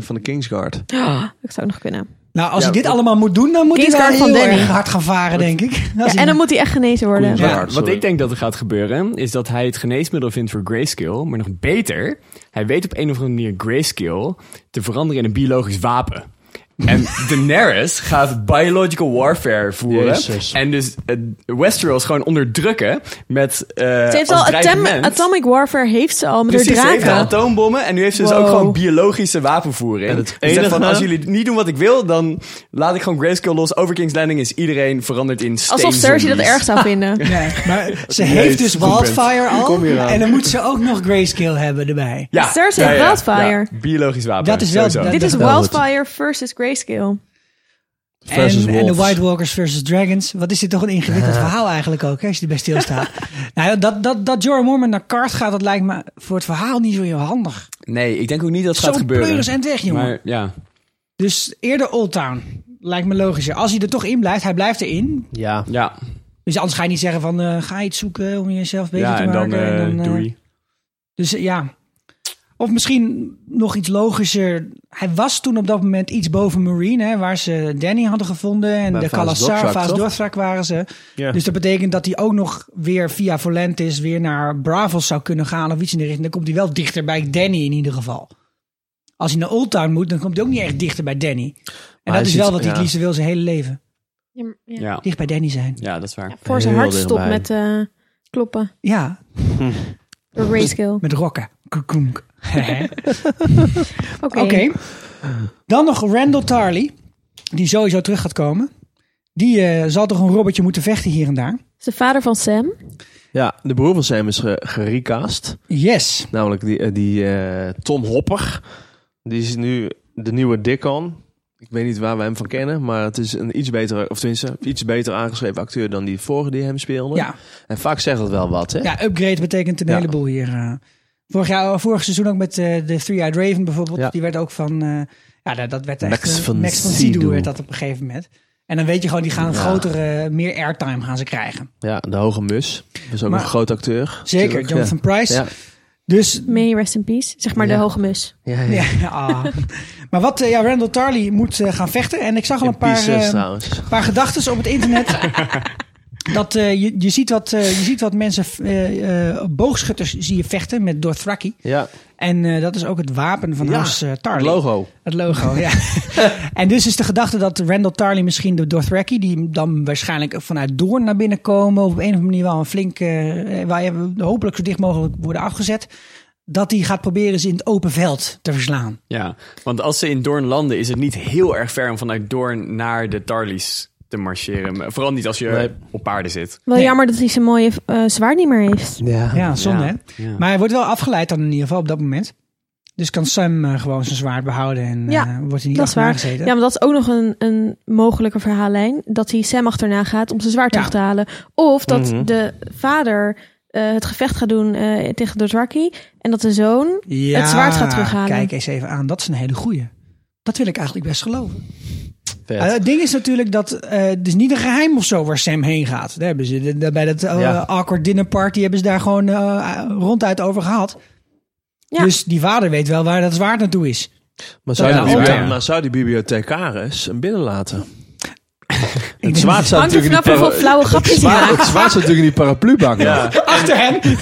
S4: van de Kingsguard.
S6: Dat zou ook nog kunnen.
S1: Nou, als
S4: Ja,
S1: hij dit allemaal moet doen, dan moet hij wel
S6: Kingsguard van
S1: heel
S6: Danny.
S1: erg hard gaan varen, denk ik. Als
S6: Ja,
S1: hij-
S6: en dan moet hij echt genezen worden.
S4: Koen. Ja,
S7: Maar wat
S4: sorry.
S7: ik denk dat er gaat gebeuren, is dat hij het geneesmiddel vindt voor grayscale. Maar nog beter, hij weet op een of andere manier grayscale te veranderen in een biologisch wapen. En Daenerys gaat biological warfare voeren.
S4: Jezus.
S7: En dus eh, Westeros gewoon onderdrukken met eh
S6: Ze heeft
S7: als
S6: al atom-
S7: dreigement.
S6: atomic warfare heeft ze al met
S7: Precies,
S6: haar
S7: ze heeft
S6: draken.
S7: al atoombommen en nu heeft ze dus
S6: Wow.
S7: ook gewoon biologische wapenvoering.
S4: En
S7: En
S4: het
S7: het enige... van,
S4: enige-
S7: als jullie niet doen wat ik wil, dan laat ik gewoon Grayscale los. Over King's Landing is iedereen veranderd in steen
S6: Alsof Cersei dat erg zou vinden.
S1: Nee, maar ze heeft dus
S7: goed punt.
S1: Wildfire al. En dan moet ze ook nog Grayscale hebben erbij.
S7: Ja,
S6: Cersei heeft Wildfire.
S7: ja. biologisch wapen.
S1: Dat is wel-
S7: sowieso.
S1: dat-
S6: Dit is
S1: wel goed.
S6: Wildfire versus Grayscale.
S4: Versus
S1: En, en de
S4: wolves.
S1: White Walkers versus Dragons. Wat is dit toch een ingewikkeld verhaal eigenlijk ook, hè, als je erbij stilstaat. nou, ja, dat, dat, dat Jorah Mormon naar Kart gaat, dat lijkt me voor het verhaal niet zo heel handig.
S7: Nee, ik denk ook niet dat het
S1: Zo
S7: gaat gebeuren.
S1: pleuris en weg, jongen.
S7: Maar ja,
S1: Dus eerder Old Town. Lijkt me logischer. Als hij er toch in blijft, hij blijft erin.
S4: Ja.
S7: ja,
S1: Dus anders ga je niet zeggen van, eh, ga iets zoeken om jezelf bezig
S7: ja
S1: te
S7: en
S1: maken.
S7: dan, eh
S1: eh,
S7: doei.
S1: Dus eh, ja. Of misschien nog iets logischer. Hij was toen op dat moment iets boven Marine, hè, waar ze Danny hadden gevonden. En
S4: Bij
S1: de
S4: Vaas
S1: Kalasar,
S4: Dothrak,
S1: Vaas
S4: toch?
S1: Dothrak waren ze.
S4: Ja.
S1: Dus dat betekent dat hij ook nog weer via Volantis weer naar Bravos zou kunnen gaan of iets in de richting. Dan komt hij wel dichter bij Danny in ieder geval. Als hij naar Old Town moet, dan komt hij ook niet echt dichter bij Danny. En
S4: hij
S1: dat is
S4: zit-
S1: wel wat hij het
S4: ja.
S1: liefst wil zijn hele leven.
S7: Ja.
S1: Dicht bij Danny zijn.
S7: ja, dat is waar.
S6: Voor zijn
S4: Heel
S6: hart stopt
S4: dichtbij.
S6: met eh, kloppen.
S1: Ja,
S6: Door Grayscale.
S1: met rokken. Koekoenk.
S6: Oké.
S1: Oké. Dan nog Randall Tarley, die sowieso terug gaat komen. Die eh, zal toch een robbertje moeten vechten hier en daar.
S6: Is de vader van Sam.
S4: ja, de broer van Sam is ge- gerecast.
S1: Yes.
S4: Namelijk die, eh, die eh, Tom Hopper. Die is nu de nieuwe Dickon. Ik weet niet waar we hem van kennen, maar het is een iets betere, of tenminste, iets beter aangeschreven acteur dan die vorige die hem speelde.
S1: Ja,
S4: En vaak zegt dat wel wat, hè?
S1: ja upgrade betekent een
S4: Ja.
S1: heleboel hier. eh. vorig, jaar, vorig seizoen ook met eh, de Three-Eyed Raven bijvoorbeeld.
S4: Ja.
S1: Die werd ook van... eh, ja, dat, dat werd echt...
S4: Max
S1: eh,
S4: van
S1: Max van
S4: Sydow.
S1: Sydow werd dat op een gegeven moment. En dan weet je gewoon, die gaan een
S4: Ja.
S1: grotere, meer airtime gaan ze krijgen.
S4: Ja, de Hoge Mus. Dat is ook
S1: Maar-
S4: een groot acteur.
S1: Zeker,
S4: Natuurlijk,
S1: Jonathan Price.
S4: Ja.
S1: Dus
S6: May he rest in peace. Zeg maar
S4: Ja.
S6: de hoge mus.
S4: Ja, ja. ja.
S1: Ja, ah. maar wat, eh, ja, Randall Tarley moet eh, gaan vechten. En ik zag al
S4: In
S1: een paar,
S4: pieces,
S1: eh,
S4: trouwens.
S1: paar gedachten op het internet. dat eh, je, je, ziet wat, eh, je ziet wat mensen, eh, eh, boogschutters zie je vechten met Dothraki.
S4: Ja,
S1: En eh, dat is ook het wapen van
S4: Ja,
S1: Hans eh,
S4: het
S1: Tarly.
S4: logo.
S1: Het logo, ja. en dus is de gedachte dat Randall Tarly misschien de Dothraki, die dan waarschijnlijk vanuit Doorn naar binnen komen, of op een of andere manier wel een flink, eh, eh, waar je hopelijk zo dicht mogelijk worden afgezet, dat die gaat proberen ze in het open veld te verslaan.
S7: Ja, want als ze in Doorn landen, is het niet heel erg ver om vanuit Doorn naar de Tarlies te marcheren. Maar Vooral niet als je
S5: Nee.
S7: op paarden zit.
S6: Wel
S1: Nee.
S6: jammer dat hij zijn mooie eh, zwaard niet meer heeft.
S5: Ja.
S1: Ja, zonde
S7: Ja,
S1: hè.
S7: ja.
S1: Maar hij wordt wel afgeleid dan in ieder geval op dat moment. Dus kan Sam eh, gewoon zijn zwaard behouden en
S6: Ja,
S1: eh, wordt hij niet
S6: dat is
S1: achterna
S6: waar.
S1: gezeten.
S6: Ja, maar dat is ook nog een, een mogelijke verhaallijn. Dat hij Sam achterna gaat om zijn zwaard
S1: Ja.
S6: terug te halen. Of dat
S4: Mhm.
S6: de vader eh, het gevecht gaat doen eh, tegen Dothraki. En dat de zoon...
S1: Ja,
S6: het zwaard gaat terughalen.
S1: Kijk eens even aan, dat is een hele goeie. Dat wil ik eigenlijk best geloven. Ah, het ding is natuurlijk dat eh, het is niet een geheim of zo waar Sam heen gaat. Daar hebben ze de- de- bij dat eh,
S5: Ja.
S1: awkward dinner party hebben ze daar gewoon eh, ronduit over gehad.
S6: Ja.
S1: Dus die vader weet wel waar dat zwaard naartoe is.
S4: Maar zou,
S1: Ja,
S4: die,
S1: altijd.
S4: bibli- maar zou die bibliothecaris hem binnenlaten?
S1: denk-
S4: Het zwaard staat
S6: Hangt er
S4: natuurlijk in
S6: vanaf
S4: die
S6: hoeveel
S4: para-
S6: flauwe grapjes hij
S5: Maar
S6: maakt.
S5: het zwaard zat natuurlijk in die paraplubak. Ja.
S1: Achter hem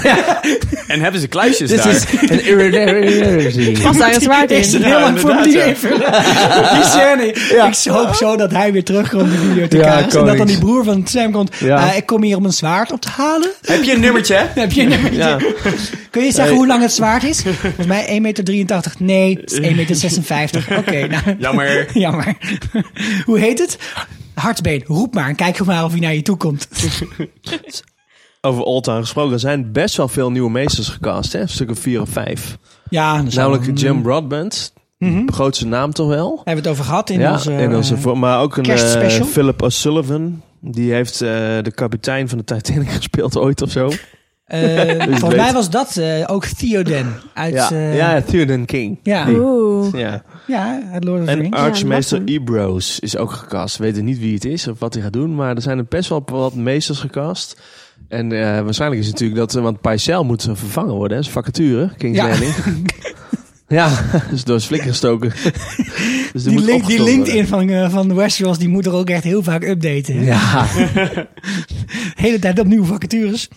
S7: En hebben ze kluisjes
S5: Dit
S7: daar?
S5: is een irregularity.
S6: Past daar het zwaard
S1: is een
S6: in.
S1: heel lang formulier invullen. Die scène. Ik hoop zo dat hij weer terugkomt in de bibliothecaris.
S5: Ja,
S1: en dat dan
S5: konings.
S1: die broer van Sam komt.
S5: Ja.
S1: "Ah, ik kom hier om een zwaard op te halen.
S7: Heb je een nummertje? hè?
S1: Dan heb je een-
S4: Ja.
S1: Kun je zeggen hoe lang het zwaard is? Volgens mij 1,83 meter. Nee, het is 1,56 meter. Oké, nou.
S7: Jammer.
S1: Jammer. Hoe heet het? Hartsbeen. Roep maar en kijk maar of hij naar je toe komt.
S4: Over Oldtown gesproken, er zijn best wel veel nieuwe meesters gecast, hè? Een stuk of vier of vijf.
S1: Ja, daar zouden we-
S4: Namelijk Jim Broadbent, grootste naam toch wel?
S1: Hebben we het over gehad Mhm. in
S4: ja,
S1: onze... eh,
S4: in onze vo- maar ook een eh
S1: kerstspecial.
S4: Philip O'Sullivan. Die heeft eh, de kapitein van de Titanic gespeeld ooit of zo. Dus
S1: eh, volgens mij
S4: weet.
S1: was dat eh, ook Theoden. Uit,
S4: Ja,
S1: eh,
S4: ja Theoden King.
S1: ja.
S6: Oeh.
S4: Ja.
S1: Ja, het Lord of the
S4: En eh,
S1: Rings.
S4: Archmeester
S6: dat
S4: Ebros is ook gecast. We weten niet wie het is of wat hij gaat doen, maar er zijn er best wel wat meesters gecast. En eh, waarschijnlijk is het natuurlijk dat, eh, want Paisel moet eh, vervangen worden, hè, zijn vacature, King's
S1: Ja.
S4: Landing. ja, dus door zijn flikker gestoken. dus
S1: Die,
S4: moet
S1: link, die
S4: opgestopt
S1: LinkedIn van, eh, van Westeros, die moet er ook echt heel vaak updaten. hè?
S4: worden. Ja,
S1: hele tijd opnieuw vacatures.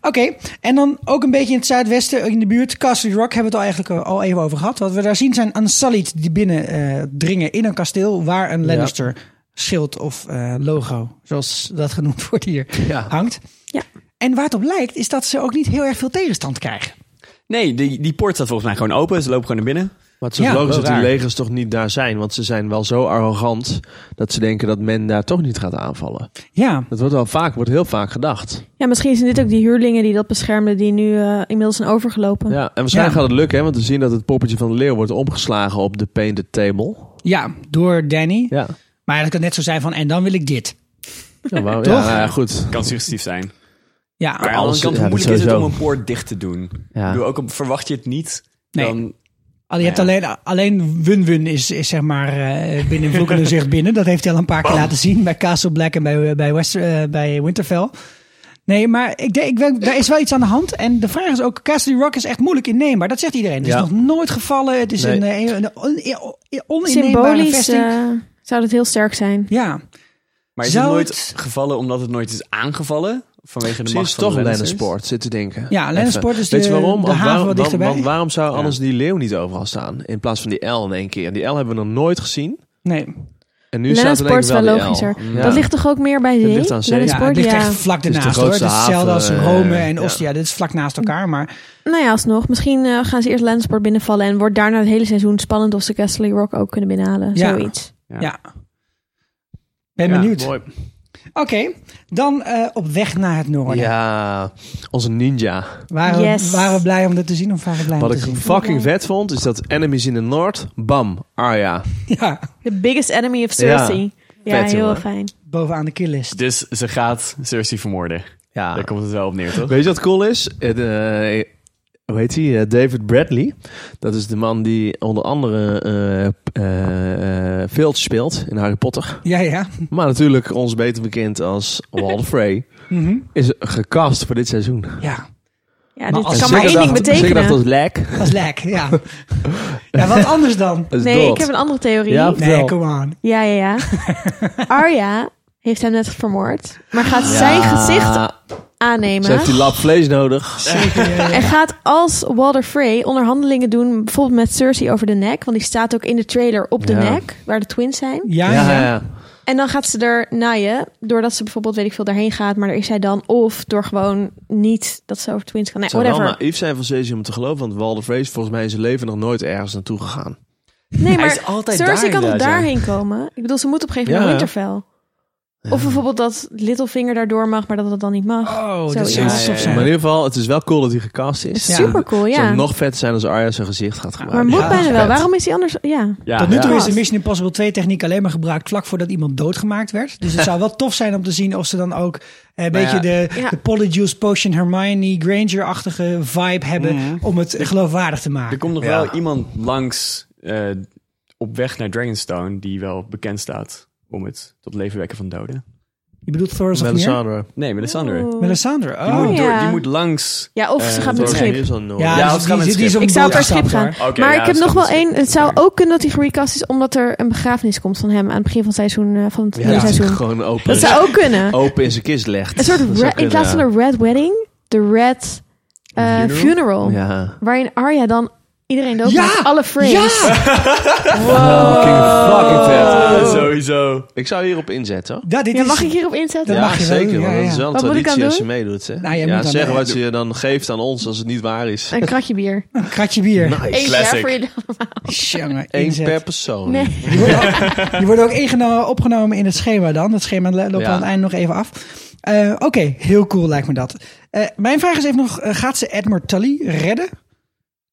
S1: Oké, en dan ook een beetje in het zuidwesten, eh, in de buurt. Castle Rock hebben we het al eigenlijk eh, al even over gehad. Wat we daar zien zijn Unsullied die binnen eh, dringen in een kasteel waar een Lannister schild of eh, logo, zoals dat genoemd wordt hier,
S4: Ja.
S1: hangt.
S6: Ja.
S1: En waar het op lijkt is dat ze ook niet heel erg veel tegenstand krijgen.
S7: Nee, die, die poort staat volgens mij gewoon open. Ze lopen gewoon naar binnen.
S4: maar het is ook
S1: Ja,
S4: logisch
S7: wel
S4: dat die
S7: raar.
S4: legers toch niet daar zijn, want ze zijn wel zo arrogant dat ze denken dat men daar toch niet gaat aanvallen.
S1: Ja,
S4: Dat wordt wel vaak, wordt heel vaak gedacht.
S6: Ja, misschien zijn dit ook die huurlingen die dat beschermden, die nu eh, inmiddels zijn overgelopen.
S4: Ja, en waarschijnlijk
S1: Ja.
S4: gaat het lukken, hè, want we zien dat het poppetje van de leeuw wordt omgeslagen op de painted table.
S1: ja door Danny.
S4: Ja.
S1: Maar dat kan net zo zijn van, en dan wil ik dit.
S4: Ja, wauw,
S1: Toch?
S4: ja, nou ja, goed.
S7: Kan suggestief zijn.
S1: Ja,
S7: Maar aan de
S4: alles-
S7: andere kant,
S4: ja,
S7: hoe
S4: dat
S7: moeilijk is het om
S4: sowieso.
S7: een poort dicht te doen?
S4: Ja.
S7: Doe ook op, verwacht je het niet,
S1: Nee.
S7: dan...
S1: Al- Je hebt
S7: Nou
S1: alleen, alleen Wun-Wun is, is zeg maar eh, binnen vloekende zicht binnen. Dat heeft hij al een paar keer laten zien bij Castle Black en bij, bij, West, eh, bij Winterfell. Nee, maar ik denk, ik denk, daar is wel iets aan de hand. En de vraag is ook, Castle Rock is echt moeilijk inneembaar. Dat zegt iedereen. Het is
S4: Ja.
S1: nog nooit gevallen. Het is
S4: Nee.
S1: een, eh, een, on- een oninneembare
S6: Symbolisch
S1: vesting.
S6: eh, zou dat heel sterk zijn.
S1: ja,
S7: Maar is
S1: Zou
S7: het nooit
S1: het-
S7: gevallen omdat het nooit is aangevallen? Vanwege de
S4: Misschien is
S7: macht
S4: het
S7: van
S4: toch
S7: de Lannisters?
S4: Lennonsport zitten denken.
S1: Ja, Lennonsport is
S4: Even. Weet
S1: Dus de-
S4: je waarom?
S1: de
S4: Want
S1: haven
S4: waarom-
S1: wat
S4: want-
S1: dichterbij.
S4: Want waarom zou
S7: Ja.
S4: anders die leeuw niet overal staan? In plaats van die L in één keer. Die L hebben we nog nooit gezien.
S1: nee.
S4: En nu staat er
S6: Lennonsport
S4: denk
S6: is
S4: ik
S6: wel
S4: wel die L.
S6: logischer.
S4: Ja.
S6: Dat ligt toch ook meer bij zee?
S4: ligt aan zee.
S1: Ja, het
S6: Lennonsport,
S1: ligt
S6: ja.
S1: echt vlak
S4: is de
S1: ernaast hoor. Het is
S4: grootste
S1: hetzelfde als
S4: haven,
S1: Rome
S4: eh,
S1: en
S4: ja.
S1: Ostia. Dit is vlak naast elkaar, maar
S6: Nou ja, alsnog. Misschien eh, gaan ze eerst Lennonsport binnenvallen en wordt daarna het hele seizoen spannend of ze Castle Rock ook kunnen binnenhalen.
S1: Ja.
S6: Zoiets.
S1: ja.
S7: Ja.
S1: Ben
S7: Ja,
S1: benieuwd.
S4: Mooi.
S1: Oké, dan eh, op weg naar het noorden.
S4: Ja, onze ninja.
S1: Waren, we-
S6: Yes.
S1: waren we blij om dit te zien of waren we blij om
S4: Wat
S1: te
S4: ik
S1: zien?
S4: fucking vet vond, is dat Enemies in the North, bam, Arya.
S1: Ja,
S6: The biggest enemy of Cersei. Ja,
S4: Vet,
S6: heel
S4: jongen.
S6: fijn.
S1: bovenaan de killist.
S7: Dus ze gaat Cersei vermoorden.
S4: Ja.
S7: Daar komt het wel op neer, toch?
S4: Weet je wat cool is? Het, eh, hoe heet hij? Eh, David Bradley. Dat is de man die onder andere eh eh, eh, Filch speelt in Harry Potter.
S1: Ja, ja.
S4: Maar natuurlijk ons beter bekend als Walder Frey.
S1: Mhm.
S4: Is gecast voor dit seizoen.
S1: Ja,
S6: Ja,
S1: Maar
S6: dit
S1: als
S6: kan
S1: ze
S6: maar één ding
S4: Zeker dacht
S6: betekenen.
S4: dat lek.
S1: dat is lek. Ja. ja, wat anders dan?
S6: Nee, ik heb een andere theorie.
S4: Ja,
S6: Ja,
S1: Nee, come on.
S6: ja, ja. Arya heeft hem net vermoord, maar gaat zijn gezicht
S4: Ze heeft die
S6: aannemen.
S4: lap vlees nodig.
S6: En gaat als Walder Frey onderhandelingen doen, bijvoorbeeld met Cersei over de nek. Want die staat ook in de trailer op de
S4: Ja.
S6: nek, waar de twins zijn.
S1: Ja,
S4: Ja,
S1: ja.
S4: ja, ja.
S6: En dan gaat ze er naaien, doordat ze bijvoorbeeld, weet ik veel, daarheen gaat. Maar daar is zij dan. Of door gewoon niet dat ze over twins kan. Nee,
S4: Het zou wel
S6: whatever.
S4: naïef zijn van Cersei om te geloven. Want Walder Frey is volgens mij in zijn leven nog nooit ergens naartoe gegaan.
S6: Nee, maar
S7: is altijd
S6: Cersei
S7: daar
S6: kan toch
S7: inderdaad, ja.
S6: daarheen komen? Ik bedoel, ze moet op een gegeven moment
S4: Ja.
S6: naar Winterfell. Of bijvoorbeeld dat Littlefinger daardoor mag, maar dat het dan niet mag.
S1: Oh, dat
S6: Zoiets.
S1: zou
S6: Ja,
S1: tof
S4: Maar
S1: zijn.
S4: in ieder geval, het is wel cool dat hij gecast is.
S1: Ja.
S6: Super cool,
S4: Het zou
S6: ja.
S4: nog vet zijn als Arya zijn gezicht gaat
S6: Maar
S4: gebruiken.
S6: moet
S1: Ja,
S6: bijna wel.
S4: vet.
S6: Waarom is hij anders? Ja.
S7: Ja,
S1: Tot nu toe
S7: ja.
S1: is de Mission Impossible 2 techniek alleen maar gebruikt vlak voordat iemand doodgemaakt werd. Dus het zou wel tof zijn om te zien of ze dan ook eh, een
S4: Nou
S1: beetje de,
S6: Ja.
S1: de Polyjuice Potion Hermione Granger-achtige vibe hebben
S4: Mhm.
S1: om het geloofwaardig te
S7: Er
S1: maken.
S7: komt nog
S5: Ja.
S7: wel iemand langs eh, op weg naar Dragonstone die wel bekend staat om het tot leven wekken van doden.
S1: Je bedoelt Thoros of Meer?
S4: Melisandre.
S7: Nee, Melisandre.
S6: Oeh.
S1: Melisandre.
S7: Die,
S1: Oh.
S7: moet door,
S6: ja.
S7: die moet langs.
S6: Ja, of ze
S7: Eh,
S6: gaat met
S7: door-
S6: het
S4: Nee, die
S6: schip.
S4: is al nooit.
S1: Ja,
S7: Ja,
S1: dus
S7: het gaat met
S1: die,
S7: het
S1: die is
S7: schip.
S1: op
S6: Ik
S1: een
S6: zou
S1: boot
S6: per schip
S1: gestapt,
S6: gaan.
S1: hoor.
S7: Oké,
S6: maar
S7: ja,
S6: ik heb
S7: dat
S6: nog wel
S7: is-
S6: één. Het zou ook kunnen dat hij gerecast is omdat er een begrafenis komt van hem aan het begin van, seizoen, eh, van het
S4: Ja,
S6: nieuwe
S4: dat hij
S6: seizoen.
S4: gewoon open,
S6: Dat zou ook kunnen.
S4: open in zijn kist legt.
S6: Een soort
S4: Dat zou
S6: re- in
S4: kunnen,
S6: plaats van
S4: ja.
S6: een red wedding, de red eh, funeral.
S4: Ja.
S6: Waarin Arya dan iedereen dood
S1: Ja!
S6: Alle frames.
S1: Ja,
S4: Fucking
S6: Oh.
S4: vet.
S7: Sowieso.
S4: Ik zou hierop inzetten. hoor.
S1: dat, dit
S6: Ja,
S1: is,
S6: mag ik hierop inzetten?
S1: Dat
S4: ja,
S1: mag je wel
S4: zeker.
S1: doen,
S4: want
S1: ja,
S4: dat is
S1: ja.
S4: wel een
S6: Wat moet ik
S4: traditie
S6: aan
S4: als je
S6: doen?
S4: meedoet. Hè?
S1: Nou, jij
S4: ja,
S1: moet dan-
S4: zeg
S1: ja,
S4: wat je dan geeft aan ons als het niet waar is.
S6: Een kratje bier.
S1: een kratje bier.
S6: Eén
S7: Classic.
S6: jaar voor je.
S1: Jongen,
S4: Eén
S1: inzet.
S4: per persoon.
S6: Nee.
S1: Je wordt ook, je wordt ook ingeno- opgenomen in het schema dan. Dat schema lo- loopt
S4: Ja.
S1: aan het einde nog even af. Eh, Oké, heel cool lijkt me dat. Eh, mijn vraag is even nog, eh, gaat ze Edmund Tully redden?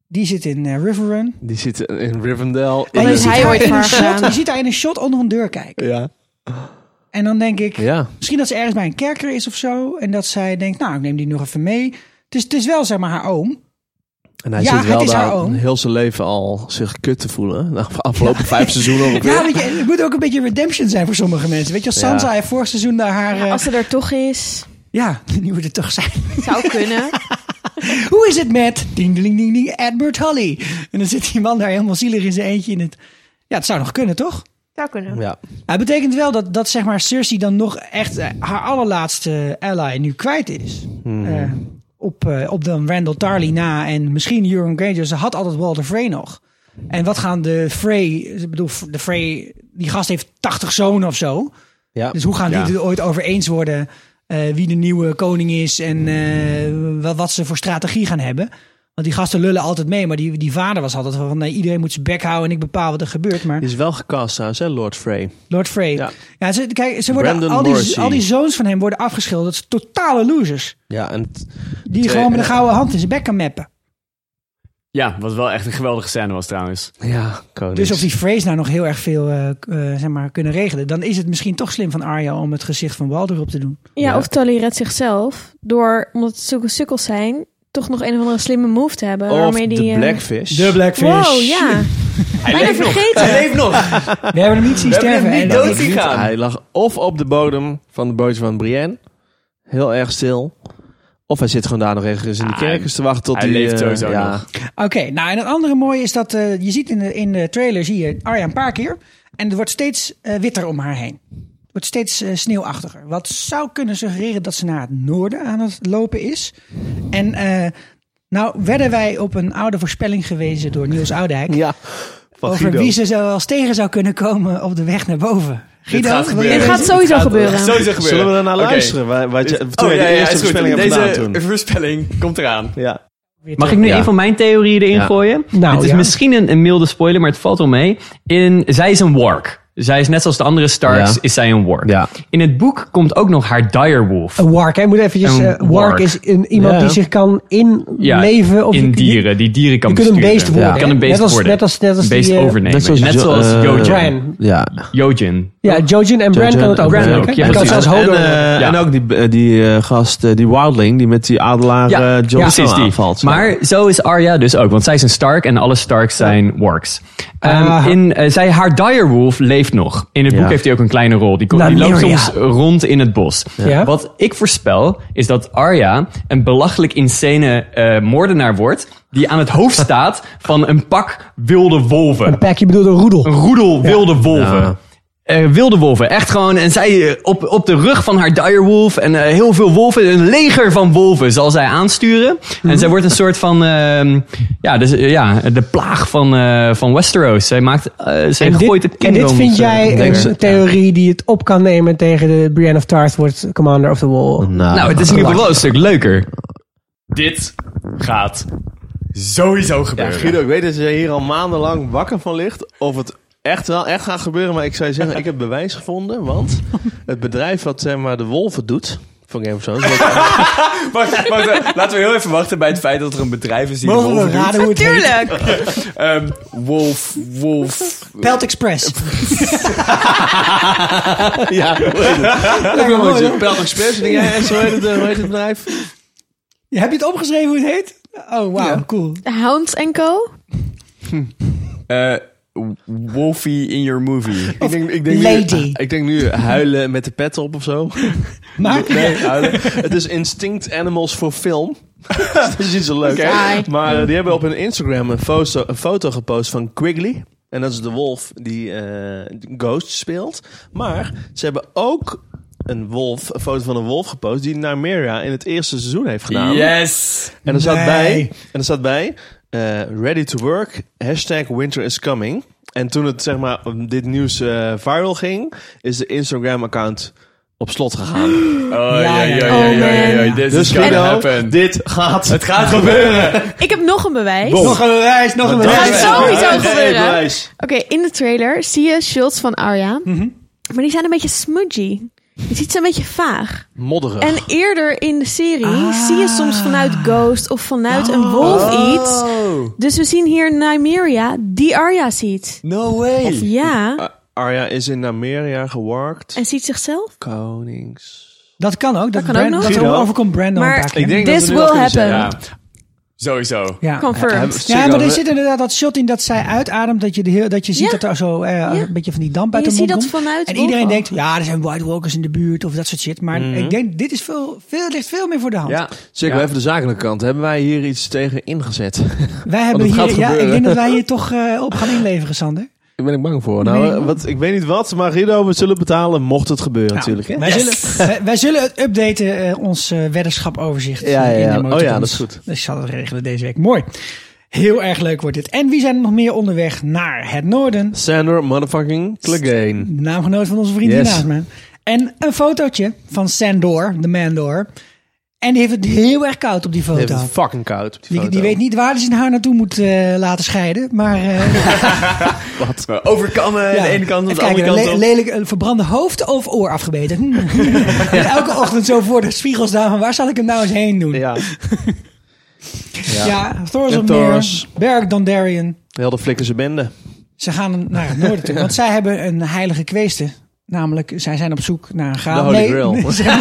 S1: Die zit in eh, Riverrun.
S4: Die zit in Rivendell.
S1: En
S6: is
S1: je
S4: In-
S6: heeft
S1: ziet
S6: hij
S1: haar
S6: ooit
S1: in een
S6: voor
S1: shot-
S6: gedaan?
S1: Je ziet haar in een shot onder een deur kijken.
S4: Ja.
S1: En dan denk ik,
S4: Ja.
S1: misschien dat ze ergens bij een kerker is of zo. En dat zij denkt, nou ik neem die nog even mee. Dus het is wel zeg maar haar oom.
S4: En hij
S1: Ja,
S4: zit wel
S1: het is haar
S4: daar
S1: oom.
S4: heel zijn leven al zich kut te voelen. Na de afgelopen vijf seizoenen ongeveer.
S1: Ja, weet je, het moet ook een beetje redemption zijn voor sommige mensen. Weet je, als
S4: Ja.
S1: Sansa heeft vorig seizoen daar haar... eh,
S6: Als ze er toch is.
S1: ja, nu moet het toch zijn.
S6: Zou kunnen.
S1: Hoe is het met ding ding ding ding Edward Holly? En dan zit die man daar helemaal zielig in zijn eentje in het. Ja, het zou nog kunnen, toch?
S6: Zou kunnen.
S4: Ja.
S1: Het betekent wel dat, dat zeg maar Cersei dan nog echt eh, haar allerlaatste ally nu kwijt is. Eh, op, eh, op dan Randall Tarly na en misschien Euron Granger. Ze had altijd Walter Frey nog. En wat gaan de Frey... Ik bedoel, de Frey... Die gast heeft 80 zonen of zo.
S4: Ja.
S1: Dus hoe gaan
S7: Ja.
S1: die er ooit over eens worden eh, wie de nieuwe koning is en eh, wat, wat ze voor strategie gaan hebben? Want die gasten lullen altijd mee, maar die, die vader was altijd van nee, iedereen moet zijn bek houden en ik bepaal wat er gebeurt. Maar
S4: Die is wel gecast trouwens, hè, Lord Frey.
S1: Lord Frey. Ja.
S4: Ja.
S1: ze, kijk, ze worden,
S4: Brandon
S1: al, die,
S4: Morrissey.
S1: al die zoons van hem worden afgeschilderd. als totale losers.
S4: Ja, en t-
S1: Die
S4: Twee-
S1: gewoon met een gouden hand in zijn bek kan mappen.
S7: Ja, wat wel echt een geweldige scène was trouwens.
S4: ja, koning.
S1: Dus of die Freys nou nog heel erg veel eh, k- eh, zeg maar, kunnen regelen, dan is het misschien toch slim van Arya om het gezicht van Walder op te doen.
S6: Ja, of Tully redt zichzelf door, omdat het zulke sukkels zijn, toch nog een of andere slimme move te hebben.
S4: Of
S6: waarmee
S4: de
S6: die, eh,
S4: Blackfish.
S1: Blackfish.
S6: Wow, ja.
S7: Hij
S6: Bijna
S7: leeft nog.
S6: vergeten.
S7: Hij leeft nog.
S1: We hebben hem niet zien
S7: We hebben hem
S1: sterven.
S7: niet
S1: en
S7: dood
S1: dat-
S7: zien
S4: Nou, Niet-
S7: gaan.
S4: Hij lag of op de bodem van de bootje van Brienne. Heel erg stil. Of hij zit gewoon daar nog ergens in de
S7: Ah,
S4: kerkers te wachten tot
S7: hij
S4: die,
S7: leeft
S4: eh,
S7: sowieso
S4: ja.
S7: nog.
S1: Oké, nou en het andere mooie is dat eh, je ziet in de, in de trailer zie je Arya een paar keer. En het wordt steeds eh, witter om haar heen. Het wordt steeds eh, sneeuwachtiger. Wat zou kunnen suggereren dat ze naar het noorden aan het lopen is. En eh, nou werden wij op een oude voorspelling gewezen door Niels Oudijk.
S4: Ja, van
S1: over
S4: Guido.
S1: wie ze zo als tegen zou kunnen komen op de weg naar boven. Guido,
S7: gaat
S1: wil
S7: gebeuren.
S1: jij
S6: Dit
S7: Ja,
S6: gaat
S1: deze-
S6: sowieso gebeuren.
S7: Sowieso gebeuren.
S4: Zullen we daarna
S7: Oké.
S4: luisteren? Waar, waar,
S7: Dit-
S4: toen
S7: oh,
S4: wij
S7: ja,
S4: de
S7: ja,
S4: eerste
S7: is goed.
S4: voorspelling hebben
S7: Deze
S4: gedaan toen.
S7: voorspelling komt eraan.
S4: Ja.
S10: Mag ik nu
S4: Ja.
S10: een van mijn theorieën erin
S4: Ja.
S10: gooien?
S1: Nou,
S10: het is
S1: ja.
S10: misschien een, een milde spoiler, maar het valt wel mee. In, zij is een wark. Zij is net zoals de andere Starks,
S4: Ja.
S10: is zij een wark.
S4: Ja.
S10: In het boek komt ook nog haar direwolf.
S11: Een wark, hè? Moet eventjes...
S10: Een
S11: eh, wark
S10: wark.
S11: is een, iemand
S4: Ja.
S11: die zich kan inleven... of
S10: in
S11: je- je-
S10: dieren, die dieren kan
S11: Je kunt een
S10: besturen.
S11: beest worden,
S10: Ja.
S11: hè?
S10: kan een beest
S11: Net als-
S10: worden.
S11: net als- net als
S10: een beest
S11: die, eh,
S10: overnemen.
S4: Net zoals, Jo- eh,
S10: Jojen.
S11: Brian.
S4: Ja.
S10: Jojen.
S11: Ja, Jojen en Bran
S4: Jojen
S11: kan het
S4: en
S11: ook.
S10: Bran
S11: hè?
S10: ook,
S11: Hij
S10: ja,
S11: kan
S10: precies.
S11: zelfs
S4: en,
S11: Hodor
S4: eh,
S11: worden.
S4: en ook die, eh, die eh, gast, eh, die Wildling, die met die adelaar
S10: Ja,
S4: eh, Jon Snow
S10: precies die.
S4: aanvalt.
S10: Maar zo is Arya dus ook, want zij is een Stark en alle Starks zijn wargs. Ehm, in, eh, zij, haar direwolf leeft nog. In het
S4: Ah. Ja. Nou,
S10: boek heeft hij ook een kleine rol. Die, komt- die loopt
S11: Nymeria.
S10: soms rond in het bos.
S11: Ja.
S10: Wat ik voorspel is dat Arya een belachelijk insane eh, moordenaar wordt... die aan het hoofd staat van een pak wilde wolven.
S11: Pack, je bedoelt een roedel.
S10: Een roedel wilde wolven.
S4: Ja.
S10: Eh, wilde wolven, echt gewoon. En zij eh, op, op de rug van haar direwolf en eh, heel veel wolven, een leger van wolven zal zij aansturen.
S11: Mhm.
S10: En zij wordt een soort van, ehm, ja, dus, eh, ja, de plaag van, eh, van Westeros. Zij maakt, eh, zij
S11: En
S10: gooit
S11: dit,
S10: het
S11: en
S10: kingdom.
S11: dit vind jij
S10: eh,
S11: een
S10: neer.
S11: theorie die het op kan nemen tegen de Brienne of Tarth wordt Commander of the Wall.
S4: nou,
S10: Nou, het is in ieder geval wel een stuk leuker.
S7: Dit gaat sowieso
S4: Ja,
S7: gebeuren.
S4: Nou, Guido, ik weet dat je hier al maandenlang wakker van ligt. Of het echt wel echt gaan gebeuren. Maar ik zou je zeggen, ik heb bewijs gevonden. Want het bedrijf wat zeg maar, de wolven doet van Game of Thrones... wat-
S5: Wacht, wacht, eh, laten we heel even wachten bij het feit dat er een bedrijf is die
S1: Mogen we
S5: de wolven doet.
S1: raden hoe het heet?
S5: Ehm, wolf, wolf.
S1: Pelt Express.
S4: ja, hoe heet het?
S1: Lekker mooi,
S4: Hoe heet het?
S1: hoor.
S4: Pelt Express, denk jij, en zo heet het, eh, hoe heet het bedrijf?
S1: Heb je het opgeschreven hoe het heet? Oh, wauw, cool.
S6: Hounds Co.
S5: Eh, wolfie in your movie.
S4: Ik denk, ik denk Nu,
S1: Lady.
S4: ik denk nu huilen met de pet op of zo.
S1: Maar
S4: Nee, huilen. Het is Instinct Animals voor Film. dat is niet zo leuk.
S6: Saai.
S4: Maar eh, die hebben op hun Instagram een foto, een foto gepost van Quigley. En dat is de wolf die eh, Ghost speelt. Maar ze hebben ook een wolf, een foto van een wolf gepost die Nymeria in het eerste seizoen heeft gedaan.
S5: Yes!
S4: En er zat
S1: Nee.
S4: bij, en er zat bij eh, ready to work, hashtag winter is coming. En toen het, zeg maar, om dit nieuws eh, viral ging, is de Instagram-account op slot gegaan.
S5: Oh, ja, ja, ja,
S1: ja,
S5: ja, ja, ja,
S1: ja.
S5: This
S4: dus
S5: is gonna
S4: Guido,
S5: happen.
S4: dit gaat
S5: Het gaat gebeuren.
S6: Ik heb nog een bewijs.
S4: Wow.
S6: Oké,
S1: nog een reis, nog een
S4: Dat
S6: gaat
S1: reis.
S4: is-
S6: sowieso
S4: dat is
S6: gebeuren.
S4: het bewijs.
S6: in de trailer zie je Schultz van Arya.
S7: Mhm.
S6: Maar die zijn een beetje smudgy. Je ziet ze een beetje vaag.
S4: Modderig.
S6: En eerder in de serie
S1: Ah.
S6: zie je soms vanuit Ghost of vanuit
S1: Oh.
S6: een wolf iets. Dus we zien hier Nymeria die Arya ziet.
S5: No way.
S6: Ja,
S1: Ah.
S4: A- Arya is in Amerika geworkt.
S6: en ziet zichzelf.
S4: Konings.
S1: Dat kan ook. Dat,
S6: kan ook
S1: Brand-
S6: nog.
S1: dat
S4: Guido.
S1: overkomt Brandon
S6: Maar-
S1: een paar keer.
S4: Ik denk
S6: This
S4: dat we nu al
S6: will
S4: kunnen zeggen.
S5: Ja. Sowieso.
S1: ja.
S6: Confirmed.
S1: Ja, maar er zit inderdaad dat shot in dat zij uitademt. Dat je, de heel, dat je ziet
S6: Ja.
S1: dat er zo eh, een beetje van die damp uit
S6: Je
S1: de
S6: ziet
S1: mond
S6: dat
S1: komt.
S6: vanuit
S1: En
S6: boven
S1: iedereen
S6: ook.
S1: denkt, ja, er zijn White Walkers in de buurt of dat soort shit. Maar
S10: Mhm.
S1: ik denk, dit is veel, veel, ligt veel meer voor de hand.
S5: Ja.
S4: Zeker, even de zakelijke kant. Hebben wij hier iets tegen ingezet?
S1: Wij hebben
S4: het gaat
S1: hier, ja, ik
S4: gebeuren.
S1: denk dat wij hier toch eh, op gaan inleveren, Sander.
S4: Daar ben ik bang voor. Nou,
S1: Nee.
S4: eh, wat, ik weet niet wat, maar Guido, we zullen betalen mocht het gebeuren
S1: Nou,
S4: natuurlijk. Hè?
S1: Wij, zullen,
S4: Eh,
S1: wij, wij zullen het updaten, eh, ons eh, weddenschap-overzicht.
S4: Ja,
S1: eh,
S4: ja,
S1: in
S4: ja.
S1: de
S4: Oh ja,
S1: emoticons.
S4: dat is goed.
S1: Dus ik zal het regelen deze week. Mooi. Heel erg leuk wordt dit. En wie zijn er nog meer onderweg naar het noorden?
S4: Sander motherfucking Clegane.
S1: De naamgenoot van onze vriend
S4: Yes.
S1: hiernaast me. En een fotootje van Sandor, de Mandor. En die heeft het heel erg koud op die
S4: Die
S1: foto.
S4: Heeft het fucking koud op die,
S1: Die,
S4: foto.
S1: die weet niet waar hij zijn haar naartoe moet eh, laten scheiden. Maar eh,
S5: Wat? Overkammen aan
S1: ja.
S5: de ene kant, aan de
S1: Even
S5: andere
S1: kijken,
S5: kant.
S1: le-
S5: op.
S1: lelijk een verbrande hoofd of oor afgebeten. Hm. En Elke ochtend zo voor de spiegel staan. Van waar zal ik hem nou eens heen doen?
S4: Ja,
S1: Ja, Thor's
S4: En
S1: op meer.
S4: Thoros.
S1: Berg Dondarrion.
S4: heel de flikkerse bende.
S1: Ze gaan naar het noorden toe. Want zij hebben een heilige kweeste. Namelijk, zij zijn op zoek naar een graal.
S4: De Holy Grail.
S1: zij,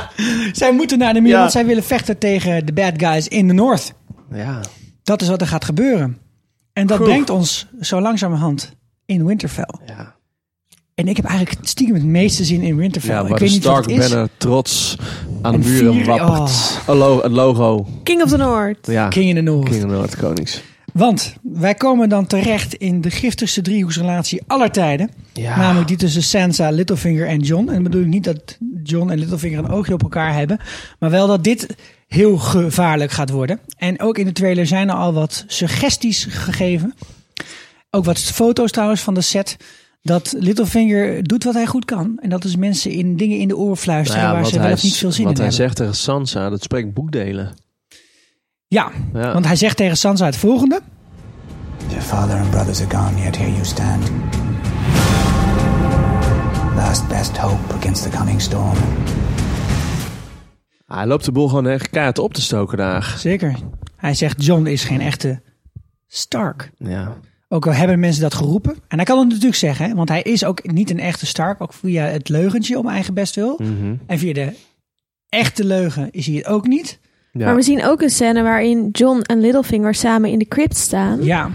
S1: zij moeten naar de muur,
S4: Ja.
S1: want zij willen vechten tegen de bad guys in de North.
S4: Ja.
S1: Dat is wat er gaat gebeuren. En dat brengt ons zo langzamerhand in Winterfell.
S4: Ja.
S1: En ik heb eigenlijk stiekem het meeste zin in Winterfell.
S4: Ja,
S1: ik
S4: waar de
S1: weet niet
S4: Stark
S1: wat het is.
S4: banner trots aan de
S1: En
S4: muren
S1: vier- oh.
S4: wappert. Een lo- Het logo.
S6: King of the North.
S4: Ja. King,
S1: King in the North.
S4: of Noord Konings.
S1: Want wij komen dan terecht in de giftigste driehoeksrelatie aller tijden.
S4: Ja.
S1: Namelijk die tussen Sansa, Littlefinger en John. En dan bedoel ik niet dat John en Littlefinger een oogje op elkaar hebben. Maar wel dat dit heel gevaarlijk gaat worden. En ook in de trailer zijn er al wat suggesties gegeven. Ook wat foto's trouwens van de set. Dat Littlefinger doet wat hij goed kan. En dat is mensen in dingen in de oren fluisteren waar ze wel of niet veel zin in
S4: Nou wat hij
S1: hebben.
S4: zegt tegen Sansa, dat spreekt boekdelen.
S1: Ja,
S4: Ja.
S1: want hij zegt tegen Sansa het volgende.
S12: Your father and brothers are gone, yet here you stand. Last best hope against the coming storm.
S4: Hij loopt de boel gewoon echt kaart op te stoken daar.
S1: Zeker. Hij zegt: John is geen echte Stark.
S4: Ja.
S1: Ook al hebben mensen dat geroepen. En hij kan het natuurlijk zeggen, hè, want hij is ook niet een echte Stark. Ook via het leugentje om eigen bestwil.
S4: Mhm.
S1: En via de echte leugen is hij het ook niet.
S4: Ja.
S6: Maar we zien ook een scène waarin John en Littlefinger samen in de crypt staan.
S1: Ja,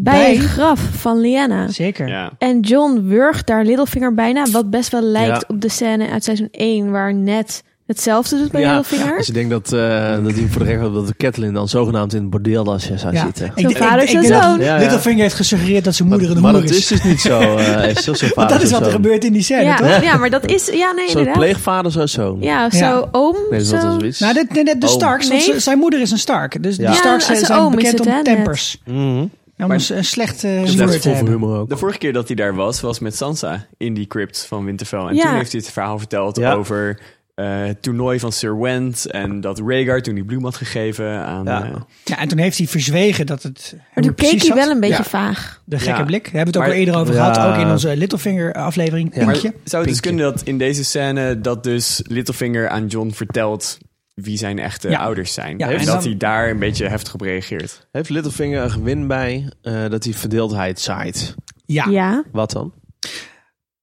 S6: Bij
S1: Bij-
S6: het graf van Lyanna.
S1: zeker.
S7: Ja.
S6: En John wurgt daar Littlefinger bijna. Wat best wel lijkt
S4: Ja.
S6: op de scène uit seizoen 1. Waar net hetzelfde doet bij Littlefinger.
S4: Als je denkt dat, eh, dat hij voor de rechter had dat de Catelyn dan zogenaamd in het bordeeldasje zou
S1: Ja.
S4: zitten.
S1: Ik- ik-
S6: vader,
S1: ik
S6: zijn
S1: denk dat
S6: zoon.
S4: Ja, ja.
S1: Littlefinger heeft gesuggereerd dat zijn moeder een
S4: maar
S1: hoer
S4: dat is
S1: is.
S4: dus niet zo. eh, is zelfs zo
S1: Want dat
S4: vader
S1: is wat er
S4: zoon.
S1: gebeurt in die scène,
S6: ja,
S1: toch?
S6: ja. maar dat is... Ja, nee,
S4: Zo'n
S6: inderdaad.
S4: pleegvader, zo'n zoon.
S6: Ja, of
S1: Ja.
S6: zo oom.
S4: Nee, dat is
S6: zo.
S4: wel zoiets.
S1: Nou, dit- dit- dit- de
S4: Oh.
S1: Starks, want
S6: Nee.
S1: z- zijn moeder is een Stark. Dus
S4: Ja.
S1: de Starks
S6: Ja,
S1: zijn,
S6: zijn oom is
S1: bekend
S6: het, hè,
S1: om
S6: net.
S1: tempers.
S4: Mhm.
S1: Om een s- een slecht eh,
S4: Slecht
S1: woord te
S4: vol voor
S1: hebben.
S4: humor ook.
S7: De vorige keer dat hij daar was, was met Sansa in die crypt van Winterfell. En
S6: Ja.
S7: toen heeft hij het verhaal verteld
S4: Ja.
S7: over eh, het toernooi van Sir Wendt. En dat Rhaegar toen die bloem had gegeven aan...
S1: Ja.
S7: eh,
S1: Ja, en toen heeft hij verzwegen dat het.
S6: Maar toen keek
S1: precies
S6: hij
S1: zat.
S6: wel een beetje vaag.
S1: De gekke
S7: Ja.
S1: blik. We hebben het ook
S7: Maar-
S1: al eerder over
S7: Ja.
S1: gehad, ook in onze Littlefinger-aflevering.
S7: Maar
S1: Pinkje.
S7: zou het dus kunnen dat in deze scène dat dus Littlefinger aan John vertelt wie zijn echte
S1: Ja.
S7: ouders zijn.
S1: Ja,
S7: en
S1: en
S7: dat
S1: dan-
S7: hij daar een beetje heftig op reageert.
S4: Heeft Littlefinger een gewin bij eh, dat hij verdeeldheid zaait?
S1: Ja.
S6: Ja.
S4: Wat dan?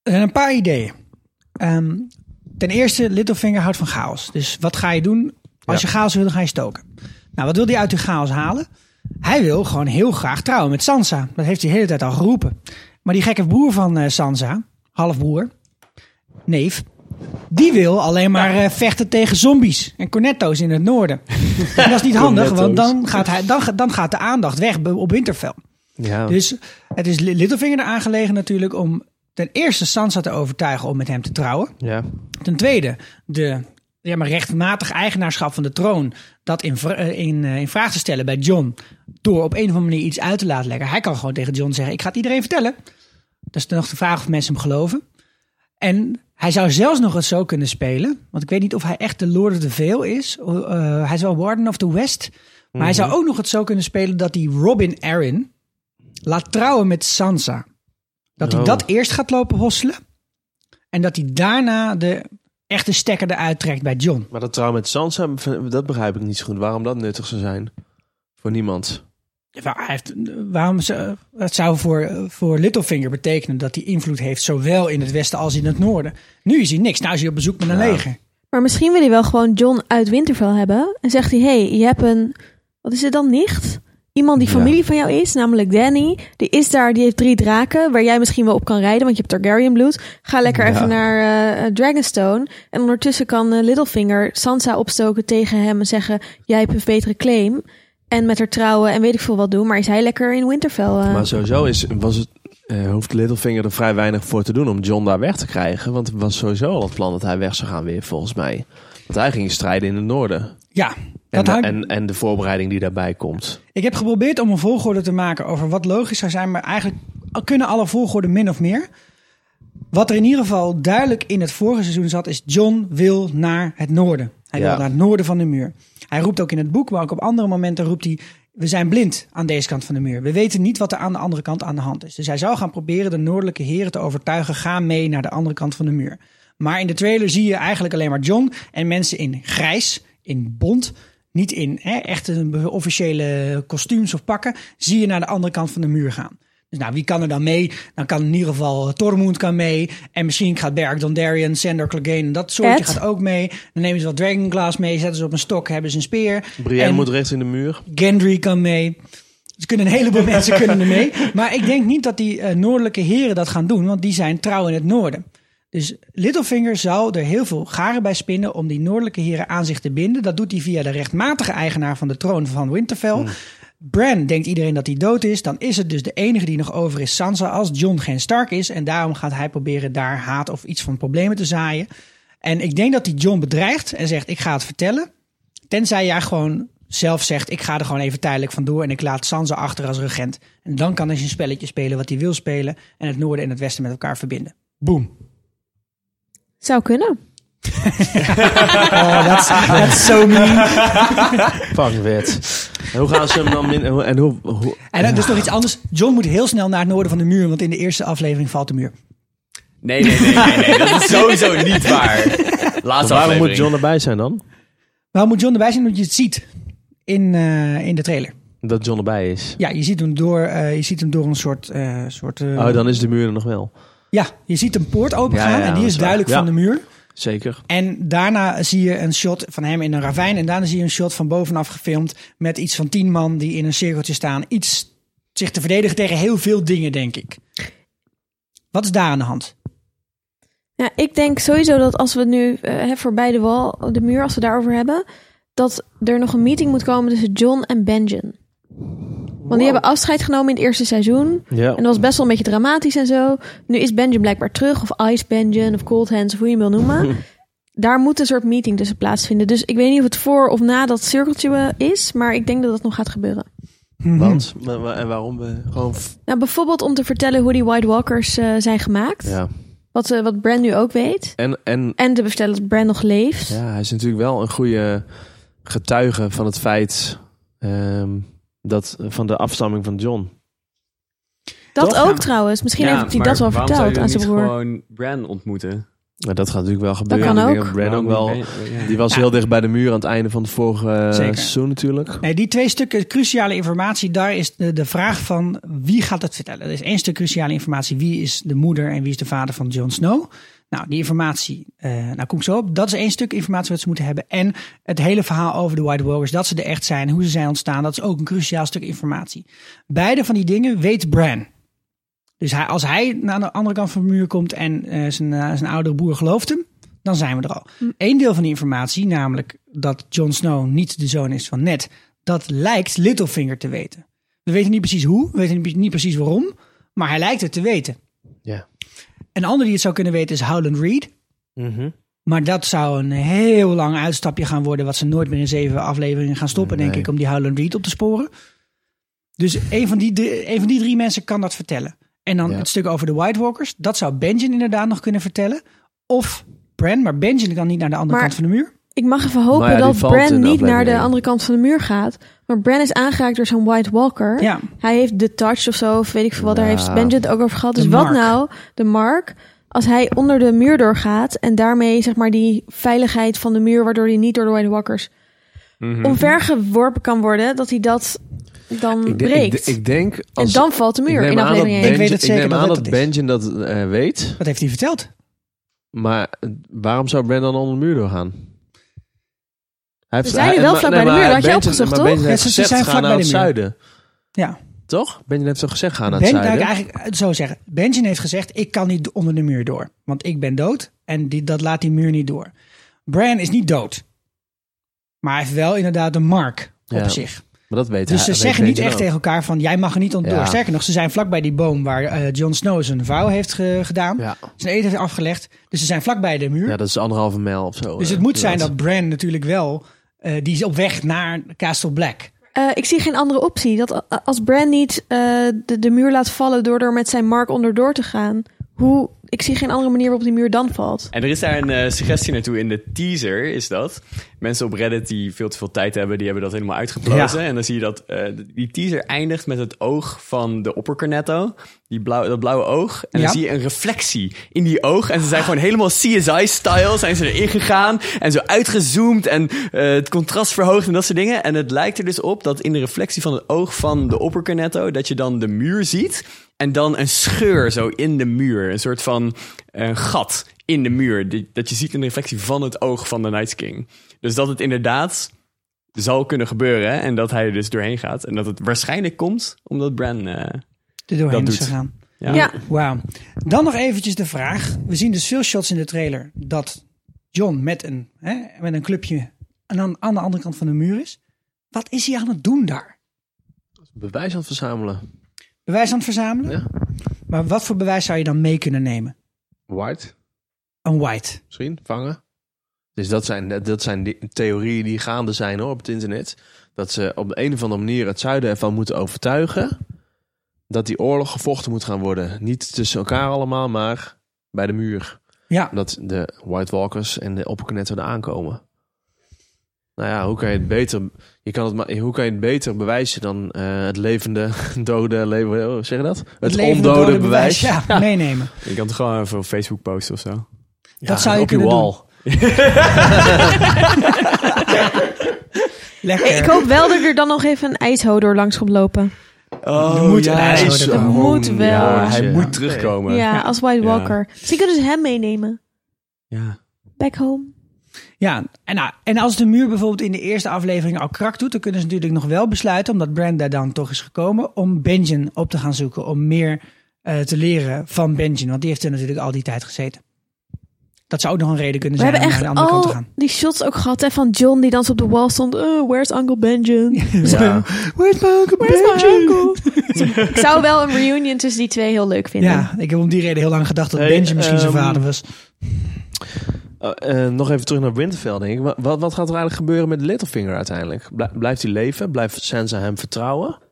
S1: Eh, Een paar ideeën. Ehm, ten eerste, Littlefinger houdt van chaos. Dus wat ga je doen? Als je chaos wil, dan ga je stoken. Nou, wat wil hij uit die chaos halen? Hij wil gewoon heel graag trouwen met Sansa. Dat heeft hij de hele tijd al geroepen. Maar die gekke broer van eh, Sansa, halfbroer, neef, die wil alleen maar eh, vechten tegen zombies en cornetto's in het noorden. en dat is niet handig, want dan gaat, hij, dan, ga- dan gaat de aandacht weg be- op Winterfell.
S4: Ja.
S1: Dus het is Li- Littlefinger er aangelegen natuurlijk om ten eerste Sansa te overtuigen om met hem te trouwen.
S4: ja.
S1: Ten tweede de ja, maar rechtmatig eigenaarschap van de troon dat in, vra- eh, in, eh, in vraag te stellen bij John door op een of andere manier iets uit te laten leggen. Hij kan gewoon tegen John zeggen: ik ga het iedereen vertellen. Dat is dan nog de vraag of mensen hem geloven. En hij zou zelfs nog eens zo kunnen spelen. Want ik weet niet of hij echt de Lord of the Vale is. Eh, eh, hij is wel Warden of the West. Maar hij zou ook nog het zo kunnen spelen dat hij Robin Arryn laat trouwen met Sansa. Dat hij
S4: Oh.
S1: dat eerst gaat lopen hosselen. En dat hij daarna de echte stekker eruit trekt bij John.
S4: Maar dat trouw met Sansa, dat begrijp ik niet zo goed. Waarom dat nuttig zou zijn? Voor niemand.
S1: Wa- Hij heeft, waarom ze, het zou voor, voor Littlefinger betekenen dat hij invloed heeft, zowel in het westen als in het noorden. Nu is hij niks. Nou is hij op bezoek met een leger.
S6: Maar misschien wil hij wel gewoon John uit Winterfell hebben. En zegt hij, hey, je hebt een... Wat is het dan, nicht? Iemand die familie van jou is, namelijk Danny. Die is daar, die heeft drie draken... waar jij misschien wel op kan rijden, want je hebt Targaryen bloed. Ga lekker even naar eh, eh, Dragonstone. En ondertussen kan eh, Littlefinger Sansa opstoken tegen hem... en zeggen, jij hebt een betere claim. En met haar trouwen en weet ik veel wat doen. Maar is hij lekker in Winterfell? eh.
S4: Maar sowieso is, was het, eh, hoeft Littlefinger er vrij weinig voor te doen om John daar weg te krijgen. Want het was sowieso al het plan dat hij weg zou gaan weer, volgens mij. Want hij ging strijden in het noorden.
S1: Ja, dat
S4: En,
S1: hangt,
S4: en, en de voorbereiding die daarbij komt.
S1: ik heb geprobeerd om een volgorde te maken over wat logisch zou zijn, maar eigenlijk kunnen alle volgorden min of meer. Wat er in ieder geval duidelijk in het vorige seizoen zat, is John wil naar het noorden. Hij
S4: Ja.
S1: wil naar het noorden van de muur. Hij roept ook in het boek, maar ook op andere momenten roept hij... we zijn blind aan deze kant van de muur. We weten niet wat er aan de andere kant aan de hand is. Dus hij zou gaan proberen de noordelijke heren te overtuigen... ga mee naar de andere kant van de muur. Maar in de trailer zie je eigenlijk alleen maar John en mensen in grijs, in bont... niet in hè, echte officiële kostuums of pakken... zie je naar de andere kant van de muur gaan. Dus nou, wie kan er dan mee? Dan kan in ieder geval eh, Tormund kan mee. En misschien gaat Beric Dondarrion, Sandor Clegane... dat soortje
S6: Ed?
S1: gaat ook mee. Dan nemen ze wat Dragonglass mee, zetten ze op een stok, hebben ze een speer.
S4: Brienne
S1: En
S4: moet recht in de muur.
S1: Gendry kan mee. Ze kunnen een heleboel mensen kunnen er mee. Maar ik denk niet dat die eh, noordelijke heren dat gaan doen, want die zijn trouw in het noorden. Dus Littlefinger zou er heel veel garen bij spinnen om die noordelijke heren aan zich te binden. Dat doet hij via de rechtmatige eigenaar van de troon van Winterfell. Bran denkt iedereen dat hij dood is. Dan is het dus de enige die nog over is Sansa als Jon geen Stark is. En daarom gaat hij proberen daar haat of iets van problemen te zaaien. En ik denk dat hij Jon bedreigt en zegt ik ga het vertellen. Tenzij jij gewoon zelf zegt: ik ga er gewoon even tijdelijk vandoor en ik laat Sansa achter als regent. En dan kan hij zijn spelletje spelen wat hij wil spelen en het noorden en het westen met elkaar verbinden. Boom.
S6: Zou kunnen.
S1: Oh, that's, that's so mean.
S4: Fuck wit. En hoe gaan ze hem dan... min- en hoe, hoe,
S1: En dat is nog iets anders. John moet heel snel naar het noorden van de muur, want in de eerste aflevering valt de muur.
S7: Nee, nee, nee, nee, nee, dat is sowieso niet waar. Laatste
S4: waarom moet
S7: aflevering.
S4: John erbij zijn dan?
S1: Waarom moet John erbij zijn? Omdat je het ziet in, eh, in de trailer.
S4: Dat John erbij is.
S1: Ja, je ziet hem door, eh, je ziet hem door een soort. eh, soort eh,
S4: Oh, dan is de muur er nog wel.
S1: Ja, je ziet een poort opengaan
S4: Ja, ja,
S1: en
S4: dat
S1: die
S4: is
S1: is
S4: waar.
S1: duidelijk
S4: Ja.
S1: van de muur.
S4: Zeker.
S1: En daarna zie je een shot van hem in een ravijn. En daarna zie je een shot van bovenaf gefilmd. Met iets van tien man die in een cirkeltje staan. Iets zich te verdedigen tegen heel veel dingen, denk ik. Wat is daar aan de hand?
S6: Ja, ik denk sowieso dat als we het nu eh, hè, voorbij de wal, de muur, als we daarover hebben, dat er nog een meeting moet komen tussen John en Benjen. Want die hebben afscheid genomen in het eerste seizoen.
S4: Ja.
S6: En dat was best wel een beetje dramatisch en zo. Nu is Benjen blijkbaar terug, of Ice Benjen, of Cold Hands, of hoe je hem wil noemen. Daar moet een soort meeting tussen plaatsvinden. Dus ik weet niet of het voor of na dat cirkeltje eh, is, maar ik denk dat dat nog gaat gebeuren.
S4: Want, maar- maar- en waarom we gewoon... f-
S6: Nou, bijvoorbeeld om te vertellen hoe die White Walkers eh, zijn gemaakt.
S4: Ja.
S6: Wat, eh, wat Bran nu ook weet.
S4: En, en
S6: En te bestellen dat Bran nog leeft.
S4: Ja, hij is natuurlijk wel een goede getuige van het feit ehm, dat, van de afstamming van John.
S6: Dat
S4: Toch?
S6: ook
S4: Ja.
S6: trouwens. Misschien
S4: Ja,
S6: heeft hij dat wel verteld aan zijn broer.
S7: gewoon Bran ontmoeten? oh,
S4: Maar dat gaat natuurlijk wel gebeuren.
S6: kan
S4: Ik denk
S6: ook.
S4: Bran
S7: Nou,
S4: ook wel, die was heel dicht bij de muur aan het einde van het vorige eh,
S1: Zeker.
S4: seizoen natuurlijk.
S1: Nee, die twee stukken cruciale informatie, daar is de, de vraag van wie gaat het vertellen. Er is één stuk cruciale informatie. Wie is de moeder en wie is de vader van Jon Snow? Nou, die informatie, eh nou kom ik zo op. Dat is één stuk informatie wat ze moeten hebben. En het hele verhaal over de White Walkers, dat ze er echt zijn, hoe ze zijn ontstaan, dat is ook een cruciaal stuk informatie. Beide van die dingen weet Bran. Dus hij, als hij naar de andere kant van de muur komt en eh, zijn, eh, zijn oudere broer gelooft hem, dan zijn we er al. Eén deel van die informatie, namelijk dat Jon Snow niet de zoon is van Ned, dat lijkt Littlefinger te weten. We weten niet precies hoe, we weten niet- niet precies waarom, maar hij lijkt het te weten.
S4: Ja.
S1: Een ander die het zou kunnen weten is Howland Reed. Maar dat zou een heel lang uitstapje gaan worden, wat ze nooit meer in zeven afleveringen gaan stoppen, denk ik, om die Howland Reed op te sporen. Dus een van die drie, een van die drie mensen kan dat vertellen. En dan het stuk over de White Walkers, dat zou Benjen inderdaad nog kunnen vertellen. Of Bran, maar Benjen kan niet naar de andere
S6: Maar-
S1: kant van de muur.
S6: Ik mag even hopen
S1: Nou ja, die
S6: dat
S1: valt in
S6: Bran niet naar de
S1: aflevering.
S6: andere kant van de muur gaat. Maar Bran is aangeraakt door zo'n White Walker.
S1: Ja.
S6: Hij heeft de touch of zo, of weet ik veel wat. Daar
S1: Ja.
S6: heeft Benjen het ook over gehad.
S1: De
S6: Dus wat
S1: mark.
S6: nou, de mark, als hij onder de muur doorgaat... en daarmee zeg maar die veiligheid van de muur... waardoor hij niet door de White Walkers Mhm.
S4: Mhm.
S6: omvergeworpen kan worden... dat hij dat dan
S4: Ik, denk- ik,
S6: breekt.
S4: ik denk... Als,
S6: en dan valt de muur
S4: neem
S6: in
S4: aan dat
S6: aflevering één.
S4: Benjen- Ik neem aan dat, Benjen dat eh, weet.
S1: Dat heeft hij verteld.
S4: Maar eh, waarom zou Bran dan onder de muur doorgaan? Hij
S6: Ze zeiden wel
S4: maar-
S6: vlak bij de
S4: maar
S6: muur, dat had je
S4: Benjen-
S6: opgezocht,
S4: maar
S6: toch?
S4: Benjen
S6: Ja,
S4: heeft
S6: ze- ze
S4: gezegd,
S6: zijn
S4: ga
S6: vlak
S4: naar
S6: bij
S4: het
S6: de muur.
S4: zuiden.
S1: Ja.
S4: Toch? Benjen heeft toch gezegd, ga naar het
S1: Ben, nou,
S4: zuiden?
S1: ik eigenlijk het zo zeggen. Benjen heeft gezegd, ik kan niet onder de muur door. Want ik ben dood en die, dat laat die muur niet door. Bran is niet dood. Maar hij heeft wel inderdaad een mark op
S4: Ja.
S1: zich.
S4: Maar dat weet
S1: Dus
S4: hij-
S1: ze
S4: weet
S1: zeggen niet
S4: Benjen
S1: echt
S4: ook.
S1: tegen elkaar van jij mag er niet onder.
S4: Ja.
S1: Sterker nog, ze zijn vlakbij die boom waar eh, Jon Snow zijn vouw heeft ge- gedaan. Zijn eten heeft afgelegd. Dus ze zijn vlakbij de muur.
S4: Ja, dat is anderhalve mijl of zo.
S1: dus
S4: eh,
S1: het moet zijn
S4: inderdaad.
S1: dat Bran natuurlijk wel, eh, die is op weg naar Castle Black.
S6: Eh, ik zie geen andere optie. Dat a- als Bran niet eh, de, de muur laat vallen door er met zijn mark onderdoor te gaan, hoe? Ik zie geen andere manier waarop die muur dan valt.
S7: En er is daar een eh, suggestie naartoe in de teaser, is dat. Mensen op Reddit die veel te veel tijd hebben, die hebben dat helemaal uitgeplozen. En dan zie je dat eh, die teaser eindigt met het oog van de oppercornetto. Die blauwe, dat blauwe oog. En
S10: Ja.
S7: dan zie je een reflectie in die oog. En ze zijn gewoon helemaal CSI-style zijn ze erin gegaan. En zo uitgezoomd en eh, het contrast verhoogd en dat soort dingen. En het lijkt er dus op dat in de reflectie van het oog van de oppercornetto... dat je dan de muur ziet... En dan een scheur zo in de muur. Een soort van eh, gat in de muur. die- dat je ziet in de reflectie van het oog van de Night King. Dus dat het inderdaad zal kunnen gebeuren. En dat hij er dus doorheen gaat. En dat het waarschijnlijk komt omdat Bran eh,
S1: er doorheen
S7: dat
S1: is
S7: doet.
S1: gegaan.
S7: Ja.
S1: Wauw. Dan nog eventjes de vraag. We zien dus veel shots in de trailer dat John met een, hè, met een clubje en dan aan de andere kant van de muur is. Wat is hij aan het doen daar?
S4: Bewijs aan het verzamelen.
S1: Bewijs aan het verzamelen? Maar wat voor bewijs zou je dan mee kunnen nemen?
S4: White,
S1: Een white.
S4: misschien, vangen. Dus dat zijn, dat zijn die theorieën die gaande zijn hoor, op het internet. Dat ze op de een of andere manier het zuiden ervan moeten overtuigen... dat die oorlog gevochten moet gaan worden. Niet tussen elkaar allemaal, maar bij de muur.
S1: Ja.
S4: Omdat de White Walkers en de opperknetten eraan komen. Nou ja, hoe kan je het beter, je kan het, maar- hoe kan je het beter bewijzen dan eh, het levende, dode, leven, oh, zeg je dat? Het,
S1: levende
S4: ondode
S1: dode
S4: bewijs.
S1: Ja, meenemen.
S7: Je kan het gewoon even op Facebook posten of zo.
S1: dat zou je kunnen doen. Lekker.
S6: Ik hoop wel dat ik er dan nog even een ijshoder langs komt lopen.
S7: Oh,
S1: Er moet een
S7: hij
S1: ijshoder
S7: is-
S1: komen.
S7: oh,
S6: Moet wel.
S7: ja, hij
S6: Ja.
S7: moet terugkomen.
S6: Ja, als White
S7: Ja.
S6: Walker. Misschien kunnen ze hem meenemen.
S7: Ja.
S6: Back home.
S1: Ja, en, nou, en als de muur bijvoorbeeld in de eerste aflevering al krak doet, dan kunnen ze natuurlijk nog wel besluiten, omdat Brenda dan toch is gekomen, om Benjen op te gaan zoeken. Om meer eh, te leren van Benjen. Want die heeft er natuurlijk al die tijd gezeten. Dat zou ook nog een reden kunnen
S6: We
S1: zijn
S6: hebben
S1: om naar de
S6: echt
S1: andere kant te
S6: al
S1: gaan.
S6: die shots ook gehad hè, van John die dan zo op de wall stond. Oh, where's Uncle Benjen?
S1: Ja. Where's my uncle
S6: Ik zou wel een reunion tussen die twee heel leuk vinden.
S1: Ja, ik heb om die reden heel lang gedacht dat
S4: Hey,
S1: Benjen misschien zijn
S4: ehm,
S1: vader was.
S4: Eh, eh, nog even terug naar Winterfell, denk ik. Wa- Wat, wat gaat er eigenlijk gebeuren met Littlefinger uiteindelijk? Blij- blijft hij leven? Blijft Sansa hem vertrouwen?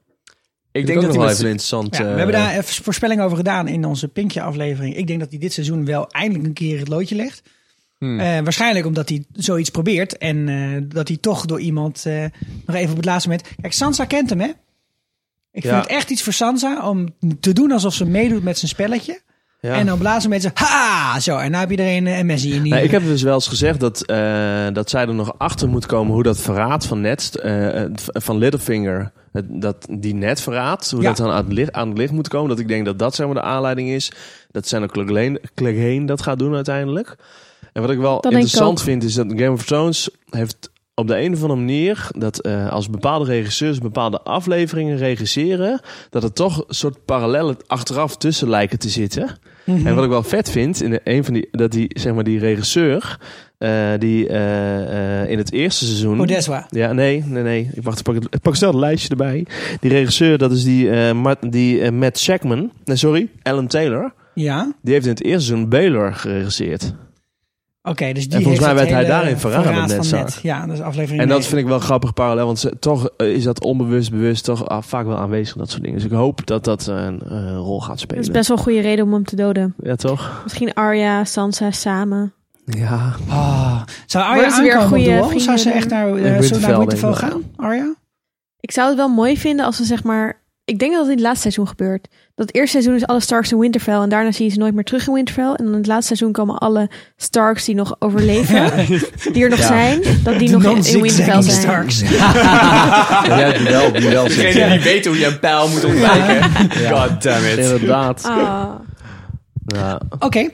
S4: ik
S7: denk dat
S4: ook nog
S7: hij
S4: wel
S7: met-
S4: even interessant.
S1: Ja, we
S4: eh,
S1: hebben daar even voorspelling over gedaan in onze Pinkje aflevering. Ik denk dat hij dit seizoen wel eindelijk een keer het loodje legt.
S7: Hmm.
S1: Eh, waarschijnlijk omdat hij zoiets probeert en eh, dat hij toch door iemand eh, nog even op het laatste moment... Kijk, Sansa kent hem, hè? Ik
S4: Ja.
S1: vind het echt iets voor Sansa om te doen alsof ze meedoet met zijn spelletje.
S4: ja.
S1: En dan blazen mensen, ha! Zo, en nou heb je er een eh, MSI in die...
S4: Nee, ik heb dus wel eens gezegd dat, eh, dat zij er nog achter moet komen hoe dat verraad van Ned, eh, eh, van Littlefinger, het- dat, die net verraadt, hoe
S1: Ja.
S4: dat dan aan het, licht, aan het licht moet komen. Dat ik denk dat dat zeg maar de aanleiding is. Dat Senna Clegane Clegane dat gaat doen uiteindelijk. En wat ik wel
S6: denk ik
S4: interessant
S6: ook.
S4: vind is dat Game of Thrones heeft op de een of andere manier dat eh, als bepaalde regisseurs bepaalde afleveringen regisseren, dat er toch een soort parallellen achteraf tussen lijken te zitten.
S1: Mhm.
S6: Mm.
S4: En wat ik wel vet vind, in de, een van die, dat die, zeg maar die regisseur, eh, die eh, eh, in het eerste seizoen.
S6: Oh,
S1: Odessa.
S4: Ja, nee, nee, nee. Ik, wacht, ik, pak, het- ik pak snel het lijstje erbij. Die regisseur, dat is die, eh, Mart- die eh, Matt Shackman. Nee, sorry, Alan Taylor.
S1: Ja, oké,
S4: Die heeft in het eerste seizoen Baylor geregisseerd.
S1: dus die
S4: En volgens
S1: heeft
S4: mij
S1: het
S4: werd hij
S1: hele
S4: daarin verraden met
S1: verraad van
S4: Ned
S1: Ned.
S4: Stark.
S1: Ja, dat is aflevering
S4: En dat
S1: negen.
S4: vind ik wel een grappig parallel, want ze- toch eh, is dat onbewust, bewust, toch ah, vaak wel aanwezig, dat soort dingen. Dus ik hoop dat dat eh, een eh, rol gaat
S6: Dat
S4: spelen.
S6: is best wel een goede reden om hem te doden.
S4: Ja, toch?
S6: Misschien Arya, Sansa samen.
S4: Ja.
S1: Ah, zou Arya
S6: Worden ze weer
S1: aankomen op
S6: goede
S1: de wall? Zou
S6: vrienden
S1: ze echt
S6: dan?
S1: naar, eh,
S4: In
S1: zo naar
S4: Winterfell,
S1: Winterfell
S4: denk ik wel.
S1: gaan, Arya?
S6: Ik zou het wel mooi vinden als ze zeg maar... Ik denk dat het in het laatste seizoen gebeurt. Dat het eerste seizoen is alle Starks in Winterfell. En daarna zie je ze nooit meer terug in Winterfell. En dan in het laatste seizoen komen alle Starks die nog overleven. Die er nog
S4: Ja.
S6: zijn. Dat die
S1: De
S6: nog in- in
S1: non-zigzagging
S6: Winterfell zijn.
S1: Starks.
S4: Ja, die wel, die wel zit.
S5: Degene die weet hoe je een pijl moet ontwijken.
S4: Ja,
S5: God damn it.
S4: inderdaad.
S6: Ah.
S4: Ja.
S1: Oké,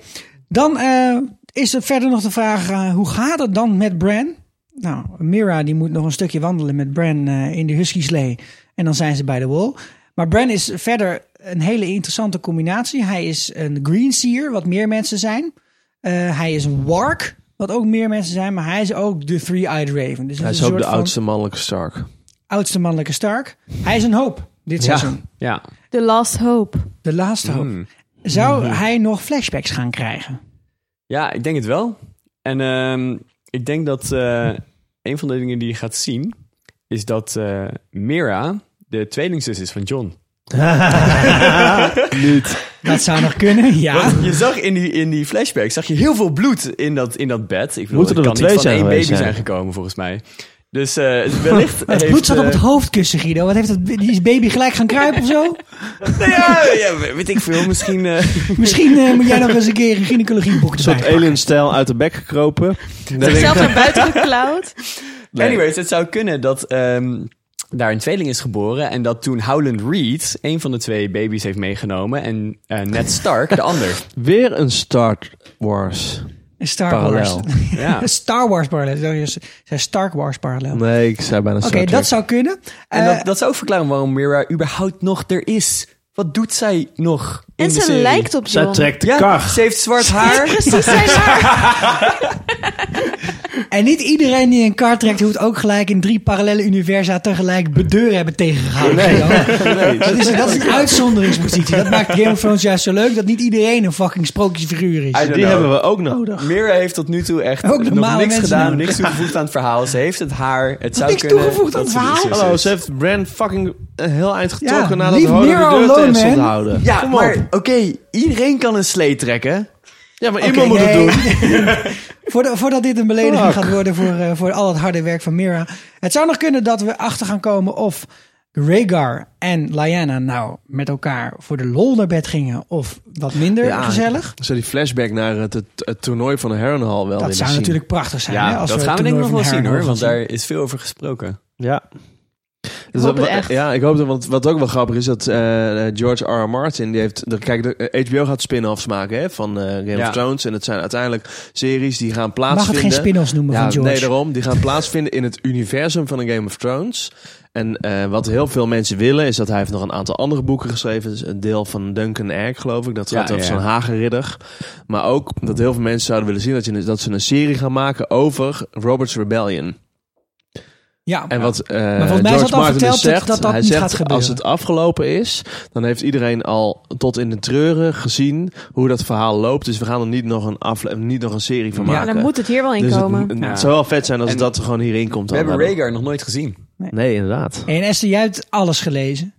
S1: dan eh, is er verder nog de vraag, eh, hoe gaat het dan met Bran? Nou, Mira die moet nog een stukje wandelen met Bran eh, in de husky slee. En dan zijn ze bij de wall. Maar Bran is verder een hele interessante combinatie. Hij is een greenseer, wat meer mensen zijn. Eh, hij is een wark, wat ook meer mensen zijn. Maar hij is ook de three-eyed raven. Dus het
S4: Hij
S1: is
S4: is
S1: een
S4: ook de
S1: soort van
S4: oudste mannelijke Stark.
S1: oudste mannelijke Stark. Hij is een hoop dit seizoen.
S7: Ja.
S6: The Last Hope.
S1: De laatste hoop.
S7: Hmm.
S1: Zou hij nog flashbacks gaan krijgen?
S7: Ja, ik denk het wel. En ehm, ik denk dat eh, een van de dingen die je gaat zien, is dat eh, Mira de tweelingzus is van John.
S1: Dat zou nog kunnen, ja.
S7: Want je zag in die, in die flashback zag je heel veel bloed in dat, in dat bed. Ik bedoel,
S4: Moeten er
S7: het kan
S4: nog twee
S7: niet van
S4: zijn
S7: één baby
S4: geweest,
S7: zijn.
S4: hè?
S7: gekomen, volgens mij. Dus eh, wellicht
S1: Het
S7: heeft,
S1: bloed zat op het
S7: eh,
S1: hoofdkussen, Guido. Wat heeft het, die is baby gelijk gaan kruipen of zo?
S7: nou ja, ja, weet ik veel. Misschien... eh,
S1: Misschien eh, moet jij nog eens een keer een gynaecologieboek
S4: Een soort
S1: erbij.
S4: alien-stijl uit de bek gekropen.
S6: Zichzelf naar buiten geklauwd.
S4: Nee.
S7: Anyways, het zou kunnen dat ehm, daar een tweeling is geboren en dat toen Howland Reed een van de twee baby's heeft meegenomen en eh, Ned Stark de ander.
S4: Weer een Star Wars
S1: Star Wars.
S4: parallel.
S7: Ja.
S1: Star Wars parallel. Sorry, ze zei Star Wars parallel. Oké,
S4: Nee, ik zei bijna Star Trek.
S1: dat zou kunnen.
S7: En
S1: Eh,
S7: dat, dat zou ook verklaren waarom Mira überhaupt nog er is. Wat doet zij nog in
S6: En
S7: de
S6: ze
S7: serie?
S6: lijkt op John.
S4: Zij trekt de
S7: ja,
S4: kar.
S7: Ze heeft zwart
S6: Ja,
S7: haar.
S6: precies zijn haar.
S1: En niet iedereen die een kar trekt, hoeft ook gelijk in drie parallele universa tegelijk de deur hebben tegengehouden. Guido. Dat, is, dat is een uitzonderingspositie. Dat maakt Game of Thrones juist zo leuk, dat niet iedereen een fucking sprookjesfiguur is.
S7: don't
S4: Die
S7: know.
S4: hebben we ook nodig.
S7: Mira heeft tot nu toe echt
S1: Ook normale
S7: nog niks
S1: mensen
S7: gedaan,
S1: nodig.
S7: niks toegevoegd aan het verhaal. Ze heeft het haar. Het zou
S1: niks
S7: kunnen
S1: toegevoegd aan
S7: dat
S1: het
S7: ze de
S1: verhaal?
S7: zus
S4: Hallo,
S7: is.
S4: ze heeft Bran fucking een heel eind getrokken
S1: Ja,
S4: nadat
S1: leave
S4: Hodor de
S1: Mira
S4: deur
S1: alone,
S4: tegen stond
S1: man.
S4: houden.
S7: Ja,
S4: Kom op.
S7: maar oké, iedereen kan een slee trekken.
S4: ja, maar
S1: Oké,
S4: iemand moet
S1: nee.
S4: het doen.
S1: Voordat, voordat dit een belediging
S4: Fuck.
S1: gaat worden voor, eh, voor al het harde werk van Mira. Het zou nog kunnen dat we achter gaan komen of Rhaegar en Lyanna nou met elkaar voor de lol naar bed gingen. Of wat minder
S4: Ja,
S1: gezellig.
S4: Zo die flashback naar het, het, het toernooi van de Harrenhal wel
S1: Dat
S4: willen
S1: zou
S4: zien.
S1: natuurlijk prachtig zijn. hè,
S7: Ja,
S1: als
S7: dat
S1: we
S7: gaan we
S1: het
S7: denk ik
S1: toernooi
S7: nog wel
S1: van
S7: zien
S1: Harrenhal
S7: hoor, want
S1: gaan
S7: daar
S1: zien.
S7: is veel over gesproken.
S4: Ja. Dus
S6: hoop
S4: dat-
S6: het echt.
S4: Ja, ik hoop dat, want wat ook wel grappig is, dat eh, eh, George R. R. Martin, die heeft, de- kijk, de, eh, HBO gaat spin-offs maken hè, van eh, Game
S7: Ja.
S4: of Thrones. En het zijn uiteindelijk series die gaan
S1: Mag het
S4: plaatsvinden.
S1: geen spin-offs noemen
S4: Ja,
S1: van George?
S4: nee, daarom. Die gaan plaatsvinden in het universum van een Game of Thrones. En eh, wat heel veel mensen willen, is dat hij heeft nog een aantal andere boeken geschreven. Dus Een deel van Duncan Egg, geloof ik. Dat
S7: Ja,
S4: gaat over
S7: ja.
S4: zo'n hagenridder. Maar ook dat heel veel mensen zouden willen zien dat, je, dat ze een serie gaan maken over Robert's Rebellion.
S1: Ja,
S4: En wat eh
S1: volgens mij is
S4: George
S1: dat al
S4: Martin
S1: verteld
S4: dus
S1: dat-
S4: zegt,
S1: dat dat
S4: hij
S1: niet
S4: zegt
S1: gaat gebeuren.
S4: als het afgelopen is, dan heeft iedereen al tot in de treuren gezien hoe dat verhaal loopt. Dus we gaan er niet nog een, afle- niet nog een serie van
S7: Ja,
S6: Ja,
S4: maken.
S6: Nou, dan moet het hier wel in
S4: Dus het,
S6: komen.
S4: het
S7: Ja.
S4: zou wel vet zijn als
S7: En
S4: dat er gewoon hierin komt.
S7: We
S4: dan.
S7: hebben Rhaegar nog nooit gezien.
S4: Nee, inderdaad.
S1: En Esther, jij hebt alles gelezen.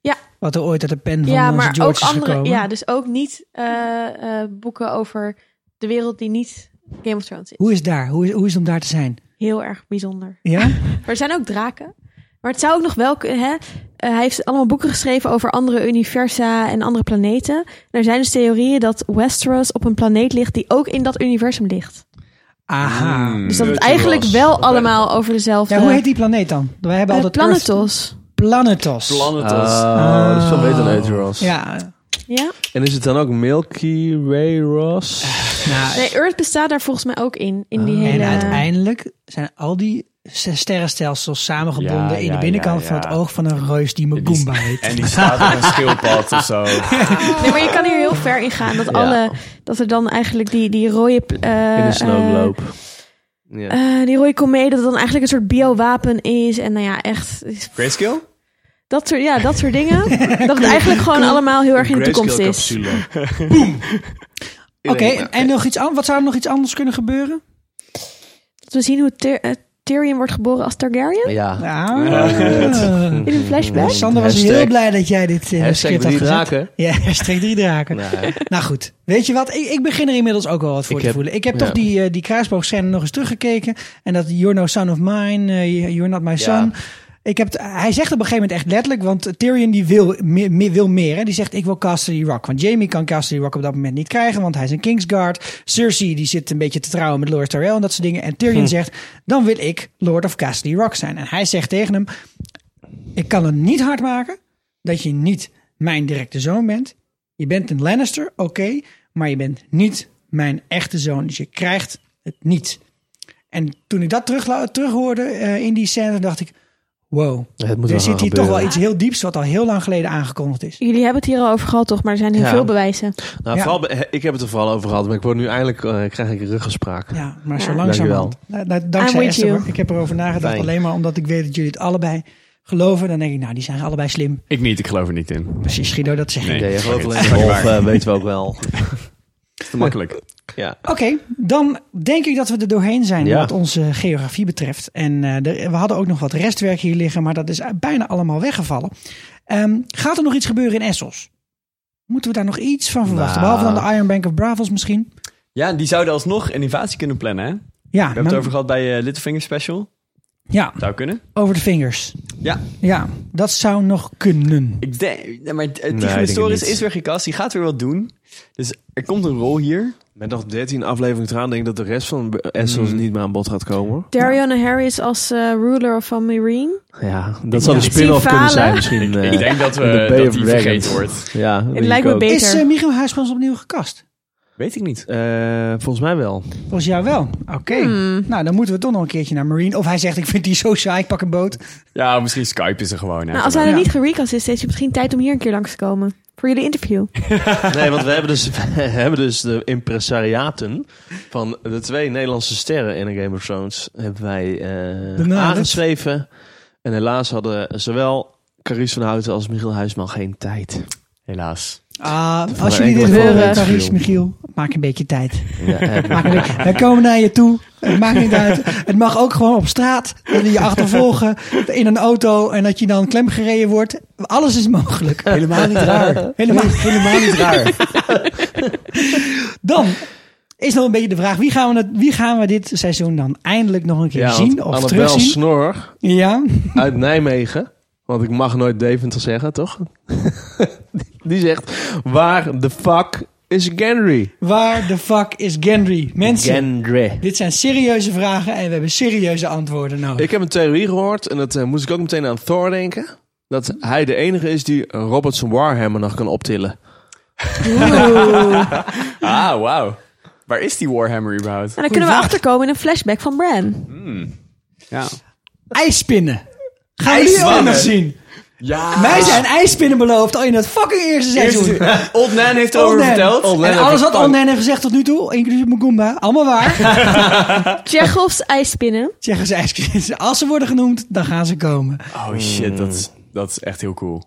S6: Ja,
S1: Wat er ooit uit de pen van
S6: ja,
S1: onze
S6: maar
S1: George
S6: ook
S1: is
S6: andere,
S1: gekomen.
S6: ja, dus ook niet eh, eh, boeken over de wereld die niet Game of Thrones is.
S1: Hoe is daar? Hoe is, hoe is het om daar te zijn?
S6: Heel erg bijzonder.
S1: Ja?
S6: Maar er zijn ook draken. Maar het zou ook nog wel kunnen. Hè? Eh, hij heeft allemaal boeken geschreven over andere universa en andere planeten. En er zijn dus theorieën dat Westeros op een planeet ligt die ook in dat universum ligt.
S7: Ah.
S1: Aha.
S7: Hmm.
S6: Dus dat het eigenlijk wel allemaal over dezelfde.
S1: Ja, hoe heet die planeet dan? Wij hebben
S6: Eh,
S1: altijd
S6: Planetos.
S1: Earth- Planetos.
S4: Planetos.
S1: Ah.
S4: Oh, dat is wel beter dan Eteros.
S1: Ja.
S6: Ja.
S4: En is het dan ook Milky Way Ross?
S6: Nee, Earth bestaat daar volgens mij ook in. In die
S1: Nou,
S6: hele.
S1: Oh. En uiteindelijk zijn al die s- sterrenstelsels samengebonden
S7: Ja,
S1: in de
S7: ja,
S1: binnenkant
S7: ja,
S1: van het oog van een reus die Magumba heet.
S7: En die staat op een schildpad of zo.
S6: Nee, maar je kan hier heel ver in gaan. Dat,
S7: Ja.
S6: alle, dat er dan eigenlijk die, die rode... pl- eh,
S4: In de
S6: eh,
S4: snowglobe.
S6: eh, die rode komeet, dat het dan eigenlijk een soort biowapen is. En nou ja, echt...
S7: Grayscale?
S6: Dat soort, ja, dat soort dingen. dat het eigenlijk gewoon allemaal heel erg in de toekomst is.
S1: Oké, en nog iets anders? Wat zou er nog iets anders kunnen gebeuren?
S6: Dat we zien hoe Tyr- eh, Tyrion wordt geboren als Targaryen.
S4: Ja.
S1: Ja. Ah. Nou,
S6: In een flashback.
S1: Sander was
S4: Hashtag-
S1: heel blij dat jij dit in het
S4: Hashtag
S1: script had
S4: drie
S1: gezet.
S4: draken.
S1: Ja, hashtag drie draken.
S4: Nou,
S1: Nou goed, weet je wat? Ik, ik begin er inmiddels ook wel wat voor
S4: Ik
S1: te
S4: heb-
S1: voelen. Ik heb
S4: ja.
S1: toch die, eh die kruisboogscène nog eens teruggekeken. En dat You're no son of mine, eh, You're not my son. Ik heb het, hij zegt op een gegeven moment echt letterlijk, want Tyrion die wil, me- me- wil meer. Hè? Die zegt, ik wil Casterly Rock. Want Jamie kan Casterly Rock op dat moment niet krijgen, want hij is een Kingsguard. Cersei die zit een beetje te trouwen met Lord Tyrell en dat soort dingen. En Tyrion zegt, dan wil ik Lord of Casterly Rock zijn. En hij zegt tegen hem, ik kan het niet hard maken dat je niet mijn directe zoon bent. Je bent een Lannister, oké, maar je bent niet mijn echte zoon. Dus je krijgt het niet. En toen ik dat terug, terughoorde eh, in die scène, dacht ik: wow,
S4: Het moet
S1: er
S4: wel
S1: zit
S4: gaan
S1: hier toch wel
S4: gebeuren.
S1: iets heel dieps wat al heel lang geleden aangekondigd is.
S6: Jullie hebben het hier al over gehad, toch? Maar er zijn heel
S4: Ja.
S6: veel bewijzen.
S4: Nou,
S1: Ja.
S4: vooral, be- ik heb het er vooral over gehad, maar ik word nu eindelijk, eh, krijg ik ruggespraak.
S1: Ja, maar zo
S4: Ja.
S1: langzamerhand. Nou, nou,
S6: I'm
S1: Dankzij
S6: with
S1: Esther,
S6: you.
S1: hoor. ik heb erover nagedacht.
S4: Fijn.
S1: Alleen maar omdat ik weet dat jullie het allebei geloven. Dan denk ik, nou, die zijn allebei slim.
S7: Ik niet, ik geloof er niet in.
S1: Precies, Guido, dat zeg ik.
S7: Nee,
S4: Nee, je gelooft
S7: sorry,
S4: alleen
S7: het is
S4: in
S7: niet
S4: golf,
S7: waar.
S4: eh, weten we ook wel.
S7: Het is te makkelijk.
S4: Ja.
S1: Oké, dan denk ik dat we er doorheen zijn
S4: Ja.
S1: wat onze geografie betreft. En eh, er- we hadden ook nog wat restwerk hier liggen, maar dat is eh, bijna allemaal weggevallen. Ehm, gaat er nog iets gebeuren in Essos? Moeten we daar nog iets van verwachten?
S7: Nou.
S1: Behalve dan de Iron Bank of Bravos misschien?
S7: Ja, die zouden alsnog een invasie kunnen plannen, hè?
S1: Ja,
S7: We hebben
S4: Nou.
S1: maar-
S7: het over gehad bij eh, Littlefinger Special.
S1: Ja,
S7: Zou kunnen.
S1: over de vingers.
S7: Ja,
S1: Ja, dat zou nog kunnen.
S7: ik denk... nee, Maar eh,
S4: ik denk
S7: Tigris
S4: het
S7: Torres
S4: niet.
S7: is weer gekast. Die gaat weer wat doen. Dus er komt een rol hier.
S4: Met nog 13 afleveringen te gaan, denk ik dat de rest van Essos niet meer aan bod gaat komen. hoor.
S6: Darion en Harris als eh, ruler van Meereen.
S4: Ja, dat zou
S6: Ik
S4: de
S6: zie
S4: spin-off kunnen
S6: falen.
S4: zijn misschien. eh,
S7: ik denk dat, we,
S4: in de Bay
S7: dat
S4: of
S7: die
S4: Dragons.
S7: vergeten wordt.
S4: Ja, dat denk
S6: lijkt
S4: ik
S6: me
S4: ook.
S6: beter.
S1: Is eh Michiel Huismans opnieuw gekast?
S7: Weet ik niet.
S4: Eh, volgens mij wel.
S1: Volgens jou wel. Oké. Nou, dan moeten we toch nog een keertje naar Marine. Of hij zegt, ik vind die zo saai, ik pak een boot.
S7: Ja, misschien Skype is er gewoon.
S6: Nou, als hij er
S1: Ja.
S6: niet gerecast is, heeft hij misschien tijd om hier een keer langs te komen. Voor jullie interview.
S4: Nee, want we hebben dus, we hebben dus de impresariaten van de twee Nederlandse sterren in de Game of Thrones hebben wij eh,
S1: Benaderd.
S4: aangeschreven. En helaas hadden zowel Carice van Houten als Michiel Huisman geen tijd.
S7: Helaas.
S1: Ah,
S4: Voor
S1: als
S4: een
S1: jullie dit
S4: enkele
S1: horen,
S4: week.
S1: Tarius, Michiel, maak een beetje tijd.
S4: Ja, eh,
S1: Maak een beetje- Wij komen naar je toe. Het maakt niet uit. Het mag ook gewoon op straat. Dat we je achtervolgen in een auto en dat je dan klemgereden wordt. Alles is mogelijk.
S7: Helemaal niet raar.
S1: Helemaal.
S7: Helemaal niet raar.
S1: Dan is nog een beetje de vraag: wie gaan we, het, wie gaan we dit seizoen dan eindelijk nog een keer
S4: ja, want
S1: zien of
S4: Annabel
S1: terugzien?
S4: Snor
S1: Ja,
S4: uit Nijmegen. Want ik mag nooit Deventer zeggen, toch? Die zegt, waar de fuck is Gendry?
S1: waar de fuck is Gendry? Mensen,
S4: Gendry.
S1: dit zijn serieuze vragen en we hebben serieuze antwoorden nodig.
S4: Ik heb een theorie gehoord en dat eh, moest ik ook meteen aan Thor denken. Dat hij de enige is die Robertson Warhammer nog kan optillen.
S7: Ah, wauw. Waar is die Warhammer überhaupt?
S6: En dan kunnen we
S1: vraag.
S6: achterkomen in een flashback van Bran.
S7: Ja.
S1: IJspinnen. Gaan we die ook nog zien?
S7: Ja.
S1: Wij zijn ijspinnen beloofd al in het fucking eerste seizoen.
S7: Old Nan heeft
S1: Old
S7: erover
S1: Nan.
S7: verteld.
S1: En alles wat Old Nan heeft gezegd tot nu toe, inclusief Mugumba, allemaal waar.
S6: Tjechovs ijspinnen.
S1: Zeggen ze ijspinnen. Als ze worden genoemd, dan gaan ze komen.
S7: Oh shit, dat is,
S4: Hmm.
S7: dat is echt heel cool.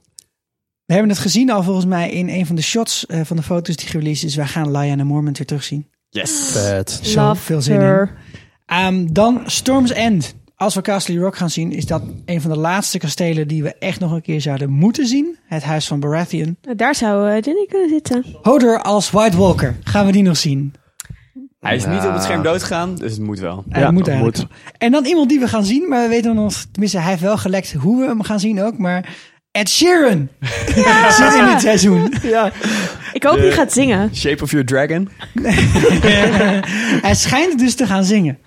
S1: We hebben het gezien al volgens mij in een van de shots eh, van de foto's die gereleased is. Wij gaan Lyanna Mormont weer terugzien.
S7: Yes.
S4: Vet.
S1: Zo, veel zin in.
S6: her.
S1: Ehm, dan Storm's End. Als we Castle Rock gaan zien, is dat een van de laatste kastelen die we echt nog een keer zouden moeten zien. Het huis van Baratheon.
S6: Daar zou eh, Jenny kunnen zitten.
S1: Hodor als White Walker. Gaan we die nog zien?
S7: Hij is niet
S1: Ja.
S7: op het scherm doodgegaan, dus het moet wel.
S1: Hij moet eigenlijk. wel. En dan iemand die we gaan zien, maar we weten nog, tenminste, hij heeft wel gelekt hoe we hem gaan zien ook, maar Ed Sheeran zit in dit seizoen.
S7: Ja.
S6: Ik hoop
S7: De-
S6: die gaat zingen.
S7: Shape of Your Dragon.
S1: hij schijnt dus te gaan zingen.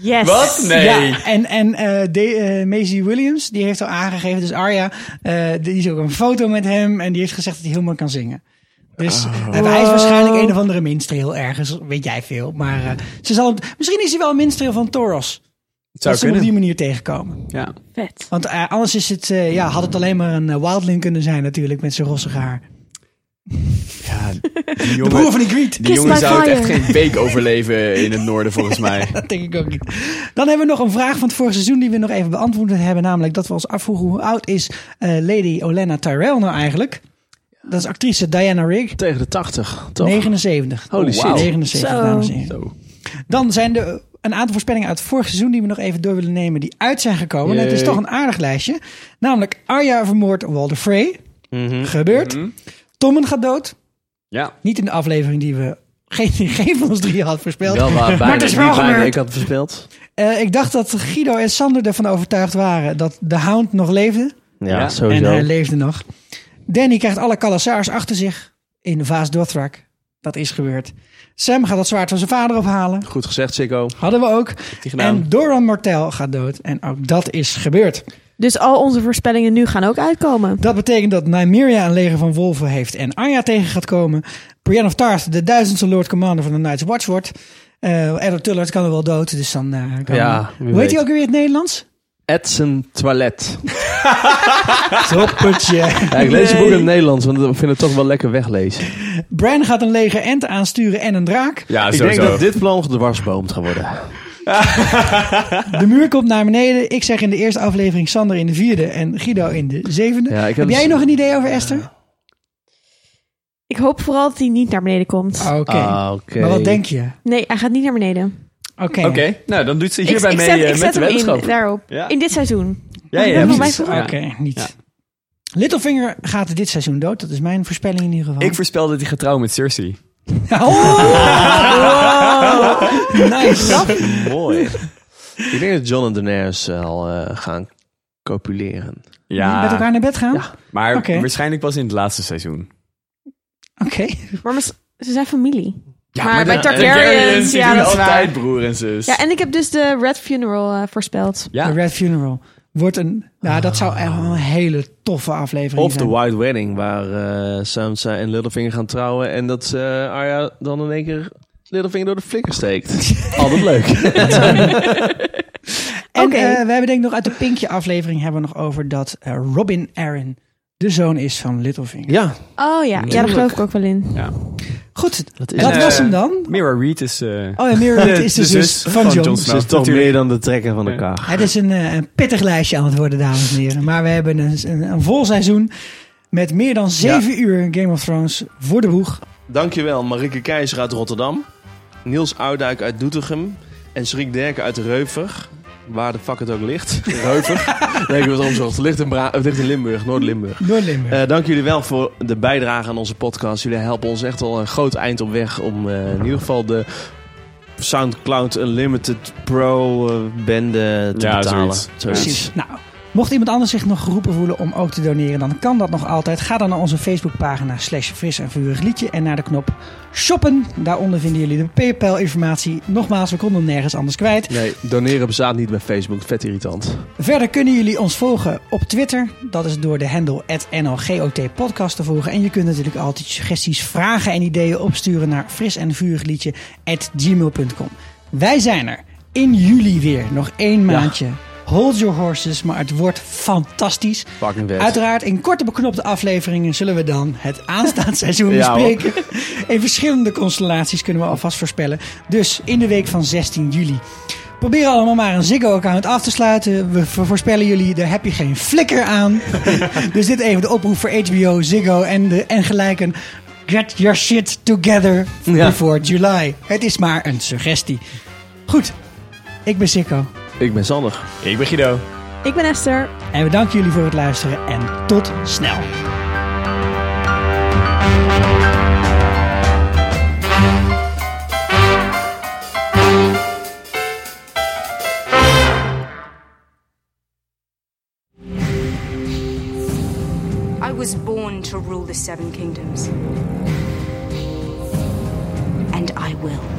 S6: Yes.
S7: Wat? Nee.
S1: Ja, en en eh, de, eh, Maisie Williams, die heeft al aangegeven, dus Arya, eh, die is ook een foto met hem en die heeft gezegd dat hij heel mooi kan zingen. Dus
S7: Oh.
S1: eh, hij is waarschijnlijk een of andere minstreel ergens, weet jij veel. Maar eh, ze zal, het- misschien is hij wel een minstreel van Toros.
S7: zou
S1: dat ze hem op
S7: kunnen.
S1: die manier tegenkomen.
S7: Ja.
S6: Vet.
S1: Want eh, anders is het, eh, ja, had het alleen maar een eh, wildling kunnen zijn natuurlijk met zijn rossig haar.
S7: Die jongen,
S1: broer van Ygritte.
S7: Die
S1: Kiss
S7: jongen
S1: my
S7: zou het echt
S1: fire.
S7: geen week overleven in het noorden, volgens mij.
S1: Dat denk ik ook niet. Dan hebben we nog een vraag van het vorige seizoen die we nog even beantwoord hebben. Namelijk dat we ons afvroegen hoe oud is eh, Lady Olenna Tyrell nou eigenlijk? Dat is actrice Diana Rigg.
S4: Tegen de 80, toch?
S1: 79.
S4: Holy shit.
S1: 79,
S4: Zo.
S1: dames en heren. Dan zijn er eh, een aantal voorspellingen uit vorig seizoen die we nog even door willen nemen. Die uit zijn gekomen. En het is
S4: Yay.
S1: toch een aardig lijstje. Namelijk Arya vermoord Walder Frey.
S4: Mhm.
S1: Gebeurt. Tommen gaat dood.
S7: Ja.
S1: Niet in de aflevering die we geen, geen van ons drieën had voorspeld.
S4: Wel waar, bijna,
S1: maar het is wel
S4: niet bijna,
S1: gebeurd.
S4: Ik had het verspeeld.
S1: Eh, ik dacht dat Guido en Sander ervan overtuigd waren dat de Hound nog leefde.
S4: Ja, Ja. sowieso.
S1: En eh, hij leefde nog. Danny krijgt alle Calasaars achter zich in de Vaas Dothrak. Dat is gebeurd. Sam gaat het zwaard van zijn vader ophalen.
S4: Goed gezegd, Sikko.
S1: Hadden we ook.
S4: die gedaan?
S1: En Doran Martel gaat dood. En ook dat is gebeurd.
S6: Dus al onze voorspellingen nu gaan ook uitkomen.
S1: Dat betekent dat Nymeria een leger van wolven heeft en Arya tegen gaat komen. Brienne of Tarth, de duizendste Lord Commander van de Night's Watch wordt. Eh Edward Tullard kan er wel dood, dus dan eh, kan
S4: Ja,
S1: Hoe
S4: wie
S1: heet
S4: weet.
S1: hij ook weer in het Nederlands?
S4: Edson Toilet.
S1: Toppertje.
S4: Ja, ik lees het boek in het Nederlands, want ik vind het toch wel lekker weglezen.
S1: Bran gaat een leger enten aansturen en een draak.
S4: ik denk dat dit plan gedwarsboomd gaat worden.
S1: De muur komt naar beneden. Ik zeg in de eerste aflevering Sander in de vierde en Guido in de zevende.
S4: Ja,
S1: heb
S4: ik heb
S1: jij
S4: dus-
S1: nog een idee over Esther?
S6: Ik hoop vooral dat hij niet naar beneden komt.
S7: Ah.
S1: Ah, Oké.
S4: Ah,
S1: Maar wat denk je?
S6: Nee, hij gaat niet naar beneden.
S1: Oké.
S7: Oké, nou dan doet ze
S6: Ik, ik
S7: hierbij
S6: zet,
S7: mee eh,
S6: ik
S7: met
S6: zet
S7: de
S6: hem in,
S7: wetenschap.
S6: daarop.
S7: Ja.
S6: In dit seizoen.
S7: Ja, ja,
S6: Dat is
S7: precies.
S6: mijn vraag.
S1: Oké, niet. Littlefinger gaat dit seizoen dood. Dat is mijn voorspelling in ieder geval. Oh!
S7: Ik voorspel dat hij gaat trouwen met Cersei.
S1: Nice.
S4: Mooi. Ik denk dat John en Daenerys eh, al eh, gaan copuleren.
S7: Ja,
S1: Met elkaar naar bed gaan? Oké.
S7: maar
S1: Oké.
S7: waarschijnlijk pas in het laatste seizoen.
S6: Maar mis- ze zijn familie.
S7: Ja,
S6: maar,
S7: maar
S6: bij
S7: de-
S6: Targaryens,
S7: Targaryens, die
S6: ja,
S7: doen
S6: dat is
S7: altijd
S6: waar.
S7: broer en zus.
S6: Ja, en ik heb dus de Red Funeral eh, voorspeld.
S1: De Red Funeral wordt een... Nou, dat zou echt wel
S7: Ah.
S1: een hele toffe aflevering
S4: Of
S1: zijn.
S4: de White Wedding, waar eh, Sansa en Littlefinger gaan trouwen. En dat eh, Arya dan in één keer Littlefinger door de flikker steekt. Altijd leuk.
S1: En
S6: Oké.
S1: eh, we hebben denk ik nog uit de Pinkje aflevering hebben we nog over dat eh, Robin Aaron de zoon is van Littlefinger.
S4: Ja.
S6: Oh ja, ja, daar geloof ik ook wel in.
S7: Ja.
S1: Goed, dat,
S4: is het.
S1: was
S7: Eh,
S1: hem dan.
S7: Mira Reed is... eh,
S1: Oh ja, Mira Reed is de zus van Jon.
S4: Ze is toch meer dan de trekker van de kaag.
S1: Het is een, eh, een pittig lijstje aan het worden, dames en heren. Maar we hebben een, een, een vol seizoen met meer dan zeven uur Game of Thrones voor de boeg.
S4: Dankjewel Marike Keizer uit Rotterdam. Niels Oudijk uit Doetinchem. En Schrik Derken uit Reuver. Waar de fuck het ook ligt. Reuver. nee, ik was omzocht. Het ligt in, Bra- het ligt in Limburg, Noord-Limburg.
S1: Door Limburg.
S4: Eh, dank jullie wel voor de bijdrage aan onze podcast. Jullie helpen ons echt al een groot eind op weg om eh, in ieder geval de SoundCloud Unlimited Pro eh, bende te
S7: Ja,
S4: betalen.
S7: zoiets.
S1: Precies. Nou, mocht iemand anders zich nog geroepen voelen om ook te doneren, dan kan dat nog altijd. Ga dan naar onze Facebookpagina slash fris en vurig liedje en naar de knop shoppen. Daaronder vinden jullie de PayPal informatie. Nogmaals, we konden hem nergens anders kwijt.
S4: Nee, doneren bestaat niet bij Facebook. Vet irritant.
S1: Verder kunnen jullie ons volgen op Twitter. Dat is door de handle NLGOTpodcast te volgen. En je kunt natuurlijk altijd suggesties, vragen en ideeën opsturen naar fris en Wij zijn er in juli weer. Nog één maandje. Hold your horses, maar het wordt fantastisch.
S4: Fucking vet.
S1: Uiteraard in korte beknopte afleveringen zullen we dan het aanstaand seizoen
S4: Ja, hoor.
S1: bespreken. In verschillende constellaties kunnen we alvast voorspellen. Dus in de week van 16 juli. Probeer allemaal maar een Ziggo-account af te sluiten. We vo- voorspellen jullie, daar heb je geen flikker aan. dus dit even de oproep voor HBO, Ziggo en, de, en gelijken. Get your shit together
S4: Ja.
S1: before July. Het is maar een suggestie. Goed, ik ben Ziggo.
S4: Ik ben Sander.
S7: Ik ben Guido.
S6: Ik ben Esther.
S1: En we danken jullie voor het luisteren en tot snel.
S13: I was born to rule the Seven Kingdoms. And I will.